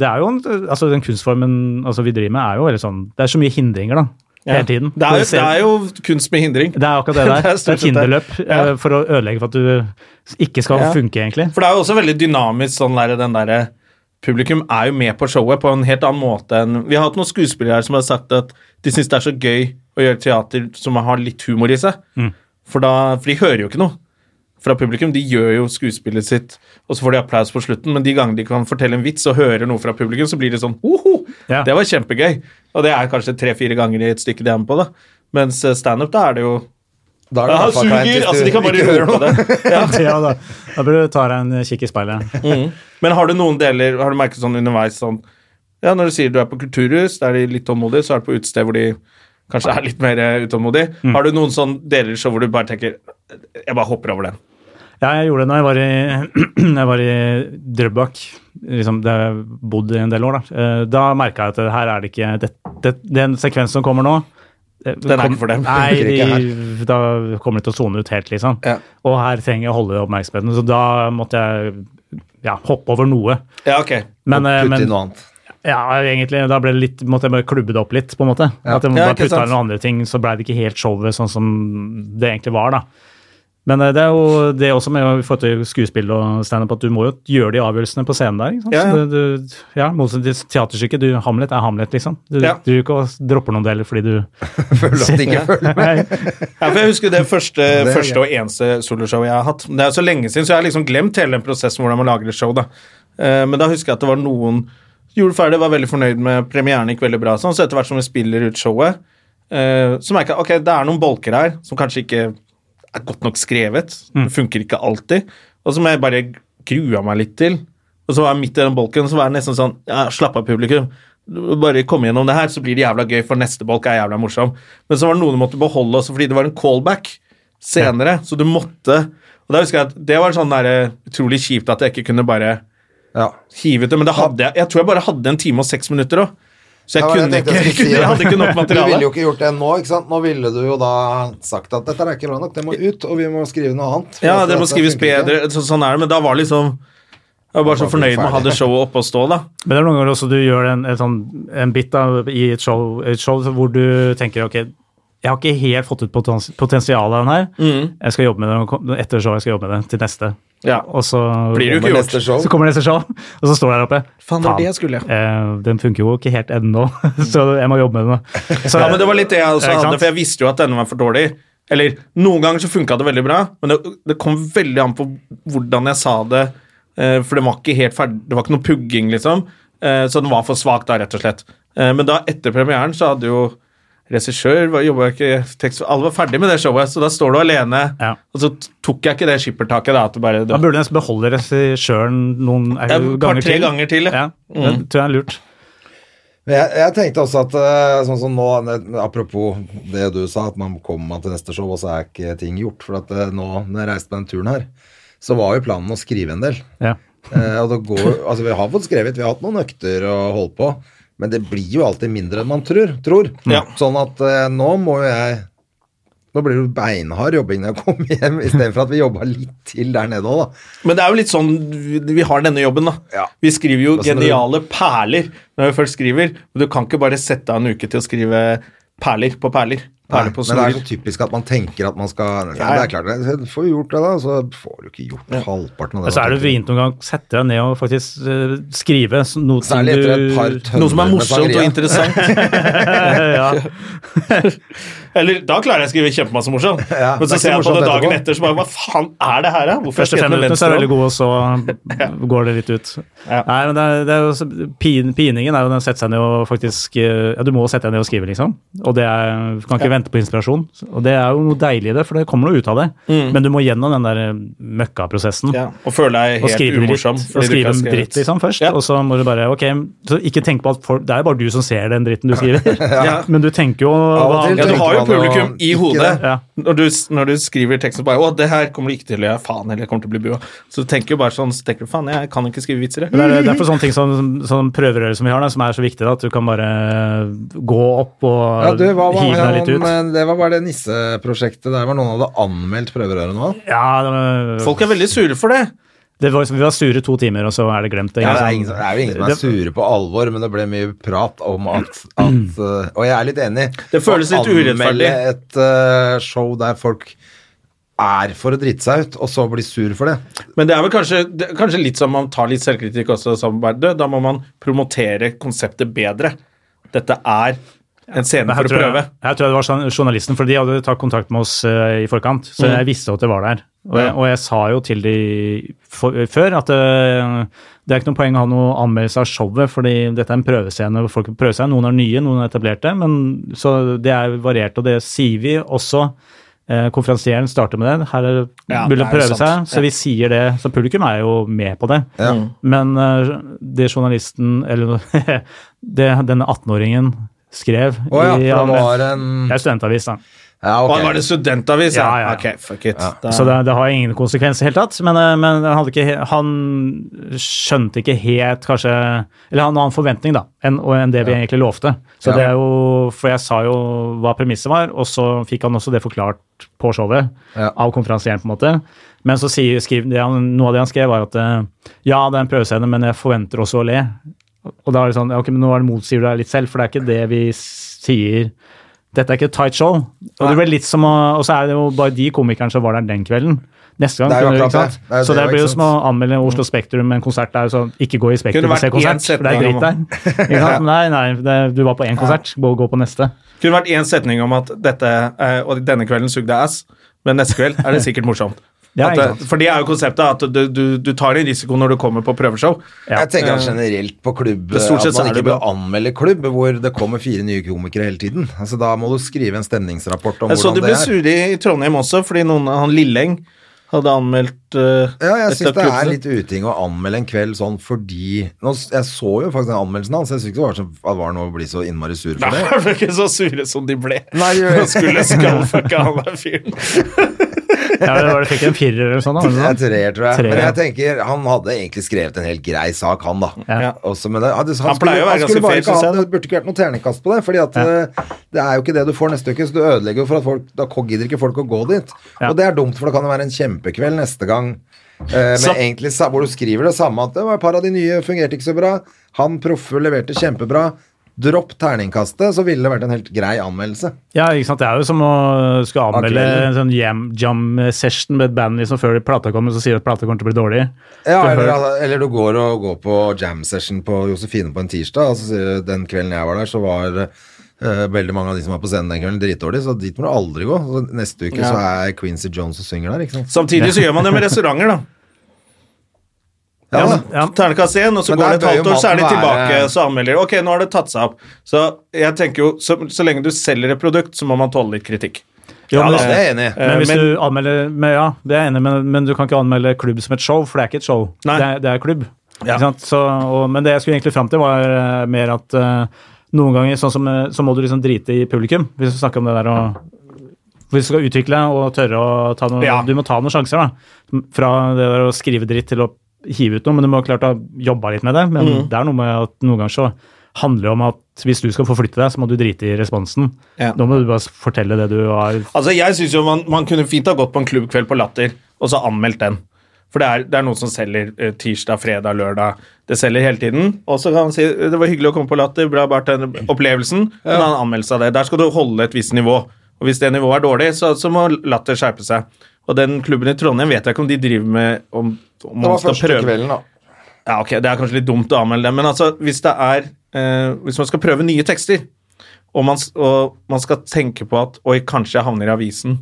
[SPEAKER 3] det er jo en, altså Den kunstformen altså, vi driver med, er jo veldig sånn Det er så mye hindringer, da. Hele tiden.
[SPEAKER 1] Det er, jo, det
[SPEAKER 3] Og du Mm. ser-
[SPEAKER 1] er jo kunst med hindring.
[SPEAKER 3] det er akkurat det der.
[SPEAKER 1] Det er
[SPEAKER 3] Det er,
[SPEAKER 1] stort sett det.
[SPEAKER 3] kinderløp eh, for å ødelegge for at du ikke skal
[SPEAKER 1] Ja.
[SPEAKER 3] funke, egentlig.
[SPEAKER 1] For det er jo også veldig dynamisk sånn der, den derre Publikum er jo med på showet på en helt annen måte enn Vi har hatt noen skuespillere her som har sagt at de syns det er så gøy å gjøre teater som har litt humor i seg. For, da, for de hører jo ikke noe fra publikum. De gjør jo skuespillet sitt, og så får de applaus på slutten, men de gangene de kan fortelle en vits og hører noe fra publikum, så blir det sånn Oho!
[SPEAKER 3] Ja.
[SPEAKER 1] Det var kjempegøy. Og det er kanskje tre-fire ganger i et stykke de er med på, da. Mens eh, standup, da er det jo
[SPEAKER 2] Da er det
[SPEAKER 1] Ja,
[SPEAKER 2] i
[SPEAKER 1] han
[SPEAKER 2] hvert fall kleint
[SPEAKER 1] suger!
[SPEAKER 2] hvis
[SPEAKER 1] Altså,
[SPEAKER 2] du
[SPEAKER 1] de kan bare
[SPEAKER 2] ikke
[SPEAKER 1] høre
[SPEAKER 2] hører
[SPEAKER 1] på
[SPEAKER 2] noe.
[SPEAKER 1] det.
[SPEAKER 3] Ja. da. da bør du ta deg en kikk i speilet.
[SPEAKER 1] Men har du noen deler Har du merket sånn underveis sånn Ja, når du sier du er på kulturhus, da er de litt tålmodige, så er du på utested hvor de kanskje er litt mer eh, utålmodige. Har du noen sånn deler så hvor du bare tenker Jeg bare hopper over den.
[SPEAKER 3] Ja, jeg gjorde det da jeg var i, jeg var i Drøbak, liksom, der jeg bodde i en del år. Da, Eh, da merka jeg at det her er det ikke det, det, Den sekvensen som kommer nå eh,
[SPEAKER 1] Den er ikke for dem.
[SPEAKER 3] Nei,
[SPEAKER 2] Funker ikke
[SPEAKER 3] de, da kommer de til å sone ut helt, liksom.
[SPEAKER 1] Ja.
[SPEAKER 3] Og her trenger jeg å holde oppmerksomheten, så da måtte jeg ja, hoppe over noe.
[SPEAKER 1] Ja, ok.
[SPEAKER 3] Men, eh,
[SPEAKER 2] Putt
[SPEAKER 3] men
[SPEAKER 2] inn noe annet.
[SPEAKER 3] ja, egentlig, da ble det litt, måtte jeg bare klubbe det opp litt, på en måte. At jeg
[SPEAKER 1] Ja,
[SPEAKER 3] måtte bare
[SPEAKER 1] ikke
[SPEAKER 3] putte
[SPEAKER 1] sant.
[SPEAKER 3] inn noen andre ting, så blei det ikke helt showet sånn som det egentlig var, da. Men eh, det er jo det også med å få til skuespill og standup, at du må jo gjøre de avgjørelsene på scenen der. ikke sant?
[SPEAKER 1] Ja, ja.
[SPEAKER 3] Så Du, du, ja, Motsatt til teaterstykket. Du, Hamlet er Hamlet, liksom. Du
[SPEAKER 1] Ja.
[SPEAKER 3] driver ikke og dropper noen deler fordi du
[SPEAKER 2] Føler at det ikke føler
[SPEAKER 3] Nei.
[SPEAKER 1] Ja, for jeg husker det første,
[SPEAKER 2] er
[SPEAKER 1] første og eneste soloshowet jeg har hatt. Men Det er jo så lenge siden, så jeg har liksom glemt hele den prosessen hvordan man lager et show. da. Eh, Men da husker jeg at det var noen gjorde ferdig, var veldig fornøyd med premieren, gikk veldig bra. sånn, Så etter hvert som vi spiller ut showet, eh, så merker jeg ok, det er noen bolker her som kanskje ikke er godt nok skrevet.
[SPEAKER 4] Mm.
[SPEAKER 1] Det funker ikke alltid. Og som jeg bare grua meg litt til. Og så var jeg midt i den bolken, så var jeg nesten sånn ja, Slapp av, publikum. Du Bare kom gjennom det her, så blir det jævla gøy, for neste bolk er jævla morsom. Men så var det noen du måtte beholde også fordi det var en callback senere, så du måtte Og da husker jeg at det var sånn der, eh, utrolig kjipt at jeg ikke kunne bare
[SPEAKER 2] Ja.
[SPEAKER 1] hive ut det, men det hadde jeg. Jeg tror jeg bare hadde en time og seks minutter òg. Så jeg
[SPEAKER 4] Ja, men
[SPEAKER 1] kunne
[SPEAKER 4] jeg tenkte
[SPEAKER 1] ikke,
[SPEAKER 4] jeg
[SPEAKER 1] jeg,
[SPEAKER 4] skulle si det.
[SPEAKER 1] hadde ikke nok
[SPEAKER 4] Du ville
[SPEAKER 1] materiale.
[SPEAKER 4] jo ikke gjort det nå, ikke sant? Nå ville du jo da sagt at dette er ikke bra nok, det må ut, og vi må skrive noe annet. for
[SPEAKER 1] Ja,
[SPEAKER 4] at
[SPEAKER 1] det må
[SPEAKER 4] dette
[SPEAKER 1] skrives
[SPEAKER 4] funker ikke.
[SPEAKER 1] bedre. Så, sånn er det, men da var liksom Jeg var bare så fornøyd med å ha det showet oppe og stå, da.
[SPEAKER 3] Men det er noen ganger også du gjør en, en, sånn, en bit da, i et show, et show hvor du tenker ok, jeg har ikke helt fått ut potens potensialet av den her. Jeg skal jobbe med det og kom- etter showet skal jeg jobbe med det til neste.
[SPEAKER 1] Mm. Ja.
[SPEAKER 3] Og så
[SPEAKER 1] Blir det jo ikke
[SPEAKER 3] kommer
[SPEAKER 1] gjort.
[SPEAKER 3] neste show. Så kommer neste show, og så står det her oppe.
[SPEAKER 1] Faen, det var det jeg skulle.
[SPEAKER 3] Eh, den funker jo ikke helt ennå, så jeg må jobbe med den. nå. Så,
[SPEAKER 1] Ja, men det var litt det jeg også
[SPEAKER 3] Ja, ikke
[SPEAKER 1] hadde,
[SPEAKER 3] sant?
[SPEAKER 1] for jeg visste jo at denne var for dårlig. Eller, noen ganger så funka det veldig bra, men det, det kom veldig an på hvordan jeg sa det. eh, For det var ikke helt ferdig, det var ikke noe pugging, liksom. Eh, Så den var for svak, da, rett og slett. Eh, Men da, etter premieren, så hadde jo regissør var- jobbet ikke tekst, Alle var ferdig med det showet, så da står du alene.
[SPEAKER 3] Ja.
[SPEAKER 1] Og så t- tok jeg ikke det skippertaket, da. At det bare,
[SPEAKER 3] da burde jeg nesten beholde regissøren noen eh,
[SPEAKER 1] Ja, et par,
[SPEAKER 3] ganger
[SPEAKER 1] tre
[SPEAKER 3] til.
[SPEAKER 1] ganger til, ja. Mm.
[SPEAKER 3] ja. Det tror jeg er lurt.
[SPEAKER 2] Men jeg, jeg tenkte også at eh, sånn som nå, ne- apropos det du sa, at man kommer man til neste show, og så er ikke ting gjort. For at eh, nå, når jeg reiste på den turen her, så var jo planen å skrive en del.
[SPEAKER 3] Ja.
[SPEAKER 2] Eh, og det går, altså Vi har fått skrevet, vi har hatt noen økter og holdt på, men det blir jo alltid mindre enn man tror. tror.
[SPEAKER 1] Ja.
[SPEAKER 2] Sånn at eh, nå må jo jeg Nå blir det jo beinhard jobbing når jeg kommer hjem, istedenfor at vi jobba litt til der nede òg, da.
[SPEAKER 1] Men det er jo litt sånn vi- vi har denne jobben, da.
[SPEAKER 2] Ja.
[SPEAKER 1] Vi skriver jo
[SPEAKER 2] Det er sånn
[SPEAKER 1] geniale perler når vi først skriver. Men du kan ikke bare sette av en uke til å skrive perler på perler. Perler
[SPEAKER 2] Nei,
[SPEAKER 1] på
[SPEAKER 2] men det er så
[SPEAKER 1] snorer.
[SPEAKER 2] typisk at man tenker at man skal Nei,
[SPEAKER 1] ja.
[SPEAKER 2] det er klart, det- får vi gjort det, da, så får du ikke gjort halvparten av det.
[SPEAKER 3] Så
[SPEAKER 2] man
[SPEAKER 3] er det
[SPEAKER 2] tenker.
[SPEAKER 3] vrient noen gang å sette deg ned og faktisk eh, skrive s- noe som
[SPEAKER 2] Særlig etter et par
[SPEAKER 3] du
[SPEAKER 2] tønner
[SPEAKER 1] Noe som er
[SPEAKER 2] med
[SPEAKER 1] morsomt og
[SPEAKER 2] sangria.
[SPEAKER 1] interessant.
[SPEAKER 3] ja.
[SPEAKER 1] Eller da klarer jeg å skrive kjempemasse morsomt.
[SPEAKER 2] Ja,
[SPEAKER 1] men
[SPEAKER 2] det er
[SPEAKER 1] så
[SPEAKER 2] ikke
[SPEAKER 1] ser jeg på
[SPEAKER 2] morsomt
[SPEAKER 1] det dagen
[SPEAKER 2] etterpå.
[SPEAKER 1] etter, så bare hva faen er det her, da? Hvorfor
[SPEAKER 3] Første
[SPEAKER 1] skrev jeg
[SPEAKER 3] fem
[SPEAKER 1] den
[SPEAKER 3] minuttene så er det veldig
[SPEAKER 1] venstre hånd?
[SPEAKER 3] gode, og så går det litt ut.
[SPEAKER 1] Ja.
[SPEAKER 3] Nei, men det er, det er jo, så- pin, piningen er jo den å sette seg ned og faktisk eh, Ja, du må sette deg ned og skrive, liksom. Og det er, du kan ikke vente på inspirasjon. Og det er jo noe deilig i det, for det kommer noe ut av det. Men du må gjennom den der eh, møkkaprosessen.
[SPEAKER 1] Mm. Ja, og føler deg
[SPEAKER 3] Og
[SPEAKER 1] helt
[SPEAKER 3] skrive dritt,
[SPEAKER 1] umorsom.
[SPEAKER 3] og skrive dritt liksom først,
[SPEAKER 1] Ja.
[SPEAKER 3] og så må du bare ok, så ikke tenk på at folk, Det er jo bare du som ser den dritten du skriver,
[SPEAKER 1] Ja.
[SPEAKER 3] men du tenker jo
[SPEAKER 2] og
[SPEAKER 3] hva-
[SPEAKER 2] til
[SPEAKER 1] Ja, du har jo
[SPEAKER 2] Tenkte man å
[SPEAKER 1] publikum i
[SPEAKER 2] ikke
[SPEAKER 1] hodet.
[SPEAKER 2] det?
[SPEAKER 3] Ja.
[SPEAKER 1] Når, du, når du skriver teksten bare 'Å, det her kommer du ikke til å gjøre. Faen, eller jeg kommer til å bli bua'. Så du tenker jo bare sånn så tenker du, 'Faen, jeg kan ikke skrive vitser', jeg.
[SPEAKER 3] Det er derfor sånne ting som, som prøverøret som vi har, da, som er så viktig, da, at du kan bare eh, gå opp og
[SPEAKER 2] Ja, du, hva var
[SPEAKER 3] hive deg litt ut.
[SPEAKER 2] han, Det eh? var bare det nisseprosjektet der hvor noen hadde anmeldt prøverøret nå.
[SPEAKER 3] Ja, det var,
[SPEAKER 1] Folk er veldig sure for det.
[SPEAKER 3] det var, liksom- vi var sure to timer, og så er det glemt.
[SPEAKER 2] Ja,
[SPEAKER 3] ikke
[SPEAKER 2] det, er
[SPEAKER 3] sant?
[SPEAKER 2] ingen, som- det er jo ingen som er
[SPEAKER 3] Det-
[SPEAKER 2] sure på alvor, men det ble mye prat om at, at uh, Og jeg er litt enig.
[SPEAKER 1] Mm. Det føles
[SPEAKER 2] Å
[SPEAKER 1] litt urettferdig.
[SPEAKER 2] Anmelde et uh, show der folk er for å drite seg ut, og så bli sur for det.
[SPEAKER 1] Men det er vel kanskje, det, er kanskje litt som man tar litt selvkritikk også. Som bare, «Du, da må man promotere konseptet bedre. Dette er en scene
[SPEAKER 3] Men her
[SPEAKER 1] for å
[SPEAKER 3] tror,
[SPEAKER 1] prøve.
[SPEAKER 3] jeg, her tror jeg det var sånn- journalisten, for de hadde tatt kontakt med oss eh, i forkant, så jeg visste at det var der. Og jeg,
[SPEAKER 1] Mm. Ja.
[SPEAKER 3] og jeg sa jo til de for, før at eh, det er ikke noe poeng å ha noe anmeldelse av showet, fordi dette er en prøvescene hvor folk prøver seg. Noen er nye, noen er etablerte, men så det er variert, og det sier vi også Eh, Konferansieren starter med den. Her er det
[SPEAKER 1] Ja, det er
[SPEAKER 3] mulig å
[SPEAKER 1] jo
[SPEAKER 3] prøve seg.
[SPEAKER 1] sant.
[SPEAKER 3] Så vi sier det, så publikum er jo med på det.
[SPEAKER 1] Ja.
[SPEAKER 3] Men eh, det journalisten, eller det denne 18-åringen skrev
[SPEAKER 2] Å ja,
[SPEAKER 3] i-
[SPEAKER 2] for det var en
[SPEAKER 3] Det er studentavis, da.
[SPEAKER 2] Ja,
[SPEAKER 1] Og
[SPEAKER 2] ok.
[SPEAKER 1] var det studentavis? Ja,
[SPEAKER 3] Ja, ja, ja.
[SPEAKER 1] Ok, fuck it. Da-
[SPEAKER 3] Så det, det har ingen konsekvens i det hele tatt, men, eh, men han, hadde ikke, he- han skjønte ikke helt kanskje Eller han hadde en annen forventning da, enn og enn det vi egentlig lovte. Så
[SPEAKER 2] Ja.
[SPEAKER 3] det er jo, For jeg sa jo hva premisset var, og så fikk han også det forklart på showet
[SPEAKER 2] Ja.
[SPEAKER 3] av konferansieren. på en måte. Men så sier, skriv, det han, noe av det han skrev, var at eh, ja, det er en prøvescene, men jeg forventer også å le. Og da er det sånn, ja, ok, men nå er det motsier du deg litt selv, for det er ikke det vi sier. Dette er ikke et tight show. Og det ble litt som å, og så er det jo bare de komikerne som var der den kvelden. Neste gang
[SPEAKER 2] Det er jo
[SPEAKER 3] kunne du,
[SPEAKER 2] akkurat
[SPEAKER 3] ikke sant?
[SPEAKER 2] det. Det er jo
[SPEAKER 3] så
[SPEAKER 2] det,
[SPEAKER 3] det blir jo
[SPEAKER 2] ikke sant? Mm.
[SPEAKER 3] som å anmelde Oslo Spektrum med en konsert. Det er jo sånn, ikke gå i
[SPEAKER 1] Kunne
[SPEAKER 3] Spektrum og
[SPEAKER 1] vært
[SPEAKER 3] se
[SPEAKER 1] én
[SPEAKER 3] konsert,
[SPEAKER 1] setning
[SPEAKER 3] for det er
[SPEAKER 1] om-
[SPEAKER 3] dritt der. Ikke sant? Nei, nei, det, du var på én konsert, gå, gå på neste.
[SPEAKER 1] kunne vært én setning om at dette eh, og denne kvelden sugde ass, men neste kveld er det sikkert morsomt.
[SPEAKER 3] Ja,
[SPEAKER 1] At,
[SPEAKER 3] ikke
[SPEAKER 1] eh,
[SPEAKER 3] sant.
[SPEAKER 1] for det er jo konseptet at du, du, du tar en risiko når du kommer på prøveshow.
[SPEAKER 2] Jeg tenker at generelt på klubb
[SPEAKER 1] Eh, Det er
[SPEAKER 2] At
[SPEAKER 1] stort
[SPEAKER 2] man
[SPEAKER 1] sett så er
[SPEAKER 2] ikke
[SPEAKER 1] det
[SPEAKER 2] bør anmelde klubb hvor det kommer fire nye komikere hele tiden. Altså Da må du skrive en stemningsrapport om
[SPEAKER 1] Jeg så
[SPEAKER 2] hvordan
[SPEAKER 1] de ble
[SPEAKER 2] det er.
[SPEAKER 1] sure i Trondheim også, fordi noen, han Lilleng hadde anmeldt eh,
[SPEAKER 2] Ja, jeg
[SPEAKER 1] et
[SPEAKER 2] syns
[SPEAKER 1] av
[SPEAKER 2] det er
[SPEAKER 1] klubbene.
[SPEAKER 2] litt uting å anmelde en kveld sånn fordi nå, s- Jeg så jo faktisk den anmeldelsen hans, jeg syns ikke det var, så, at det var noe å bli så innmari sur for
[SPEAKER 1] Nei,
[SPEAKER 2] det.
[SPEAKER 1] de ble ikke så sure som de ble.
[SPEAKER 2] Nei, gjør-
[SPEAKER 1] Han skulle skallfucka han der fyren.
[SPEAKER 3] Ja, det var det fikk en firer eller sånn. da,
[SPEAKER 2] Det er
[SPEAKER 3] eller noe sånt.
[SPEAKER 2] treer, tror jeg.
[SPEAKER 3] Treer.
[SPEAKER 2] Men jeg tenker, han hadde egentlig skrevet en helt grei sak, han, da.
[SPEAKER 3] Ja.
[SPEAKER 2] Også, men det, han, han,
[SPEAKER 1] Han pleier
[SPEAKER 2] skulle, han
[SPEAKER 1] å være
[SPEAKER 2] skulle
[SPEAKER 1] ganske
[SPEAKER 2] bare
[SPEAKER 1] fair,
[SPEAKER 2] ikke ha
[SPEAKER 1] synes jeg, da.
[SPEAKER 2] Det burde ikke vært noe terningkast på det, Fordi at eh, det er jo ikke det du får neste uke, så du ødelegger jo for at folk Da gidder ikke folk å gå dit.
[SPEAKER 3] Ja.
[SPEAKER 2] Og det er dumt, for det kan jo være en kjempekveld neste gang. Eh, men
[SPEAKER 1] Så-
[SPEAKER 2] egentlig sa- hvor du skriver det samme at det var et par av de nye fungerte ikke så bra. Han proffe leverte kjempebra. Dropp terningkastet, så ville det vært en helt grei anmeldelse.
[SPEAKER 3] Ja, ikke sant? Det er jo som å skulle anmelde
[SPEAKER 2] Akkurat.
[SPEAKER 3] en sånn jam- jam-session med et band liksom før plata kommer, så sier de at plata kommer til å bli dårlig.
[SPEAKER 2] Ja,
[SPEAKER 3] Det
[SPEAKER 2] eller, eller du går og går på jam session på Josefine på en tirsdag, og så sier du den kvelden jeg var der, så var eh, veldig mange av de som var på scenen den kvelden, dritdårlige, så dit må du aldri gå. Så neste uke så er Quincy Jones og synger der, ikke sant.
[SPEAKER 1] Samtidig så gjør man det med restauranter, da.
[SPEAKER 2] Ja,
[SPEAKER 3] Ja,
[SPEAKER 2] da.
[SPEAKER 3] ja.
[SPEAKER 1] Ternekast 1, og så
[SPEAKER 2] Men
[SPEAKER 1] går
[SPEAKER 2] der
[SPEAKER 1] det et
[SPEAKER 2] bør
[SPEAKER 1] halvt
[SPEAKER 2] jo
[SPEAKER 1] år, så er de
[SPEAKER 2] maten være-
[SPEAKER 1] tilbake, så anmelder de. Ok, nå har det tatt seg opp. Så jeg tenker jo, så, så lenge du selger et produkt, så må man tåle litt kritikk.
[SPEAKER 3] Jo,
[SPEAKER 2] ja
[SPEAKER 3] men
[SPEAKER 2] da,
[SPEAKER 3] hvis-
[SPEAKER 2] det er jeg enig i.
[SPEAKER 1] Eh,
[SPEAKER 3] Men hvis
[SPEAKER 1] men-
[SPEAKER 3] du anmelder men Ja, det er jeg enig, i, men, men du kan ikke anmelde klubb som et show, for det er ikke et show.
[SPEAKER 1] Nei.
[SPEAKER 3] Det, er, det er klubb.
[SPEAKER 1] Ja.
[SPEAKER 3] Ikke sant? Så, og, men det jeg skulle egentlig fram til, var eh, mer at eh, noen ganger sånn som, eh, så må du liksom drite i publikum, hvis du snakker om det der å hvis du skal utvikle og tørre å ta noen
[SPEAKER 1] Ja.
[SPEAKER 3] Du må ta noen sjanser, da. Fra det der å skrive dritt til å hive ut noe, men du må klart ha jobba litt med det. Men
[SPEAKER 1] Mm.
[SPEAKER 3] det er noe med at noen ganger så handler det om at hvis du skal forflytte deg, så må du drite i responsen.
[SPEAKER 1] Ja.
[SPEAKER 3] Da må du bare fortelle det du har
[SPEAKER 1] Altså, jeg synes jo man, man kunne fint ha gått på en klubbkveld på Latter, og så anmeldt den. For det er, det er noen som selger eh, tirsdag, fredag, lørdag. Det selger hele tiden. Og så kan man si eh, det var hyggelig å komme på Latter, bra bare den opplevelsen. Men han anmeldelse av det. Der skal du holde et visst nivå. Og hvis det nivået er dårlig, så, så må Latter skjerpe seg. Og den klubben i Trondheim vet jeg ikke om de driver med om, om
[SPEAKER 2] Det
[SPEAKER 1] man
[SPEAKER 2] var
[SPEAKER 1] skal
[SPEAKER 2] første
[SPEAKER 1] prøve
[SPEAKER 2] kvelden, da.
[SPEAKER 1] Ja, ok, Det er kanskje litt dumt å anmelde det, men altså, hvis det er eh, Hvis man skal prøve nye tekster, og man, s- og man skal tenke på at Oi, kanskje jeg havner i avisen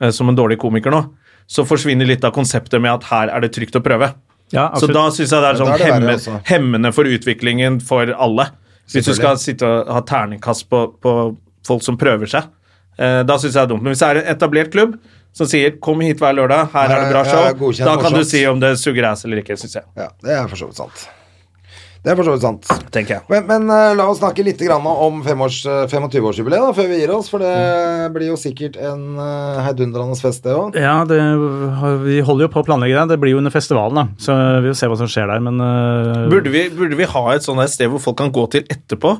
[SPEAKER 1] eh, som en dårlig komiker nå, så forsvinner litt av konseptet med at her er det trygt å prøve.
[SPEAKER 3] Ja,
[SPEAKER 1] Så
[SPEAKER 3] absolutt.
[SPEAKER 1] da syns jeg det er
[SPEAKER 2] Ja,
[SPEAKER 1] sånn
[SPEAKER 2] da er det verre,
[SPEAKER 1] hemme,
[SPEAKER 2] altså.
[SPEAKER 1] hemmende for utviklingen for alle. Hvis du skal sitte og ha terningkast på, på folk som prøver seg, eh, da syns jeg det er dumt. Men hvis det er en etablert klubb som sier 'kom hit hver lørdag, her er det bra
[SPEAKER 2] Ja, ja,
[SPEAKER 1] show',
[SPEAKER 2] godkjent,
[SPEAKER 1] da kan du
[SPEAKER 2] morsomt.
[SPEAKER 1] si om det suger ass eller ikke, syns jeg.
[SPEAKER 2] Ja, det er for så vidt sant. Det er for så vidt sant.
[SPEAKER 1] Tenker jeg.
[SPEAKER 2] Men, men eh, la oss snakke litt grann om femårs- 25-årsjubileet da, før vi gir oss, for det blir jo sikkert en eh, heidundrende fest, det òg.
[SPEAKER 3] Ja, det, har- vi holder jo på å planlegge det. Det blir jo under festivalen, da. Så vi får se hva som skjer der, men øh,
[SPEAKER 1] Burde vi, burde vi ha et sånt her sted hvor folk kan gå til etterpå?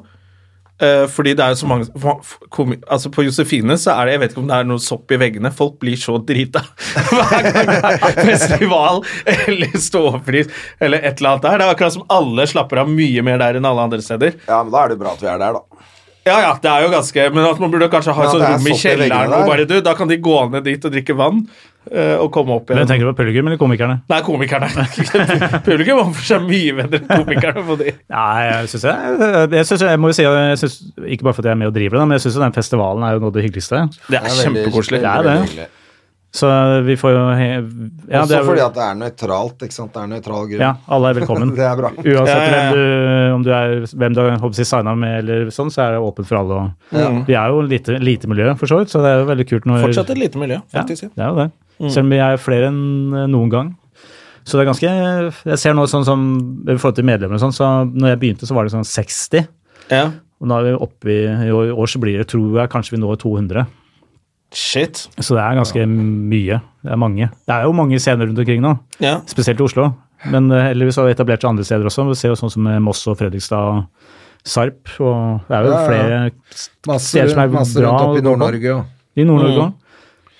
[SPEAKER 1] Eh, fordi det er jo så mange fa- f- komi, Altså På Josefine så er det Jeg vet ikke om det er noe sopp i veggene. Folk blir så drita hver gang det er festival eller ståpris eller et eller annet der. Det er akkurat som alle slapper av mye mer der enn alle andre steder.
[SPEAKER 2] Ja, men da er det bra at vi er der, da.
[SPEAKER 1] Ja, ja, det er jo ganske Men at man burde kanskje ha
[SPEAKER 2] Ja,
[SPEAKER 1] et sånt
[SPEAKER 2] det er
[SPEAKER 1] rom i
[SPEAKER 2] sopp i veggene
[SPEAKER 1] kjelleren og
[SPEAKER 2] der.
[SPEAKER 1] bare du, da kan de gå ned dit og drikke vann eh, og komme opp
[SPEAKER 3] Men
[SPEAKER 1] igjen.
[SPEAKER 3] tenker du på publikum eller komikerne?
[SPEAKER 1] Nei, komikerne. Publikum har for seg mye bedre enn komikerne på de.
[SPEAKER 3] Nei, jeg syns jeg, jeg, synes, jeg må jo si at jeg synes, Ikke bare fordi jeg er med og driver det, da, men jeg syns den festivalen er jo noe av det hyggeligste.
[SPEAKER 1] Det er
[SPEAKER 2] veldig-
[SPEAKER 1] kjempekoselig.
[SPEAKER 3] Det er det.
[SPEAKER 2] veldig hyggelig.
[SPEAKER 3] Så vi får jo he- ja, det
[SPEAKER 4] Også
[SPEAKER 3] er, vel-
[SPEAKER 4] fordi at det er nøytralt, ikke sant. Det er nøytral grunn.
[SPEAKER 3] ja, alle er velkommen.
[SPEAKER 4] Det er bra.
[SPEAKER 3] Uansett
[SPEAKER 1] Ja, ja, ja.
[SPEAKER 3] Hvem du, om du er, hvem du har håper jeg, signa med, eller sånn, så er det åpent for alle. Og, Vi er jo lite, lite miljø, for så vidt, så det er jo veldig kult. Når,
[SPEAKER 1] Fortsatt et lite miljø,
[SPEAKER 3] ja,
[SPEAKER 1] faktisk. Ja.
[SPEAKER 3] det er jo det.
[SPEAKER 4] Mm.
[SPEAKER 3] Selv om vi er flere enn eh, noen gang. Så det er ganske Jeg ser nå sånn som i forhold til medlemmer og sånn, så når jeg begynte, så var det sånn 60.
[SPEAKER 1] Ja.
[SPEAKER 3] Og nå er vi oppe i I år- i år så blir det, tror jeg, kanskje vi når 200.
[SPEAKER 1] Shit.
[SPEAKER 3] Så det er ganske mye. Det er mange. Det er jo mange scener rundt omkring nå,
[SPEAKER 1] Ja.
[SPEAKER 3] spesielt i Oslo. Men eh, heldigvis har det etablert seg andre steder også. Vi ser jo sånn som eh, Moss og Fredrikstad og Sarp. Og det er jo
[SPEAKER 4] Ja, ja.
[SPEAKER 3] flere
[SPEAKER 4] Masse,
[SPEAKER 3] steder som er
[SPEAKER 4] masse
[SPEAKER 3] bra
[SPEAKER 4] rundt opp
[SPEAKER 3] å gå
[SPEAKER 4] i
[SPEAKER 3] på.
[SPEAKER 4] Nord-Norge og
[SPEAKER 3] i
[SPEAKER 1] Mm.
[SPEAKER 3] Nord-Norge òg.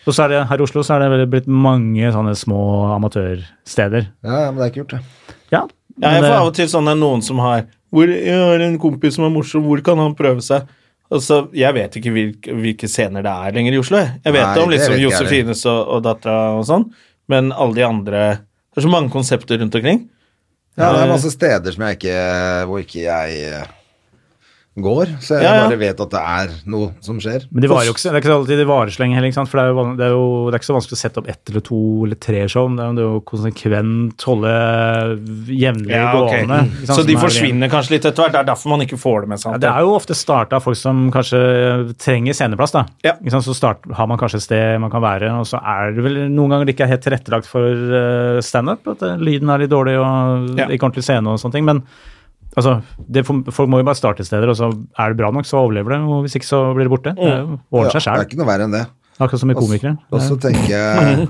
[SPEAKER 3] Og så er det her i Oslo så er det vel blitt mange sånne små amatørsteder.
[SPEAKER 4] ja, ja, men det er kult, det.
[SPEAKER 3] Ja,
[SPEAKER 1] Ja,
[SPEAKER 3] men eh,
[SPEAKER 1] jeg
[SPEAKER 3] det-
[SPEAKER 1] får av og til sånn det er noen som har hvor, 'Jeg har en kompis som er morsom, hvor kan han prøve seg?' Altså, Jeg vet ikke hvilke, hvilke scener det er lenger i Oslo. Jeg, jeg vet
[SPEAKER 4] Nei,
[SPEAKER 1] om
[SPEAKER 4] det
[SPEAKER 1] liksom
[SPEAKER 4] vet ikke jeg
[SPEAKER 1] Josefines og, og dattera og sånn, men alle de andre Det er så mange konsepter rundt omkring.
[SPEAKER 4] Ja, det er masse steder som jeg ikke, hvor ikke jeg eh, går, så jeg
[SPEAKER 1] Ja, ja.
[SPEAKER 4] bare vet at det er noe som skjer.
[SPEAKER 3] men de varer jo ikke, så- det er ikke alltid de varer så lenge heller, ikke sant? for det er, jo, van- det, er jo, det er ikke så vanskelig å sette opp ett eller to eller tre show, men det er jo- det er jo konsekvent holde jevnlig
[SPEAKER 1] ok.
[SPEAKER 3] gående. ikke sant,
[SPEAKER 1] Så de
[SPEAKER 3] som er-
[SPEAKER 1] forsvinner kanskje litt etter hvert. Det er derfor man ikke får det med seg.
[SPEAKER 3] Ja, det er jo ofte starta av folk som kanskje trenger sceneplass, da.
[SPEAKER 1] Ja.
[SPEAKER 3] Ikke sant? Så start, har man kanskje et sted man kan være, og så er det vel noen ganger ikke helt tilrettelagt for eh, standup, at eh, lyden er litt dårlig og
[SPEAKER 1] Ja.
[SPEAKER 3] ikke ordentlig scene og sånne ting, men altså, det, folk må jo bare starte steder, og så er det bra nok, så overlever det, og hvis ikke så blir det borte. Det er jo- ordner
[SPEAKER 4] Mm.
[SPEAKER 3] seg
[SPEAKER 4] Ja, det
[SPEAKER 3] sjæl.
[SPEAKER 4] er ikke noe verre enn det.
[SPEAKER 3] Akkurat som med komikere.
[SPEAKER 4] Og så tenker jeg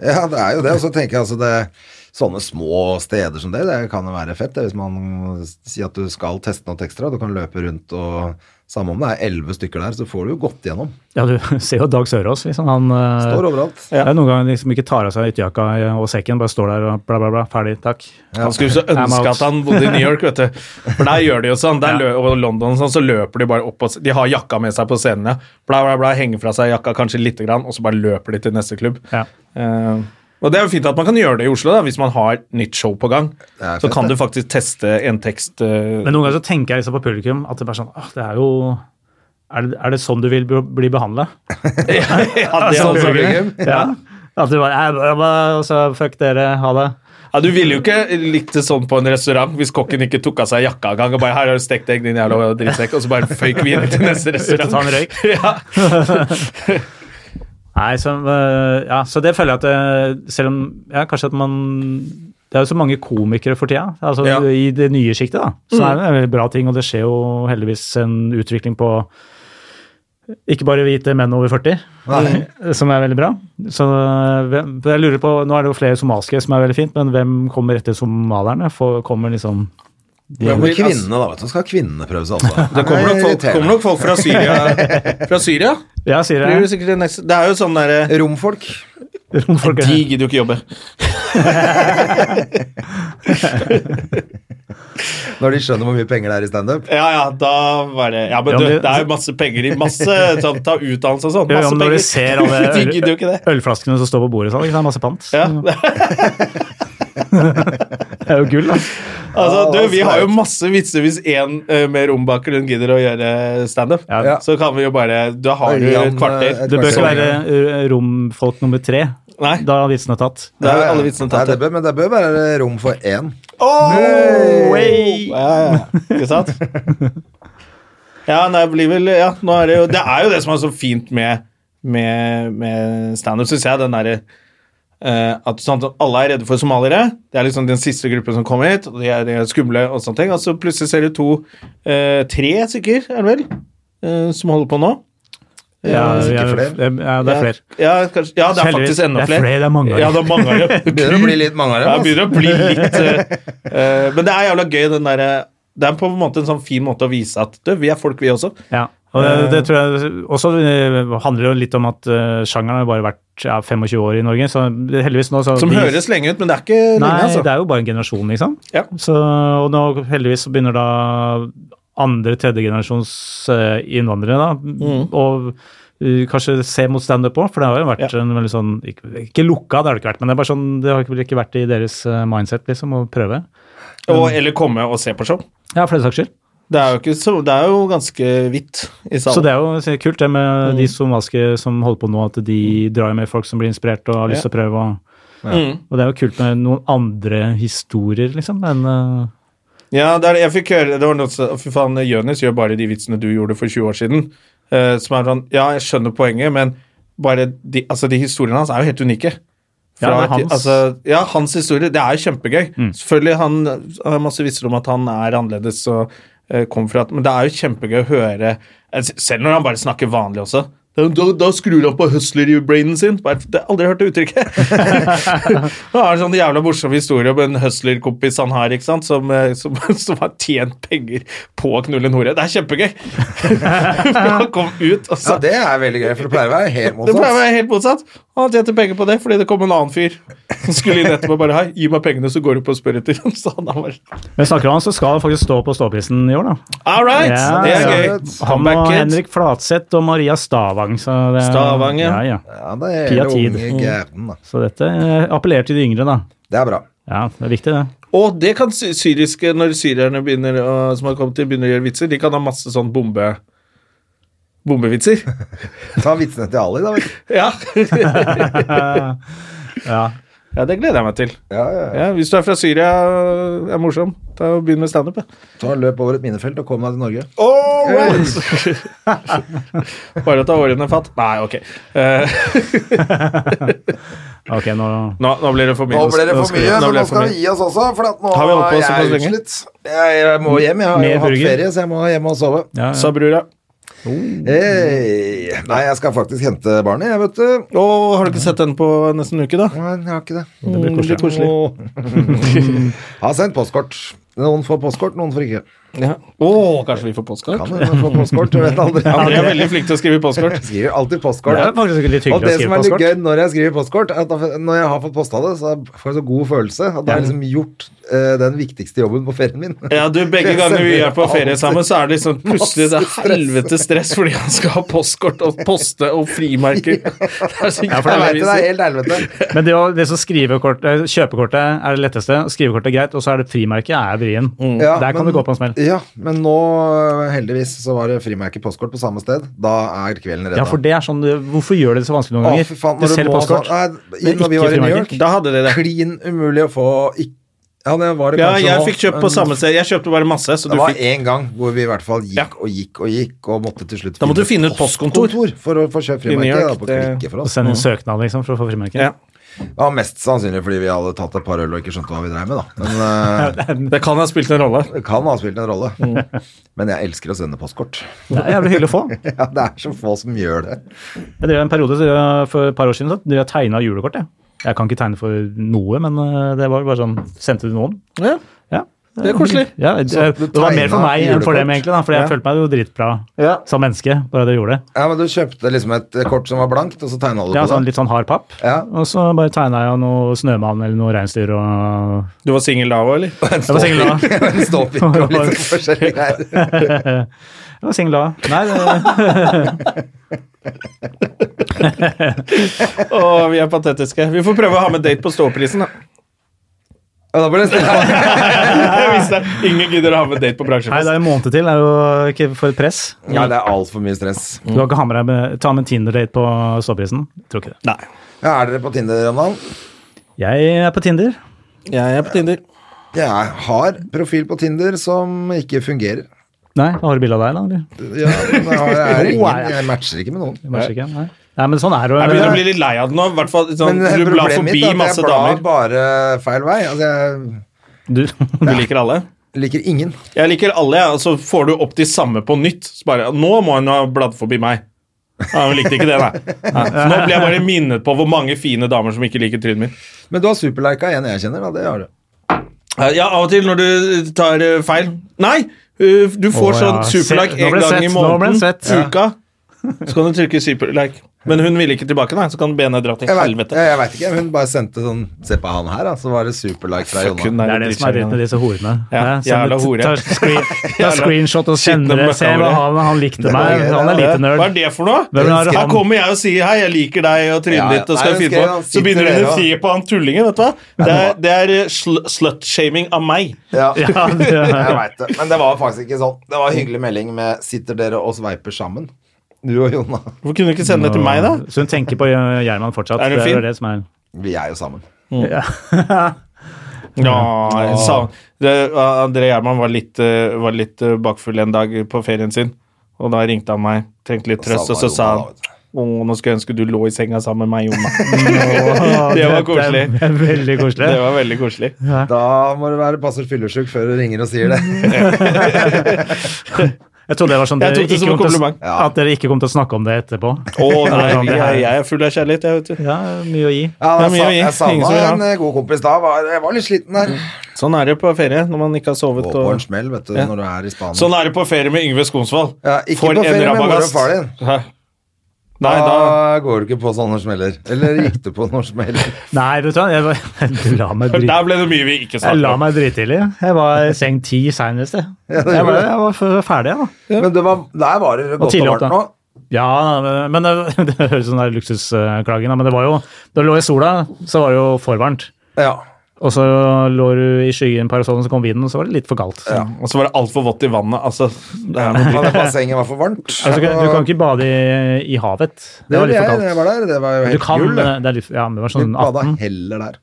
[SPEAKER 4] Ja, det er jo det. Og så tenker jeg altså det Sånne små steder som det, det kan jo være fett. Det, hvis man sier at du skal teste noe ekstra, du kan løpe rundt og Samme om det er elleve stykker der, så får du jo gått gjennom.
[SPEAKER 3] Ja, du ser jo Dag Sørås, liksom. Han eh,
[SPEAKER 4] Står overalt.
[SPEAKER 3] det er noen ganger liksom ikke tar av seg ytterjakka og sekken, bare står der og bla, bla, bla. Ferdig, takk.
[SPEAKER 1] Han skulle så
[SPEAKER 3] I'm out.
[SPEAKER 1] ønske at han bodde i New York, vet du. For der gjør de jo sånn. Der lø og London sånn, så løper de bare opp og s- De har jakka med seg på scenene. Bla, bla, bla. Henger fra seg jakka kanskje lite grann, og så bare løper de til neste klubb.
[SPEAKER 3] Ja.
[SPEAKER 1] Eh, og det er jo fint at man kan gjøre det i Oslo, da, hvis man har nytt show på gang.
[SPEAKER 4] er
[SPEAKER 1] Så
[SPEAKER 4] fett,
[SPEAKER 1] kan
[SPEAKER 4] det.
[SPEAKER 1] du faktisk teste en tekst. eh,
[SPEAKER 3] Men noen ganger så tenker jeg liksom på publikum at det bare er sånn, «Åh, det er jo er det, er det sånn du vil bli- bli behandla?
[SPEAKER 1] ja, det er
[SPEAKER 3] Sånn
[SPEAKER 1] også-
[SPEAKER 3] publikum? Ja. At du bare «Æ, bla, bla», og så Fuck dere, ha det.
[SPEAKER 1] ja, du ville jo ikke likt det sånn på en restaurant hvis kokken ikke tok av seg jakka engang og bare 'Her har du stekt egg, din jævla drittsekk', og så bare føyk vi inn til neste
[SPEAKER 3] Ut og ta
[SPEAKER 1] restaurant.
[SPEAKER 3] en røyk.
[SPEAKER 1] Ja.
[SPEAKER 3] Nei, så, øh, ja, så det føler jeg at øh, selv om ja, kanskje at man Det er jo så mange komikere for tida, altså
[SPEAKER 1] Ja. Mm.
[SPEAKER 3] i det nye sjiktet, da. Så er det en veldig bra ting, og det skjer jo heldigvis en utvikling på ikke bare hvite menn over 40, som er veldig bra. Så øh, hvem- jeg lurer på, Nå er det jo flere somalske som er veldig fint, men hvem kommer etter somalierne? For, kommer liksom
[SPEAKER 4] Men
[SPEAKER 1] blir-
[SPEAKER 4] kvinnene, da, vet du. Skal kvinnene prøve
[SPEAKER 2] altså.
[SPEAKER 4] seg også?
[SPEAKER 1] altså- Det kommer nok folk, kommer nok folk fra Syria. Fra Syria?
[SPEAKER 3] Ja, sier
[SPEAKER 1] Blir du
[SPEAKER 3] jeg.
[SPEAKER 1] sikkert en ekstra- Det er jo sånn derre
[SPEAKER 4] Romfolk.
[SPEAKER 3] Romfolk
[SPEAKER 1] De
[SPEAKER 3] er-
[SPEAKER 1] gidder jo ikke jobbe.
[SPEAKER 4] Når de skjønner hvor mye penger det er i standup.
[SPEAKER 1] Ja, ja, da var det Ja, men du,
[SPEAKER 3] Ja, men det-
[SPEAKER 1] det er jo masse penger i masse sånn, Ta utdannelse og sånn.
[SPEAKER 3] Ja, ja,
[SPEAKER 1] Masse
[SPEAKER 3] men
[SPEAKER 1] penger.
[SPEAKER 3] når du ser alle
[SPEAKER 1] De
[SPEAKER 3] øl-
[SPEAKER 1] gidder jo ikke det.
[SPEAKER 3] ølflaskene som står på bordet, sånn, ikke sant? masse pant.
[SPEAKER 1] Ja.
[SPEAKER 3] Det er jo gull, da.
[SPEAKER 1] Altså, du, vi har jo masse vitser hvis én eh, med rombakgrunn gidder å gjøre standup.
[SPEAKER 3] Ja.
[SPEAKER 1] Så kan vi jo bare Da har du
[SPEAKER 4] Ørjan,
[SPEAKER 1] et kvarter.
[SPEAKER 4] eh,
[SPEAKER 3] Det bør ikke
[SPEAKER 4] Kanskje.
[SPEAKER 3] være ø, romfolk nummer tre.
[SPEAKER 1] Nei,
[SPEAKER 3] Da er vitsen er tatt.
[SPEAKER 1] da er alle vitsene
[SPEAKER 4] Nei,
[SPEAKER 1] tatt.
[SPEAKER 4] det bør, men det bør være rom for én.
[SPEAKER 1] Åh!
[SPEAKER 3] Hey!
[SPEAKER 1] Ja, ja, ja. Ikke sant? Ja, nei, det blir vel ja, nå er det, jo, det er jo det som er så fint med, med, med standup, syns jeg. Den derre eh, at sånn, at alle er redde for somaliere. Det er liksom den siste gruppen som kom hit, og de er eh, skumle og sånne ting. Og så plutselig ser du to eh, Tre stykker, er det vel, eh, som holder på nå.
[SPEAKER 3] Ja,
[SPEAKER 4] sikkert
[SPEAKER 3] jeg-
[SPEAKER 4] flere.
[SPEAKER 3] jeg- Ja, det er flere.
[SPEAKER 1] Ja, kanskje, ja det er
[SPEAKER 3] Heldigvis.
[SPEAKER 1] faktisk enda
[SPEAKER 3] Det er
[SPEAKER 1] flere.
[SPEAKER 3] flere, det er mange av dem.
[SPEAKER 1] Ja, det er mange av dem.
[SPEAKER 4] Begynner å bli litt mange av
[SPEAKER 1] Ja,
[SPEAKER 4] dem.
[SPEAKER 1] det
[SPEAKER 4] altså.
[SPEAKER 1] begynner å bli litt eh, eh, Men det er jævla gøy, den derre Det er på en måte en sånn fin måte å vise at du, vi er folk, vi også.
[SPEAKER 3] Ja. Og det, det tror jeg også ø, handler jo litt om at ø, sjangeren har bare vært ja, 25 år i Norge, så heldigvis nå så
[SPEAKER 1] Som
[SPEAKER 3] de-
[SPEAKER 1] høres lenge ut, men det er ikke
[SPEAKER 3] Nei,
[SPEAKER 1] lenge, altså.
[SPEAKER 3] det er jo bare en generasjon, liksom.
[SPEAKER 1] Ja.
[SPEAKER 3] Så, og nå heldigvis så begynner da andre, tredje generasjons ø, innvandrere da, og ø, kanskje se mot standup òg, for det har jo vært
[SPEAKER 1] Ja.
[SPEAKER 3] en veldig sånn ikke, ikke lukka, det har det ikke vært, men det er bare sånn, det har vel ikke vært i deres ø, mindset, liksom, å prøve.
[SPEAKER 1] Og, eller komme og se på show.
[SPEAKER 3] Ja, for den saks skyld.
[SPEAKER 1] Det er jo, ikke, så, det er jo ganske hvitt i salen.
[SPEAKER 3] Så det er jo så kult det med de somaliske som holder på nå, at de drar med folk som blir inspirert og har lyst til å prøve. Og,
[SPEAKER 1] Mm.
[SPEAKER 3] og det er jo kult med noen andre historier, liksom. enn, eh,
[SPEAKER 1] Ja, det, er, det jeg fikk høre Det var noe som Fy faen, Jonis gjør bare de vitsene du gjorde for 20 år siden. Eh, som er sånn Ja, jeg skjønner poenget, men bare de, altså, de historiene hans er jo helt unike.
[SPEAKER 3] Ja, det er hans.
[SPEAKER 1] Altså, ja, hans historie. Det er jo kjempegøy. Selvfølgelig, han har masse visser om at han er annerledes og eh, kom fra at Men det er jo kjempegøy å høre eh, s- Selv når han bare snakker vanlig også. Da, da, da skrur han på hustler-brainen sin. Bare, det har jeg aldri hørt det uttrykket. Han har en sånn jævla morsom historie om en hustler-kompis han har, ikke sant, som, eh, som, som har tjent penger på å knulle en hore. Det er kjempegøy! han kom ut, og
[SPEAKER 2] Ja,
[SPEAKER 1] så
[SPEAKER 2] det er veldig gøy, for det pleier å være helt
[SPEAKER 1] det pleier å
[SPEAKER 2] motsatt.
[SPEAKER 1] være helt motsatt. Han tjente penger på det fordi det kom en annen fyr som skulle inn etterpå og bare Hei, gi meg pengene, så går du på og spør etter. Så han er bare
[SPEAKER 3] Men snakker om han, så skal han faktisk stå på ståprisen i år, da.
[SPEAKER 1] All right!
[SPEAKER 3] Ja,
[SPEAKER 1] det er
[SPEAKER 3] ja.
[SPEAKER 1] gøy.
[SPEAKER 3] Han
[SPEAKER 1] Comeback
[SPEAKER 3] og
[SPEAKER 1] kid.
[SPEAKER 3] Henrik Flatseth og Maria Stavang. Så det,
[SPEAKER 1] Stavang, ja.
[SPEAKER 3] ja, ja.
[SPEAKER 2] Ja, det er
[SPEAKER 3] Pia
[SPEAKER 2] hele
[SPEAKER 3] Tid.
[SPEAKER 2] unge gæren, da.
[SPEAKER 3] Så dette eh, appellerer til de yngre, da.
[SPEAKER 2] Det er bra.
[SPEAKER 3] Ja, det er viktig, det.
[SPEAKER 1] Og det kan sy- syriske, når syrerne begynner å, som har kommet til, begynner å gjøre vitser, de kan ha masse sånn bombe... Bombevitser.
[SPEAKER 2] Ta vitsene til Ali, da. vet du.
[SPEAKER 1] Ja.
[SPEAKER 3] Eh, Ja.
[SPEAKER 1] ja, det gleder jeg meg til.
[SPEAKER 2] Ja, ja, ja.
[SPEAKER 1] Ja, hvis du er fra Syria og er morsom, ta og begynn med standup. ja.
[SPEAKER 2] Ta Løp over et minefelt og kom deg til Norge.
[SPEAKER 1] All right! Bare ta årene fatt. Nei, ok. Eh,
[SPEAKER 3] Ok, nå
[SPEAKER 1] nå, nå blir det for mye.
[SPEAKER 2] Nå ble det for mye,
[SPEAKER 1] nå
[SPEAKER 2] men
[SPEAKER 1] ble
[SPEAKER 2] nå
[SPEAKER 1] det for
[SPEAKER 2] skal
[SPEAKER 1] mye.
[SPEAKER 2] vi gi oss også, for at nå
[SPEAKER 1] Har vi holdt på
[SPEAKER 2] er
[SPEAKER 1] såpass
[SPEAKER 2] jeg
[SPEAKER 1] lenge?
[SPEAKER 2] utslitt. Jeg, jeg må hjem, jeg har
[SPEAKER 3] Mer
[SPEAKER 2] jo hatt
[SPEAKER 3] burger?
[SPEAKER 2] ferie, så jeg må hjem og sove.
[SPEAKER 3] ja, ja.
[SPEAKER 1] Sa brura.
[SPEAKER 2] Hey. Nei, jeg skal faktisk hente barnet, jeg, vet du.
[SPEAKER 1] Å, har du ikke sett den på nesten en uke, da?
[SPEAKER 2] Nei, jeg har ikke det.
[SPEAKER 1] Det blir koselig.
[SPEAKER 2] Har sendt postkort. Noen får postkort, noen får ikke.
[SPEAKER 1] Ja. Å, kanskje vi får postkort?
[SPEAKER 2] Kan hende få postkort, du vet aldri.
[SPEAKER 1] Ja, de er veldig flinke til å skrive postkort.
[SPEAKER 2] Skriver alltid
[SPEAKER 3] Det
[SPEAKER 2] postkort.
[SPEAKER 3] er faktisk
[SPEAKER 2] Og
[SPEAKER 3] litt hyggelig
[SPEAKER 2] det
[SPEAKER 3] å
[SPEAKER 2] som
[SPEAKER 3] skrive
[SPEAKER 2] er litt
[SPEAKER 3] postkort.
[SPEAKER 2] gøy når jeg skriver postkort, er at da- når jeg har fått posta det, så får jeg så god følelse. At da har jeg liksom gjort eh, den viktigste jobben på ferien min.
[SPEAKER 1] Ja, du, Begge ganger vi er på ferie sammen, så er det liksom plutselig det er
[SPEAKER 2] Masse stress.
[SPEAKER 1] helvete stress fordi han skal ha postkort og poste og frimerker. Det er så
[SPEAKER 2] Jeg vet det, det er
[SPEAKER 1] jævlig.
[SPEAKER 2] helt helvete.
[SPEAKER 3] Men det, å- det som skriver kort, eh, kjøpekortet er det letteste, skrivekortet er greit, og så er det frimerket er vrien.
[SPEAKER 2] Ja,
[SPEAKER 3] Der kan
[SPEAKER 2] men-
[SPEAKER 3] du gå på en smell.
[SPEAKER 2] Ja, men nå, heldigvis, så var det frimerke postkort på samme sted. Da er kvelden redda.
[SPEAKER 3] Ja, for det er sånn, du- Hvorfor gjør det så vanskelig
[SPEAKER 2] Å,
[SPEAKER 3] noen ganger?
[SPEAKER 2] fy faen,
[SPEAKER 3] du
[SPEAKER 2] når du
[SPEAKER 3] selger
[SPEAKER 2] må
[SPEAKER 3] postkort.
[SPEAKER 2] sånn- Nei,
[SPEAKER 3] men
[SPEAKER 2] når vi
[SPEAKER 3] ikke
[SPEAKER 2] var i New
[SPEAKER 3] frimerker.
[SPEAKER 2] York,
[SPEAKER 1] Da hadde dere det.
[SPEAKER 2] Klin umulig å få ikk- Ja, det var det
[SPEAKER 1] Ja,
[SPEAKER 2] kanskje
[SPEAKER 1] jeg
[SPEAKER 2] nå,
[SPEAKER 1] fikk kjøpt på
[SPEAKER 2] men-
[SPEAKER 1] samme sted. Jeg kjøpte bare masse, så
[SPEAKER 2] Det
[SPEAKER 1] du
[SPEAKER 2] var
[SPEAKER 1] fikk
[SPEAKER 2] én gang hvor vi i hvert fall gikk
[SPEAKER 1] Ja.
[SPEAKER 2] og gikk og gikk og måtte til slutt
[SPEAKER 1] Da måtte du finne et postkontor.
[SPEAKER 2] for å få kjøpt
[SPEAKER 1] I New
[SPEAKER 2] frimerke. da,
[SPEAKER 1] York,
[SPEAKER 2] på
[SPEAKER 1] det-
[SPEAKER 2] klikke for
[SPEAKER 3] Og
[SPEAKER 2] oss.
[SPEAKER 3] sende inn søknad liksom, for å få frimerke.
[SPEAKER 1] Ja.
[SPEAKER 2] Ja, mest sannsynlig fordi vi hadde tatt et par øl og ikke skjønte hva vi dreiv med, da. Men eh,
[SPEAKER 1] Det Mm. kan ha spilt en rolle.
[SPEAKER 2] det kan ha spilt en rolle. Men jeg elsker å sende postkort.
[SPEAKER 3] Det er jævlig hyggelig å få.
[SPEAKER 2] Ja, det er så få som gjør det.
[SPEAKER 3] Jeg drev en periode så jeg- for et par år siden så drev jeg tegna julekort. Jeg. jeg kan ikke tegne for noe, men eh, det var bare sånn Sendte du noen?
[SPEAKER 1] Ja.
[SPEAKER 3] Ja.
[SPEAKER 1] Det er koselig.
[SPEAKER 3] Ja, det,
[SPEAKER 2] Så du
[SPEAKER 3] det var mer for
[SPEAKER 2] tegna
[SPEAKER 3] meg enn for dem,
[SPEAKER 2] julekort?
[SPEAKER 3] egentlig, da, for jeg
[SPEAKER 1] Ja.
[SPEAKER 3] følte meg jo dritbra
[SPEAKER 1] Ja.
[SPEAKER 3] som menneske. bare det jeg gjorde.
[SPEAKER 2] Ja, men Du kjøpte liksom et kort som var blankt, og så tegna du
[SPEAKER 3] Ja,
[SPEAKER 2] på
[SPEAKER 3] sånn,
[SPEAKER 2] det?
[SPEAKER 3] Litt sånn hard papp.
[SPEAKER 2] Ja.
[SPEAKER 3] Og så bare tegna jeg noe snømann eller noe reinsdyr og
[SPEAKER 1] Du var singel da òg, eller?
[SPEAKER 3] Jeg var singel da.
[SPEAKER 2] En ståpikk og litt sånn forskjellige greier.
[SPEAKER 3] Jeg var singel da. Nei, det,
[SPEAKER 1] Å, vi er patetiske. Vi får prøve å ha med date på ståprisen, da.
[SPEAKER 2] Ja, da ble det stille.
[SPEAKER 1] Hvis det er ingen gidder å ha med date på
[SPEAKER 3] nei, det
[SPEAKER 1] bransjefest.
[SPEAKER 3] er en måned til. Det er jo ikke for et press.
[SPEAKER 2] Ja, det er altfor mye stress.
[SPEAKER 3] Du kan ikke ha med deg med, ta med en Tinder-date på ståprisen. Tror ikke det.
[SPEAKER 1] Nei.
[SPEAKER 2] Ja, er dere på Tinder, Ronald?
[SPEAKER 3] Jeg er på Tinder.
[SPEAKER 1] Jeg er på Tinder.
[SPEAKER 2] Jeg har profil på Tinder som ikke fungerer.
[SPEAKER 3] Nei, har du bilde av deg, da? eller?
[SPEAKER 2] Ja, men jeg, har- jeg, er ingen, jeg matcher ikke med noen.
[SPEAKER 3] Jeg bare sjekker, Nei. Nei, men sånn er det jo.
[SPEAKER 1] Jeg begynner å bli litt lei av det nå. i hvert fall sånn,
[SPEAKER 2] Men eh,
[SPEAKER 1] Du blar
[SPEAKER 2] problemet mitt er
[SPEAKER 1] forbi
[SPEAKER 2] at
[SPEAKER 1] masse
[SPEAKER 2] jeg blar
[SPEAKER 1] damer.
[SPEAKER 2] bare feil vei. Altså, jeg
[SPEAKER 3] Du,
[SPEAKER 1] Du liker alle?
[SPEAKER 2] liker ingen.
[SPEAKER 1] Jeg liker alle, jeg, og så får du opp de samme på nytt. Så bare, Nå må hun ha bladd forbi meg. Ja, Hun likte ikke det, nei. Ja, så Nå ble jeg bare minnet på hvor mange fine damer som ikke liker trynet mitt.
[SPEAKER 2] Men du har superlika en jeg kjenner, da. Det har du.
[SPEAKER 1] Ja, Av og til når du tar eh, feil Nei! eh, Du får
[SPEAKER 3] Å,
[SPEAKER 1] sånn
[SPEAKER 3] ja. Se-
[SPEAKER 1] superlike
[SPEAKER 3] nå
[SPEAKER 1] en
[SPEAKER 3] ble det
[SPEAKER 1] gang
[SPEAKER 3] svett,
[SPEAKER 1] i
[SPEAKER 3] nå ble det
[SPEAKER 1] måneden.
[SPEAKER 3] svett.
[SPEAKER 1] Uka. Så kan du trykke superlike. Men hun ville ikke tilbake, nei, så kan benet dra til
[SPEAKER 2] Jeg vet,
[SPEAKER 1] helvete.
[SPEAKER 2] jeg, jeg vet ikke, hun bare sendte sånn Se på han her, da. Så var det superlike fra
[SPEAKER 1] Fuck, hun
[SPEAKER 2] Jonna.
[SPEAKER 3] Det er det som er dritt med disse horene.
[SPEAKER 1] Ja,
[SPEAKER 3] Hæ? Send
[SPEAKER 1] jævla
[SPEAKER 3] et-
[SPEAKER 1] hore.
[SPEAKER 3] Ta, screen, ta
[SPEAKER 1] Jævla
[SPEAKER 3] screenshot og sender
[SPEAKER 1] skitne
[SPEAKER 3] det. Se hva han, han likte meg.
[SPEAKER 2] gøy,
[SPEAKER 3] Han
[SPEAKER 2] det,
[SPEAKER 3] er lite
[SPEAKER 1] Hva er
[SPEAKER 3] nerd.
[SPEAKER 1] det for noe?
[SPEAKER 3] Hvem er det
[SPEAKER 1] Her
[SPEAKER 3] han-
[SPEAKER 1] kommer jeg og sier 'hei, jeg liker deg og trynet
[SPEAKER 2] Ja, ja.
[SPEAKER 1] ditt' og skal
[SPEAKER 2] Nei,
[SPEAKER 1] finne
[SPEAKER 2] skrev
[SPEAKER 1] på
[SPEAKER 2] han,
[SPEAKER 1] Så begynner
[SPEAKER 2] sitter
[SPEAKER 1] hun
[SPEAKER 2] dere
[SPEAKER 1] å
[SPEAKER 2] og-
[SPEAKER 1] se på han tullingen, vet du hva. Det er, det er eh, sl slutshaming av meg.
[SPEAKER 2] Ja.
[SPEAKER 3] Ja, det-
[SPEAKER 2] Jeg vet det. Men det var faktisk ikke sånn. Det var en hyggelig melding med 'Sitter dere og sveiper sammen'? Du og Jonna.
[SPEAKER 1] Hvorfor kunne du ikke sende det til meg, da?
[SPEAKER 3] Så hun tenker på eh, Gjerman fortsatt.
[SPEAKER 1] Er hun
[SPEAKER 3] det er
[SPEAKER 1] fin?
[SPEAKER 3] det som er
[SPEAKER 2] Vi er jo sammen.
[SPEAKER 1] Ja, jeg sa, det, André Gjerman var litt, eh, var litt eh, bakfull en dag på ferien sin, og da ringte han meg, trengte litt trøst, og så
[SPEAKER 2] Jonna,
[SPEAKER 1] sa han
[SPEAKER 2] da, vet du.
[SPEAKER 1] Å, nå skulle jeg ønske du lå i senga sammen med meg, Jonna. det var koselig.
[SPEAKER 3] Det er veldig koselig.
[SPEAKER 1] Det var veldig koselig.
[SPEAKER 2] Da må du være passe fyllesyk før du ringer og sier det.
[SPEAKER 3] Mm. Jeg trodde det var sånn
[SPEAKER 1] Jeg tok
[SPEAKER 3] dere
[SPEAKER 1] det
[SPEAKER 3] ikke
[SPEAKER 1] som en
[SPEAKER 3] kom til å-
[SPEAKER 1] kompliment.
[SPEAKER 2] Ja.
[SPEAKER 3] At dere ikke kom til å snakke om det etterpå.
[SPEAKER 1] Å nei, jeg, jeg er full av kjærlighet, jeg, vet du.
[SPEAKER 3] Ja, mye å gi.
[SPEAKER 2] Ja, jeg,
[SPEAKER 1] Ja, men
[SPEAKER 2] sa,
[SPEAKER 1] jeg-
[SPEAKER 2] jeg
[SPEAKER 1] ingen som
[SPEAKER 2] savna
[SPEAKER 1] vil ha.
[SPEAKER 2] en eh, god kompis da. Var, jeg var litt sliten der.
[SPEAKER 3] Mm.
[SPEAKER 1] Sånn er det på ferie når man ikke har sovet.
[SPEAKER 2] Gå på en
[SPEAKER 1] Og...
[SPEAKER 2] smell, vet du, når du er i Spania.
[SPEAKER 1] Sånn er det på ferie med Yngve Skonsvold.
[SPEAKER 2] Ja, ikke på ferie med mor og far din. Ah.
[SPEAKER 1] Hæ? Nei,
[SPEAKER 2] da...
[SPEAKER 1] da
[SPEAKER 2] går du ikke på sånne smeller. Eller gikk du på noen smeller?
[SPEAKER 3] Nei, vet du hva, jeg, var- du la meg drite
[SPEAKER 1] Der ble det mye vi ikke
[SPEAKER 3] jeg
[SPEAKER 1] snakket
[SPEAKER 3] la
[SPEAKER 1] om.
[SPEAKER 3] meg drittidlig. Jeg var i seng ti seinest, jeg. Jeg
[SPEAKER 2] det gjorde
[SPEAKER 3] var,
[SPEAKER 2] det.
[SPEAKER 3] jeg var f- ferdig, jeg, da.
[SPEAKER 2] Men det var, der var det godt og
[SPEAKER 3] tidlig opp,
[SPEAKER 2] varmt
[SPEAKER 3] da.
[SPEAKER 2] nå.
[SPEAKER 3] Ja, men det, det høres sånn der luksusklaging da, men det var jo, da du lå i sola, så var det jo for varmt.
[SPEAKER 2] Ja.
[SPEAKER 3] Og så lå du i skyggen i parasollen, så kom vinden, og så var det litt for kaldt.
[SPEAKER 1] Og så var det altfor vått i vannet. Altså, det er noe
[SPEAKER 2] Men det bassenget var for varmt.
[SPEAKER 3] Altså, du kan- du kan ikke bade i, i havet. Det var
[SPEAKER 2] det
[SPEAKER 3] litt for
[SPEAKER 2] jeg, det
[SPEAKER 3] kaldt.
[SPEAKER 2] var der. Det var jo
[SPEAKER 3] Du
[SPEAKER 2] helt
[SPEAKER 3] kan,
[SPEAKER 2] gull. det.
[SPEAKER 3] men det, er litt, ja, men det var
[SPEAKER 2] Vi
[SPEAKER 3] sånn
[SPEAKER 2] bada
[SPEAKER 3] 18.
[SPEAKER 2] heller der.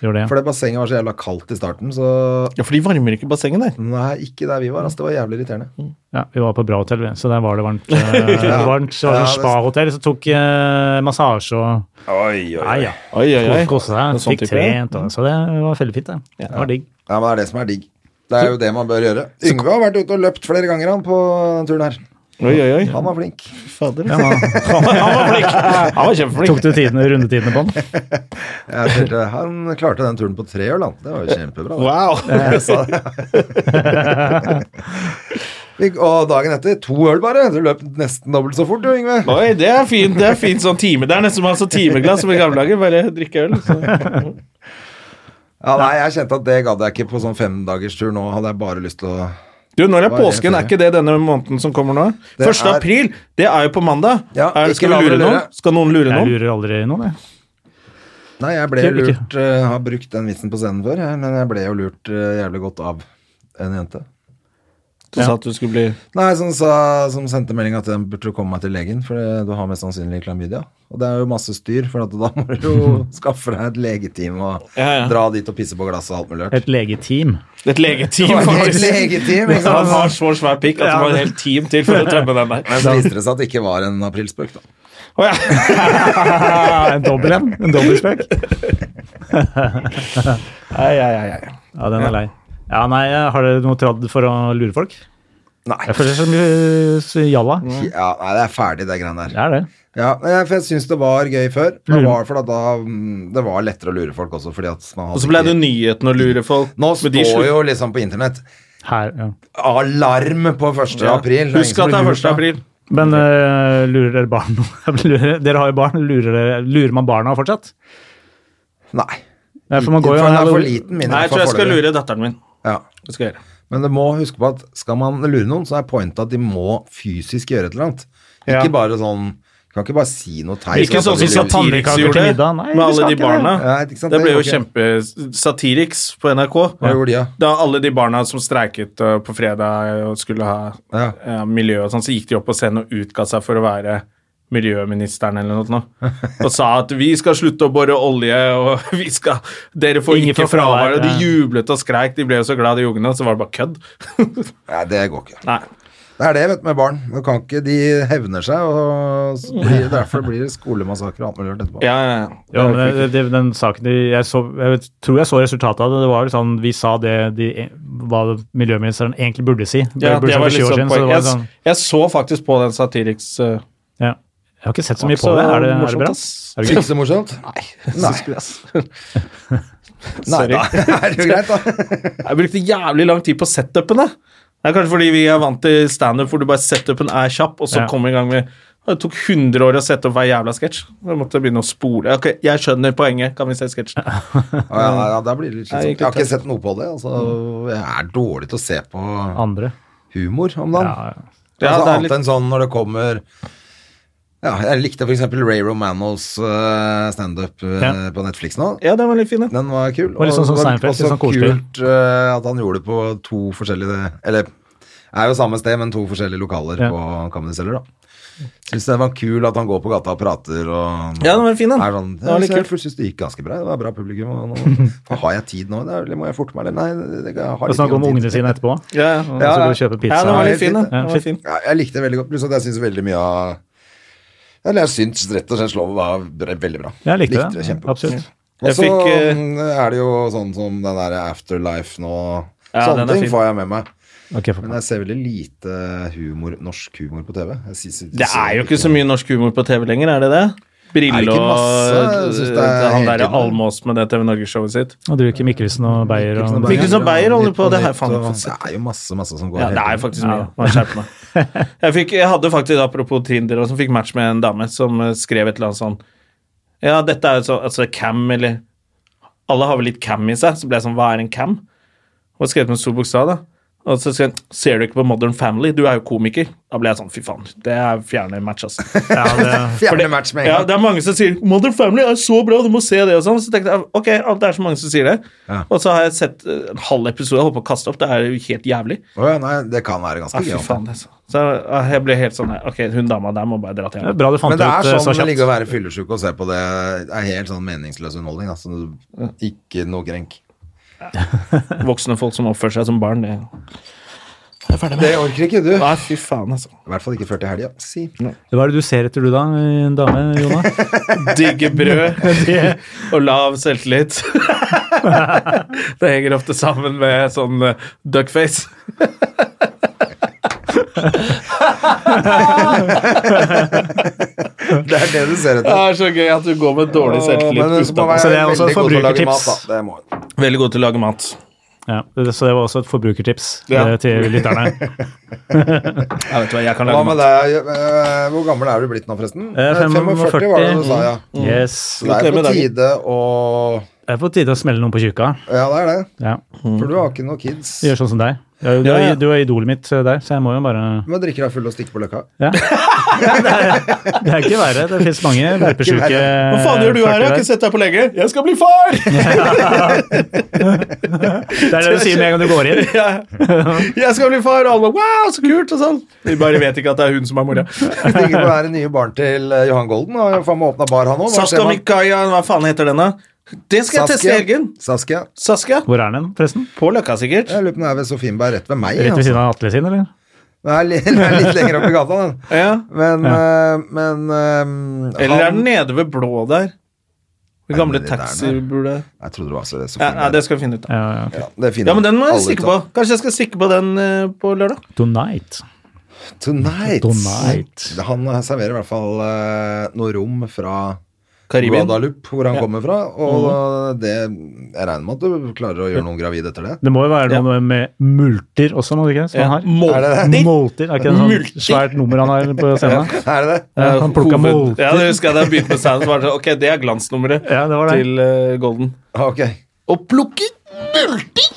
[SPEAKER 3] Gjorde det.
[SPEAKER 2] For det bassenget var så jævla kaldt i starten, så
[SPEAKER 1] Ja, for de varmer ikke bassenget der.
[SPEAKER 2] Nei, ikke der vi var. Altså, det var jævlig irriterende.
[SPEAKER 3] Ja, vi var på bra hotell, vi, så der var det varmt. eh, varmt. Så var det
[SPEAKER 2] Ja,
[SPEAKER 3] sånn
[SPEAKER 2] det-
[SPEAKER 3] spa-hotell, så tok eh, massasje og
[SPEAKER 2] Oi, oi,
[SPEAKER 3] Nei, ja.
[SPEAKER 1] Oi, oi, oi.
[SPEAKER 3] Koste
[SPEAKER 1] En
[SPEAKER 3] seg,
[SPEAKER 1] sånn
[SPEAKER 3] fikk
[SPEAKER 1] type, ja.
[SPEAKER 3] trent, og, så det var veldig fint. Det, det var digg.
[SPEAKER 2] Ja, men det er det som er digg. Det er jo det man bør gjøre. Yngve har vært ute og løpt flere ganger han på denne turen her.
[SPEAKER 1] Oi, oi, oi.
[SPEAKER 2] Han var flink.
[SPEAKER 1] Fader. Han, var- han var flink. Han var kjempeflink.
[SPEAKER 3] Tok du tidene, rundetidene på den?
[SPEAKER 2] Jeg tenkte, han klarte den turen på tre øl, han. Det var jo kjempebra. da.
[SPEAKER 1] Wow.
[SPEAKER 2] Jeg sa det. Vi- Og dagen etter, to øl bare. Du løp nesten dobbelt så fort, du, Yngve.
[SPEAKER 1] Oi, det er fint. Det er fint sånn time. Det er nesten som altså, timeglass som i gamle dager. Bare drikke øl. Så.
[SPEAKER 2] Ja, nei, jeg kjente at det gadd jeg ikke på sånn femdagerstur nå. Hadde jeg bare lyst til å
[SPEAKER 1] Du, når er
[SPEAKER 2] Hva er det
[SPEAKER 1] påsken?
[SPEAKER 2] for
[SPEAKER 1] Er ikke det denne måneden som kommer nå?
[SPEAKER 2] Det
[SPEAKER 1] 1.
[SPEAKER 2] er-
[SPEAKER 1] april, det er jo på mandag.
[SPEAKER 2] Ja,
[SPEAKER 1] er,
[SPEAKER 2] ikke
[SPEAKER 1] skal
[SPEAKER 2] la
[SPEAKER 1] vi
[SPEAKER 2] dere
[SPEAKER 1] lure
[SPEAKER 2] lure.
[SPEAKER 1] noen? Skal noen lure
[SPEAKER 3] Jeg
[SPEAKER 1] noen?
[SPEAKER 3] lurer aldri noen, jeg.
[SPEAKER 2] Nei, jeg ble
[SPEAKER 3] Ikke-
[SPEAKER 2] lurt eh, Har brukt den vitsen på scenen før, jeg, men jeg ble jo lurt eh, jævlig godt av en jente.
[SPEAKER 1] Du sa at du skulle bli
[SPEAKER 2] Nei, som, sa, som sendte melding at jeg burde komme meg til legen, for det- du har mest sannsynlig klamydia. Og det er jo masse styr, for at da må du jo skaffe deg et legeteam og
[SPEAKER 1] Ja, ja.
[SPEAKER 2] dra dit og pisse på glasset og alt mulig rart.
[SPEAKER 3] Et legeteam.
[SPEAKER 1] et legeteam,
[SPEAKER 2] Det var et
[SPEAKER 1] faktisk.
[SPEAKER 2] legeteam, ikke sant?
[SPEAKER 1] Han har så svær
[SPEAKER 2] altså,
[SPEAKER 1] pikk at det var et helt team til for å tømme den der.
[SPEAKER 2] Men så viste det seg at det ikke var en aprilspøk, da.
[SPEAKER 1] Å, ja.
[SPEAKER 3] Ja, en dobbel en. En dobbeltspekk.
[SPEAKER 1] Ai, ai, ai, ai.
[SPEAKER 3] Ja, den er lei. Ja, nei, eh, Har dere noe tradd for å lure folk?
[SPEAKER 2] Nei.
[SPEAKER 3] Jeg føler som eh, så jalla.
[SPEAKER 2] Ja, nei, det er ferdig, det greiene der.
[SPEAKER 3] Det er det.
[SPEAKER 2] Ja, men jeg- for jeg syns det var gøy før. Det var, for at da, mm, det var lettere å lure folk også, fordi at man hadde
[SPEAKER 1] Og så ble det
[SPEAKER 2] ikke-
[SPEAKER 1] nyheten å lure folk.
[SPEAKER 2] Nå
[SPEAKER 1] men de slutt-
[SPEAKER 2] står jo liksom på internett
[SPEAKER 3] Her, ja.
[SPEAKER 2] alarm på 1.
[SPEAKER 1] Ja.
[SPEAKER 2] april.
[SPEAKER 1] Husk at det er 1. april.
[SPEAKER 3] Men eh, lurer dere barn noe? Lurer- dere har jo barn. Lurer, dere, lurer man barna fortsatt?
[SPEAKER 2] Nei.
[SPEAKER 3] Nei, for man
[SPEAKER 2] For
[SPEAKER 3] går jo
[SPEAKER 2] den er for liten, min. i
[SPEAKER 1] Nei,
[SPEAKER 2] hvert
[SPEAKER 1] jeg tror
[SPEAKER 2] fall
[SPEAKER 1] jeg skal
[SPEAKER 2] foreløpig.
[SPEAKER 1] lure datteren min.
[SPEAKER 2] Ja.
[SPEAKER 1] Det skal jeg gjøre.
[SPEAKER 2] Men du må huske på at skal man lure noen, så er pointet at de må fysisk gjøre et eller annet. Ikke
[SPEAKER 1] Ja.
[SPEAKER 2] bare sånn Kan ikke bare si noe teit.
[SPEAKER 1] Ikke sånn som
[SPEAKER 3] skal ta-
[SPEAKER 1] Satiriks
[SPEAKER 3] pannekaker til
[SPEAKER 1] gjorde,
[SPEAKER 3] middag. Nei,
[SPEAKER 1] med
[SPEAKER 3] vi skal
[SPEAKER 1] alle de
[SPEAKER 3] ikke det.
[SPEAKER 1] barna.
[SPEAKER 2] Ja, ikke sant,
[SPEAKER 1] Det
[SPEAKER 2] det
[SPEAKER 1] ble jo
[SPEAKER 2] går ikke.
[SPEAKER 1] kjempe-Satiriks på NRK.
[SPEAKER 2] Hva gjorde de, da?
[SPEAKER 1] Da alle de barna som streiket uh, på fredag og skulle ha
[SPEAKER 2] Ja.
[SPEAKER 1] eh, miljø og sånn, så gikk de opp på scenen og utga seg for å være miljøministeren eller noe sånt. Og sa at vi skal slutte å bore olje, og vi skal Dere får
[SPEAKER 3] Ingen
[SPEAKER 1] ikke
[SPEAKER 3] får fravær,
[SPEAKER 1] fravær. Og de
[SPEAKER 3] ja.
[SPEAKER 1] jublet og skreik, de ble jo så glad de ungene, og så var det bare kødd.
[SPEAKER 2] Nei, det går ikke.
[SPEAKER 1] Nei.
[SPEAKER 2] Det er det, vet du, med barn. Du kan ikke, De hevner seg, og så blir, derfor blir det skolemassakre og alt mulig rart etterpå.
[SPEAKER 1] Ja, ja, ja.
[SPEAKER 3] Ja, men eh, det, det, den saken de, jeg, så, jeg tror jeg så resultatet av det. Det var liksom, Vi sa det de, e- hva miljøministeren egentlig burde si.
[SPEAKER 1] ja det
[SPEAKER 3] burde sagt
[SPEAKER 1] var
[SPEAKER 3] for 20
[SPEAKER 1] litt
[SPEAKER 3] år
[SPEAKER 1] sånn
[SPEAKER 3] siden, så det
[SPEAKER 1] poeng.
[SPEAKER 3] var
[SPEAKER 1] Jeg,
[SPEAKER 3] sånn-
[SPEAKER 1] s- jeg så faktisk på den Satiriks uh,
[SPEAKER 3] Ja. Jeg har ikke sett så mye på det. Er det, er det bra? Er det
[SPEAKER 2] Ikke
[SPEAKER 3] gøy?
[SPEAKER 2] så morsomt?
[SPEAKER 1] Nei.
[SPEAKER 2] Nei. Nei
[SPEAKER 1] Sorry.
[SPEAKER 2] da. Er det jo greit, da?
[SPEAKER 1] Jeg brukte jævlig lang tid på setupene. Det er kanskje fordi vi er vant til standup hvor du bare setupen er kjapp, og så
[SPEAKER 3] Ja.
[SPEAKER 1] kommer vi i gang med Og Det tok 100 år å sette opp hver jævla sketsj. Jeg måtte begynne å spole. Ok, jeg skjønner poenget. Kan vi se sketsjen?
[SPEAKER 2] Å, ja, ja, da blir det litt
[SPEAKER 1] Nei,
[SPEAKER 2] slitsomt.
[SPEAKER 1] egentlig
[SPEAKER 2] Jeg har
[SPEAKER 1] ikke.
[SPEAKER 2] ikke sett noe på det. Altså, jeg er dårlig til å se på
[SPEAKER 3] Andre.
[SPEAKER 2] humor om dagen.
[SPEAKER 3] Ja, ja.
[SPEAKER 1] Ja,
[SPEAKER 2] altså,
[SPEAKER 1] det er
[SPEAKER 2] annet
[SPEAKER 1] litt-
[SPEAKER 2] enn sånn når det kommer ja, Jeg likte f.eks. Ray Romanos eh, standup eh,
[SPEAKER 3] Ja.
[SPEAKER 2] på Netflix nå.
[SPEAKER 1] Ja, den var litt fin, ja.
[SPEAKER 2] Den var kul.
[SPEAKER 3] var litt sånn som
[SPEAKER 2] det var
[SPEAKER 3] Seinfeld, litt
[SPEAKER 2] også
[SPEAKER 3] sånn koselig.
[SPEAKER 2] kult eh, at han gjorde det på to forskjellige Eller er jo samme sted, men to forskjellige lokaler
[SPEAKER 3] Ja.
[SPEAKER 2] på Comedy Cellar, da. Syns det var kul at han går på gata og prater og
[SPEAKER 1] Ja, den var fin, den.
[SPEAKER 2] Er sånn,
[SPEAKER 1] Den
[SPEAKER 2] ja,
[SPEAKER 1] var
[SPEAKER 2] jeg
[SPEAKER 1] litt
[SPEAKER 2] synes-
[SPEAKER 1] kul.
[SPEAKER 2] jeg synes det gikk ganske bra. Det var bra publikum. Og nå, nå har jeg tid nå. Det er, må jeg forte meg litt. Nei, det, det, jeg har
[SPEAKER 3] Og
[SPEAKER 2] litt
[SPEAKER 3] snakke om
[SPEAKER 2] tid.
[SPEAKER 3] ungene sine etterpå. Og
[SPEAKER 1] Ja, ja.
[SPEAKER 3] så
[SPEAKER 2] Ja, ja.
[SPEAKER 3] gå og kjøpe pizza.
[SPEAKER 1] ja, den var litt fin,
[SPEAKER 2] Ja,
[SPEAKER 1] den.
[SPEAKER 3] ja,
[SPEAKER 1] den var fin.
[SPEAKER 2] Ja, jeg likte det veldig godt. Pluss at jeg syns veldig mye av Eller jeg syns rett og slett Slovo var br- veldig bra.
[SPEAKER 3] Jeg likte,
[SPEAKER 2] det.
[SPEAKER 3] det.
[SPEAKER 2] kjempegodt.
[SPEAKER 3] Absolutt.
[SPEAKER 2] Og
[SPEAKER 1] Jeg
[SPEAKER 2] så
[SPEAKER 1] fikk, eh,
[SPEAKER 2] mm, er det jo sånn som den der Afterlife nå
[SPEAKER 1] Ja, den
[SPEAKER 2] Sånne
[SPEAKER 1] er
[SPEAKER 2] ting
[SPEAKER 1] fin.
[SPEAKER 2] får jeg med meg.
[SPEAKER 3] Ok, for-
[SPEAKER 2] Men jeg ser veldig lite humor, norsk humor på TV. Jeg synes-
[SPEAKER 1] Det er jo ikke så mye norsk humor på TV lenger, er det
[SPEAKER 2] Er
[SPEAKER 1] det?
[SPEAKER 2] det
[SPEAKER 1] Brille
[SPEAKER 2] ikke masse? Jeg
[SPEAKER 1] og
[SPEAKER 2] synes det er
[SPEAKER 1] han
[SPEAKER 2] hele
[SPEAKER 1] derre
[SPEAKER 2] tiden.
[SPEAKER 1] Almås med det TV Norge-showet sitt.
[SPEAKER 3] Og du ikke Mikkelsen og Beyer og
[SPEAKER 1] Beyer. Mikkelsen og Beyer holder på,
[SPEAKER 2] Nytt
[SPEAKER 1] det her,
[SPEAKER 2] nytt,
[SPEAKER 1] faen,
[SPEAKER 2] og-
[SPEAKER 1] faktisk.
[SPEAKER 2] Det er jo masse, masse som går
[SPEAKER 1] Ja, det
[SPEAKER 2] hele
[SPEAKER 1] er
[SPEAKER 2] tiden.
[SPEAKER 1] faktisk mye. Må jeg skjerpe meg. Jeg, fikk, jeg hadde faktisk, apropos Tinder, og som fikk match med en dame som eh, skrev et eller annet sånn Ja, dette er jo sånn altså, cam, eller Alle har vel litt cam i seg, så ble jeg sånn Hva er en cam? Og skrev med en stor bokstav, da. Og så skrev hun Ser du ikke på Modern Family? Du er jo komiker. Da ble jeg sånn Fy faen, det er fjerne match, altså.
[SPEAKER 3] Ja, det-
[SPEAKER 2] Fjerne match med en
[SPEAKER 1] Ja,
[SPEAKER 2] gang.
[SPEAKER 1] det er mange som sier 'Modern Family er så bra, du må se det' og sånn. Så tenkte jeg ok, alt det er så mange som sier det. Og så har jeg sett eh, en halv episode og holdt på å kaste opp. Det er jo helt jævlig.
[SPEAKER 2] Å ja, nei, det kan være
[SPEAKER 1] Ja,
[SPEAKER 2] ganske
[SPEAKER 1] fy
[SPEAKER 2] gøy. altså.
[SPEAKER 1] faen, altså. Så jeg- jeg ble helt sånn her, Ok, hun dama der må bare dra til
[SPEAKER 3] Det er
[SPEAKER 1] henne.
[SPEAKER 3] bra du fant
[SPEAKER 2] Men det
[SPEAKER 3] det
[SPEAKER 2] er
[SPEAKER 3] ut eh, så
[SPEAKER 2] sånn det ligger
[SPEAKER 3] kjapt.
[SPEAKER 2] å være fyllesyk og se på det. Det er helt sånn meningsløs underholdning. Altså,
[SPEAKER 1] Mm.
[SPEAKER 2] ikke noe grenk.
[SPEAKER 1] Voksne folk som oppfører seg som barn. Det.
[SPEAKER 2] Det orker ikke du.
[SPEAKER 1] Nei, fy faen, altså.
[SPEAKER 2] I hvert fall ikke før til helga. Si.
[SPEAKER 3] Hva er det du ser etter du, da? En dame, Jona?
[SPEAKER 1] Digge brød og lav selvtillit. Det henger ofte sammen med sånn eh, duckface.
[SPEAKER 2] Det er det du ser etter.
[SPEAKER 1] Det er så gøy at du går med dårlig
[SPEAKER 2] Men
[SPEAKER 1] selvtillit.
[SPEAKER 2] hun må
[SPEAKER 1] uten-
[SPEAKER 2] være
[SPEAKER 3] Så det er også
[SPEAKER 2] veldig god til å lage
[SPEAKER 3] forbrukertips.
[SPEAKER 2] mat, da. Det må hun.
[SPEAKER 1] Veldig god til å lage mat.
[SPEAKER 3] Ja, det- så det var også et forbrukertips
[SPEAKER 1] Ja.
[SPEAKER 3] eh, til lytterne.
[SPEAKER 1] Jeg vet hva, jeg kan
[SPEAKER 2] Hva
[SPEAKER 1] lage
[SPEAKER 2] med
[SPEAKER 1] mat.
[SPEAKER 2] deg? eh, Hvor gammel er du blitt nå, forresten?
[SPEAKER 3] Eh,
[SPEAKER 2] 45 var det du sa,
[SPEAKER 3] Mm.
[SPEAKER 2] ja.
[SPEAKER 3] Yes.
[SPEAKER 2] Så det
[SPEAKER 1] Gratulerer
[SPEAKER 2] er
[SPEAKER 1] med
[SPEAKER 2] på
[SPEAKER 1] dagen.
[SPEAKER 2] tide å
[SPEAKER 3] Det er på tide å smelle noen på tjukka.
[SPEAKER 2] Ja, det er det.
[SPEAKER 3] Ja.
[SPEAKER 2] For du har ikke noe kids.
[SPEAKER 3] Mm. Gjør sånn som deg. Du er, jo- du
[SPEAKER 1] Ja, ja.
[SPEAKER 3] er, du er idolet mitt eh, der, så jeg må jo bare
[SPEAKER 2] Men drikker deg full og stikker på løkka.
[SPEAKER 3] Ja. Det er ikke verre. Det fins mange
[SPEAKER 2] verre.
[SPEAKER 3] løpesjuke
[SPEAKER 1] Hva faen gjør du her? Jeg har ikke sett deg på lenge. Jeg skal bli far!
[SPEAKER 3] Det er det du sier med en gang du går inn.
[SPEAKER 1] Ja. Jeg skal bli far, og alle wow, så kult, og sånn. Vi bare vet ikke at det er hun som er mora.
[SPEAKER 2] Stikker på det nye barn til eh, Johan Golden. Har jo faen meg åpna bar, han òg.
[SPEAKER 1] Saskia Mikaya, hva faen heter den da? Det skal jeg teste i helgen.
[SPEAKER 2] Saskia.
[SPEAKER 1] Saskia.
[SPEAKER 3] Hvor er den, forresten?
[SPEAKER 1] På Løkka, sikkert.
[SPEAKER 2] Jeg lurer på om den er ved Sofienberg, rett ved meg.
[SPEAKER 3] Rett ved
[SPEAKER 2] altså.
[SPEAKER 3] siden av Atle sin, eller?
[SPEAKER 2] Den er li- den er litt lenger opp i gata, den.
[SPEAKER 1] Ja.
[SPEAKER 2] Men, eh, men eh,
[SPEAKER 1] Eller er
[SPEAKER 2] han-
[SPEAKER 1] den nede ved Blå der? Det gamle
[SPEAKER 2] Er den nede
[SPEAKER 1] taxibule
[SPEAKER 2] Jeg trodde det var så-
[SPEAKER 1] ja, ja,
[SPEAKER 2] Sofienberg.
[SPEAKER 1] det skal vi finne ut av.
[SPEAKER 3] Ja, ja, ok.
[SPEAKER 2] Ja, det finner
[SPEAKER 1] Ja, men den må jeg
[SPEAKER 2] alle
[SPEAKER 1] stikke
[SPEAKER 2] ut
[SPEAKER 1] på.
[SPEAKER 2] av.
[SPEAKER 1] Kanskje jeg skal stikke på den eh, på lørdag?
[SPEAKER 3] Tonight.
[SPEAKER 2] Tonight.
[SPEAKER 3] Tonight.
[SPEAKER 2] Han eh, serverer i hvert fall eh, noe rom fra
[SPEAKER 1] Karibien.
[SPEAKER 2] Guadalupe, hvor han kommer fra. Og
[SPEAKER 1] Mhm.
[SPEAKER 2] det, jeg regner med at du klarer å gjøre noen gravid etter det.
[SPEAKER 3] Det må jo være noe med multer også, må det ikke? Som
[SPEAKER 1] Ja.
[SPEAKER 3] han har.
[SPEAKER 1] Molter.
[SPEAKER 3] Molter, er ikke det sånn
[SPEAKER 1] Multer.
[SPEAKER 3] svært nummer han har på scenen?
[SPEAKER 2] Er det det?
[SPEAKER 3] Ja, han plukka
[SPEAKER 1] Hoved-
[SPEAKER 3] molter.
[SPEAKER 1] Ja, det husker jeg da jeg begynte med stand, så var det sånn, Ok, det er glansnummeret
[SPEAKER 3] Ja, det var det.
[SPEAKER 1] til eh, Golden.
[SPEAKER 2] Ok.
[SPEAKER 1] Å plukke multer!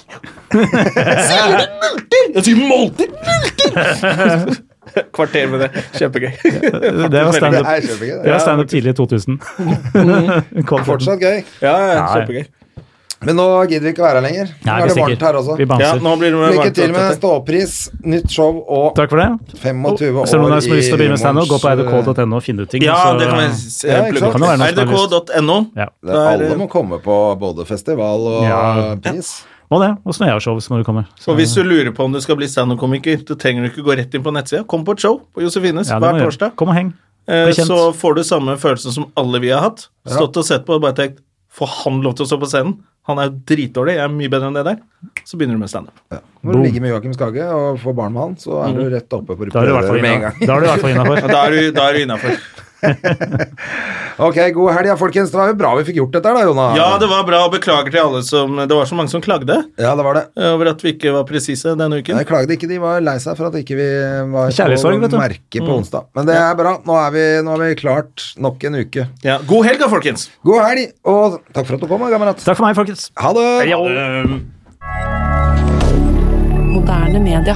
[SPEAKER 1] Selger du multer? Jeg sier molter! Multer! Kvarter med det. Kjempegøy.
[SPEAKER 3] Det var
[SPEAKER 2] Det
[SPEAKER 3] standup
[SPEAKER 2] er kjempegøy.
[SPEAKER 3] Det
[SPEAKER 2] det.
[SPEAKER 3] var standup tidlig i 2000.
[SPEAKER 2] Fortsatt gøy.
[SPEAKER 1] Mhm. Ja, ja,
[SPEAKER 3] Nei.
[SPEAKER 1] kjempegøy.
[SPEAKER 2] Men nå gidder vi ikke være her lenger. Nå
[SPEAKER 3] Nei,
[SPEAKER 2] er
[SPEAKER 3] vi
[SPEAKER 2] det varmt her
[SPEAKER 3] stikker.
[SPEAKER 2] også.
[SPEAKER 3] Vi
[SPEAKER 1] Ja,
[SPEAKER 3] bamser.
[SPEAKER 1] nå blir det
[SPEAKER 2] Lykke
[SPEAKER 1] varmt,
[SPEAKER 2] til med
[SPEAKER 1] dette.
[SPEAKER 2] ståpris, nytt show og
[SPEAKER 3] Takk for det.
[SPEAKER 2] 25 år
[SPEAKER 3] Og
[SPEAKER 2] i
[SPEAKER 3] så noen som har lyst til å begynne med standup, gå på
[SPEAKER 2] morgens,
[SPEAKER 3] edk.no og finne ut ting.
[SPEAKER 1] Ja,
[SPEAKER 3] så-
[SPEAKER 1] det kan vi s-
[SPEAKER 2] Ja, ikke
[SPEAKER 1] plugge
[SPEAKER 2] sant?
[SPEAKER 3] Kan det være noen som har lyst?
[SPEAKER 1] NRK.no.
[SPEAKER 3] ja.
[SPEAKER 2] eh, det- Alle må komme på både festival og
[SPEAKER 3] Ja.
[SPEAKER 2] pris.
[SPEAKER 3] Og det. Og så når jeg har show, så må du komme. Så,
[SPEAKER 1] Og hvis du lurer på om du skal bli standup-komiker, så trenger du ikke gå rett inn på nettsida. Kom på et show på Josefines
[SPEAKER 3] ja, det må
[SPEAKER 1] hver
[SPEAKER 3] du gjøre.
[SPEAKER 1] torsdag.
[SPEAKER 3] Kom og heng.
[SPEAKER 1] Eh,
[SPEAKER 3] kjent.
[SPEAKER 1] Så får du samme følelsen som alle vi har hatt. Stått og sett på og bare tenkt Får han lov til å stå på scenen? Han er jo dritdårlig, jeg er mye bedre enn det der. Så begynner du med standup.
[SPEAKER 2] Når du ligger med Joakim Skage og får barn med han, så er du rett oppe på
[SPEAKER 3] Mm. Da er du i hvert fall
[SPEAKER 2] prøverøret med en
[SPEAKER 3] inna-
[SPEAKER 2] gang.
[SPEAKER 3] da er du i hvert fall innafor.
[SPEAKER 1] Da er du, da er du innafor.
[SPEAKER 2] Ok, god helg, ja, folkens. Det var jo bra vi fikk gjort dette her, da, Jonas.
[SPEAKER 1] Ja, det var bra, og beklager til alle som Det var så mange som klagde
[SPEAKER 2] Ja, det var det.
[SPEAKER 1] eh, over at vi ikke var presise denne uken.
[SPEAKER 2] Jeg klagde ikke, de var lei seg for at ikke vi var
[SPEAKER 3] Kjærlighetssorg, vet du. Mm.
[SPEAKER 2] på merket på onsdag. Men det er bra. Nå er vi, nå har vi klart nok en uke.
[SPEAKER 1] Ja, God helg, da, folkens!
[SPEAKER 2] God helg, og takk for at du kom, da, kamerat.
[SPEAKER 3] Takk for meg, folkens.
[SPEAKER 2] Ha det! Eh,
[SPEAKER 1] Um,
[SPEAKER 5] Moderne media.